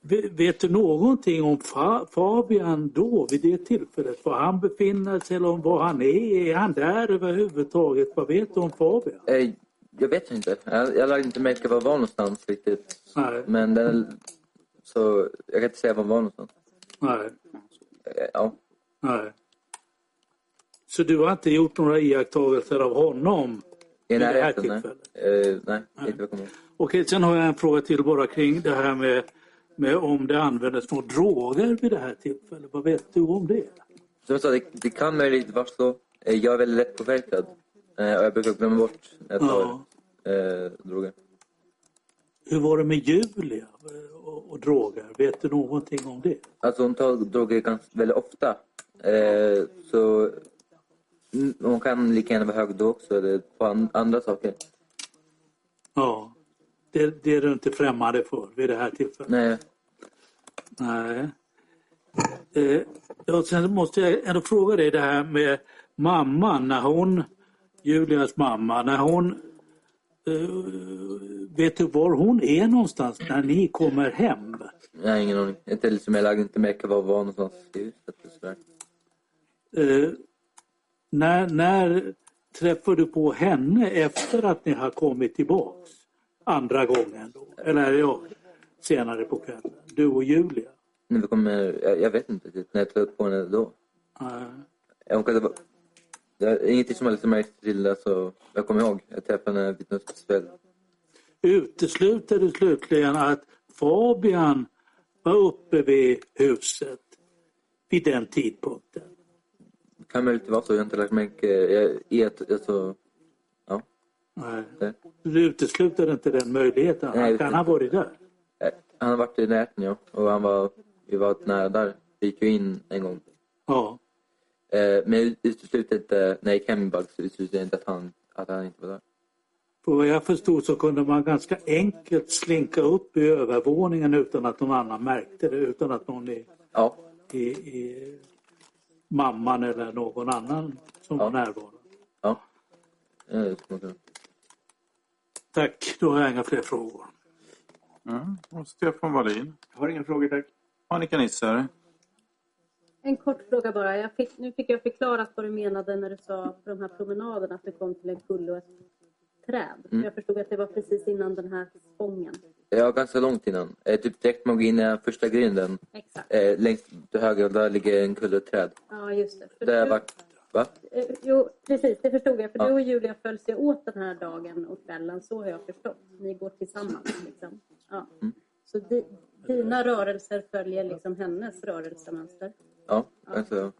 Speaker 8: Ve- Vet du någonting om Fa- Fabian då, vid det tillfället? Var han befinner sig eller om var han är? Är han där överhuvudtaget? Vad vet du om Fabian?
Speaker 2: Eh, jag vet inte. Jag, jag lade inte märke till var jag var någonstans riktigt.
Speaker 8: Nej,
Speaker 2: Men den, så jag kan inte säga var jag var någonstans.
Speaker 8: nej,
Speaker 2: Eh, ja.
Speaker 8: nej. Så du har inte gjort några iakttagelser av honom?
Speaker 2: I
Speaker 8: Vid det här
Speaker 2: närheten? Nej,
Speaker 8: tillfället?
Speaker 2: Eh, nej, inte vad jag kommer ihåg.
Speaker 8: Okej, sen har jag en fråga till bara kring det här med, med om det användes några droger vid det här tillfället. Vad vet du om det?
Speaker 2: Som jag sa, det, det kan möjligt vara så. Eh, Jag är väldigt lätt påverkad. Eh, och jag brukar glömma bort när jag tar eh, droger.
Speaker 8: Hur var det med Julia eh, och, och droger? Vet du någonting om det?
Speaker 2: Alltså hon tar droger ganska, väldigt ofta. Eh, så mm, hon kan lika gärna vara hög då också, eller på an, andra saker.
Speaker 8: Ja. Det, det är du inte främmande för vid det här tillfället?
Speaker 2: Nej,
Speaker 8: Nej. Eh, ja, sen måste jag ändå fråga dig det här med mamman, när hon, Julias mamma, när hon... Eh, vet du var hon är någonstans när ni kommer hem?
Speaker 2: jag har ingen aning. Inte liksom, jag lade inte märke var jag var någonstans i huset. och sådär.
Speaker 8: Eh, när, när träffar du på henne efter att ni har kommit tillbaks? Andra gången då? Eller ja, senare på kvällen? Du och Julia?
Speaker 2: När vi kommer, jag, jag vet inte riktigt när jag tar på henne då.
Speaker 8: Eh,
Speaker 2: Eh, Hon kan, vara- det är ingenting som jag liksom märkt till, alltså, jag kommer ihåg. Jag träffade henne vid något speciellt
Speaker 8: utesluter du slutligen att Fabian var uppe vid huset vid den tidpunkten.
Speaker 2: Kan möjligt vara så. Jag har inte lagt märke... Jag, jag, alltså, ja.
Speaker 8: Nej.
Speaker 2: Det.
Speaker 8: Du utesluter inte den möjligheten.
Speaker 2: Nej,
Speaker 8: Han kan ha varit där.
Speaker 2: Eh, Han har varit i närheten, ja. Och han var, vi var nära där. Vi gick ju in en gång.
Speaker 8: Ja.
Speaker 2: Eh, Men jag utesluter inte... När jag gick hem i Bugs så utesluter jag inte att han, att han inte var där.
Speaker 8: För vad jag förstod så kunde man ganska enkelt slinka upp i övervåningen utan att någon annan märkte det. Utan att någon i,
Speaker 2: Ja.
Speaker 8: i, i mamman eller någon annan som var närvarande.
Speaker 2: Ja. Eh, det skulle man kunna-
Speaker 8: Tack, då har jag inga fler frågor.
Speaker 1: Mm. Och Stefan Wallin.
Speaker 9: Jag har inga frågor, tack.
Speaker 1: Annika Nisser.
Speaker 6: En kort fråga bara. Jag fick, nu fick jag förklarat vad du menade när du sa på de här promenaderna att du kom till en kulle och ett träd.
Speaker 2: Mm.
Speaker 6: Jag förstod att det var precis innan den här spången.
Speaker 2: Ja, ganska långt innan. Eh, typ direkt man går in i den första grinden.
Speaker 6: Exakt.
Speaker 2: Eh, längst till höger, där ligger en kulle och ett träd.
Speaker 6: Ja, just det. För
Speaker 2: Där har
Speaker 6: du-
Speaker 2: varit... Va?
Speaker 6: eh, Jo, precis. Det förstod jag. För
Speaker 2: Ja.
Speaker 6: du och Julia följs ju åt den här dagen och kvällen. Så har jag förstått. Ni går tillsammans. Liksom. Ja.
Speaker 2: Mm.
Speaker 6: Så di, dina rörelser följer liksom hennes rörelsemönster.
Speaker 2: Ja, alltså...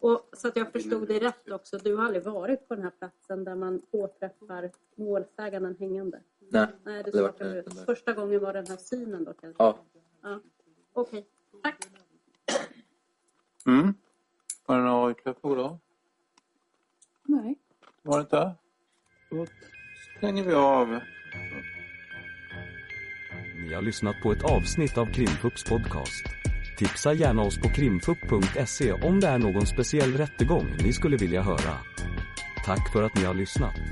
Speaker 6: Och så att jag förstod dig rätt också, du har aldrig varit på den här platsen där man påträffar målsäganden hängande?
Speaker 2: Nej,
Speaker 6: Nej, du
Speaker 2: aldrig varit
Speaker 6: skakar
Speaker 2: där.
Speaker 6: ut. Första gången var den här synen då kanske?
Speaker 2: Ja.
Speaker 6: ja. Okej, tack.
Speaker 1: Mm. Var det några ytterligare frågor?
Speaker 6: Nej.
Speaker 1: Var det inte? Då stänger vi av.
Speaker 10: Ni har lyssnat på ett avsnitt av Krimfupps podcast. Tipsa gärna oss på krimfupp.se om det är någon speciell rättegång ni skulle vilja höra. Tack för att ni har lyssnat.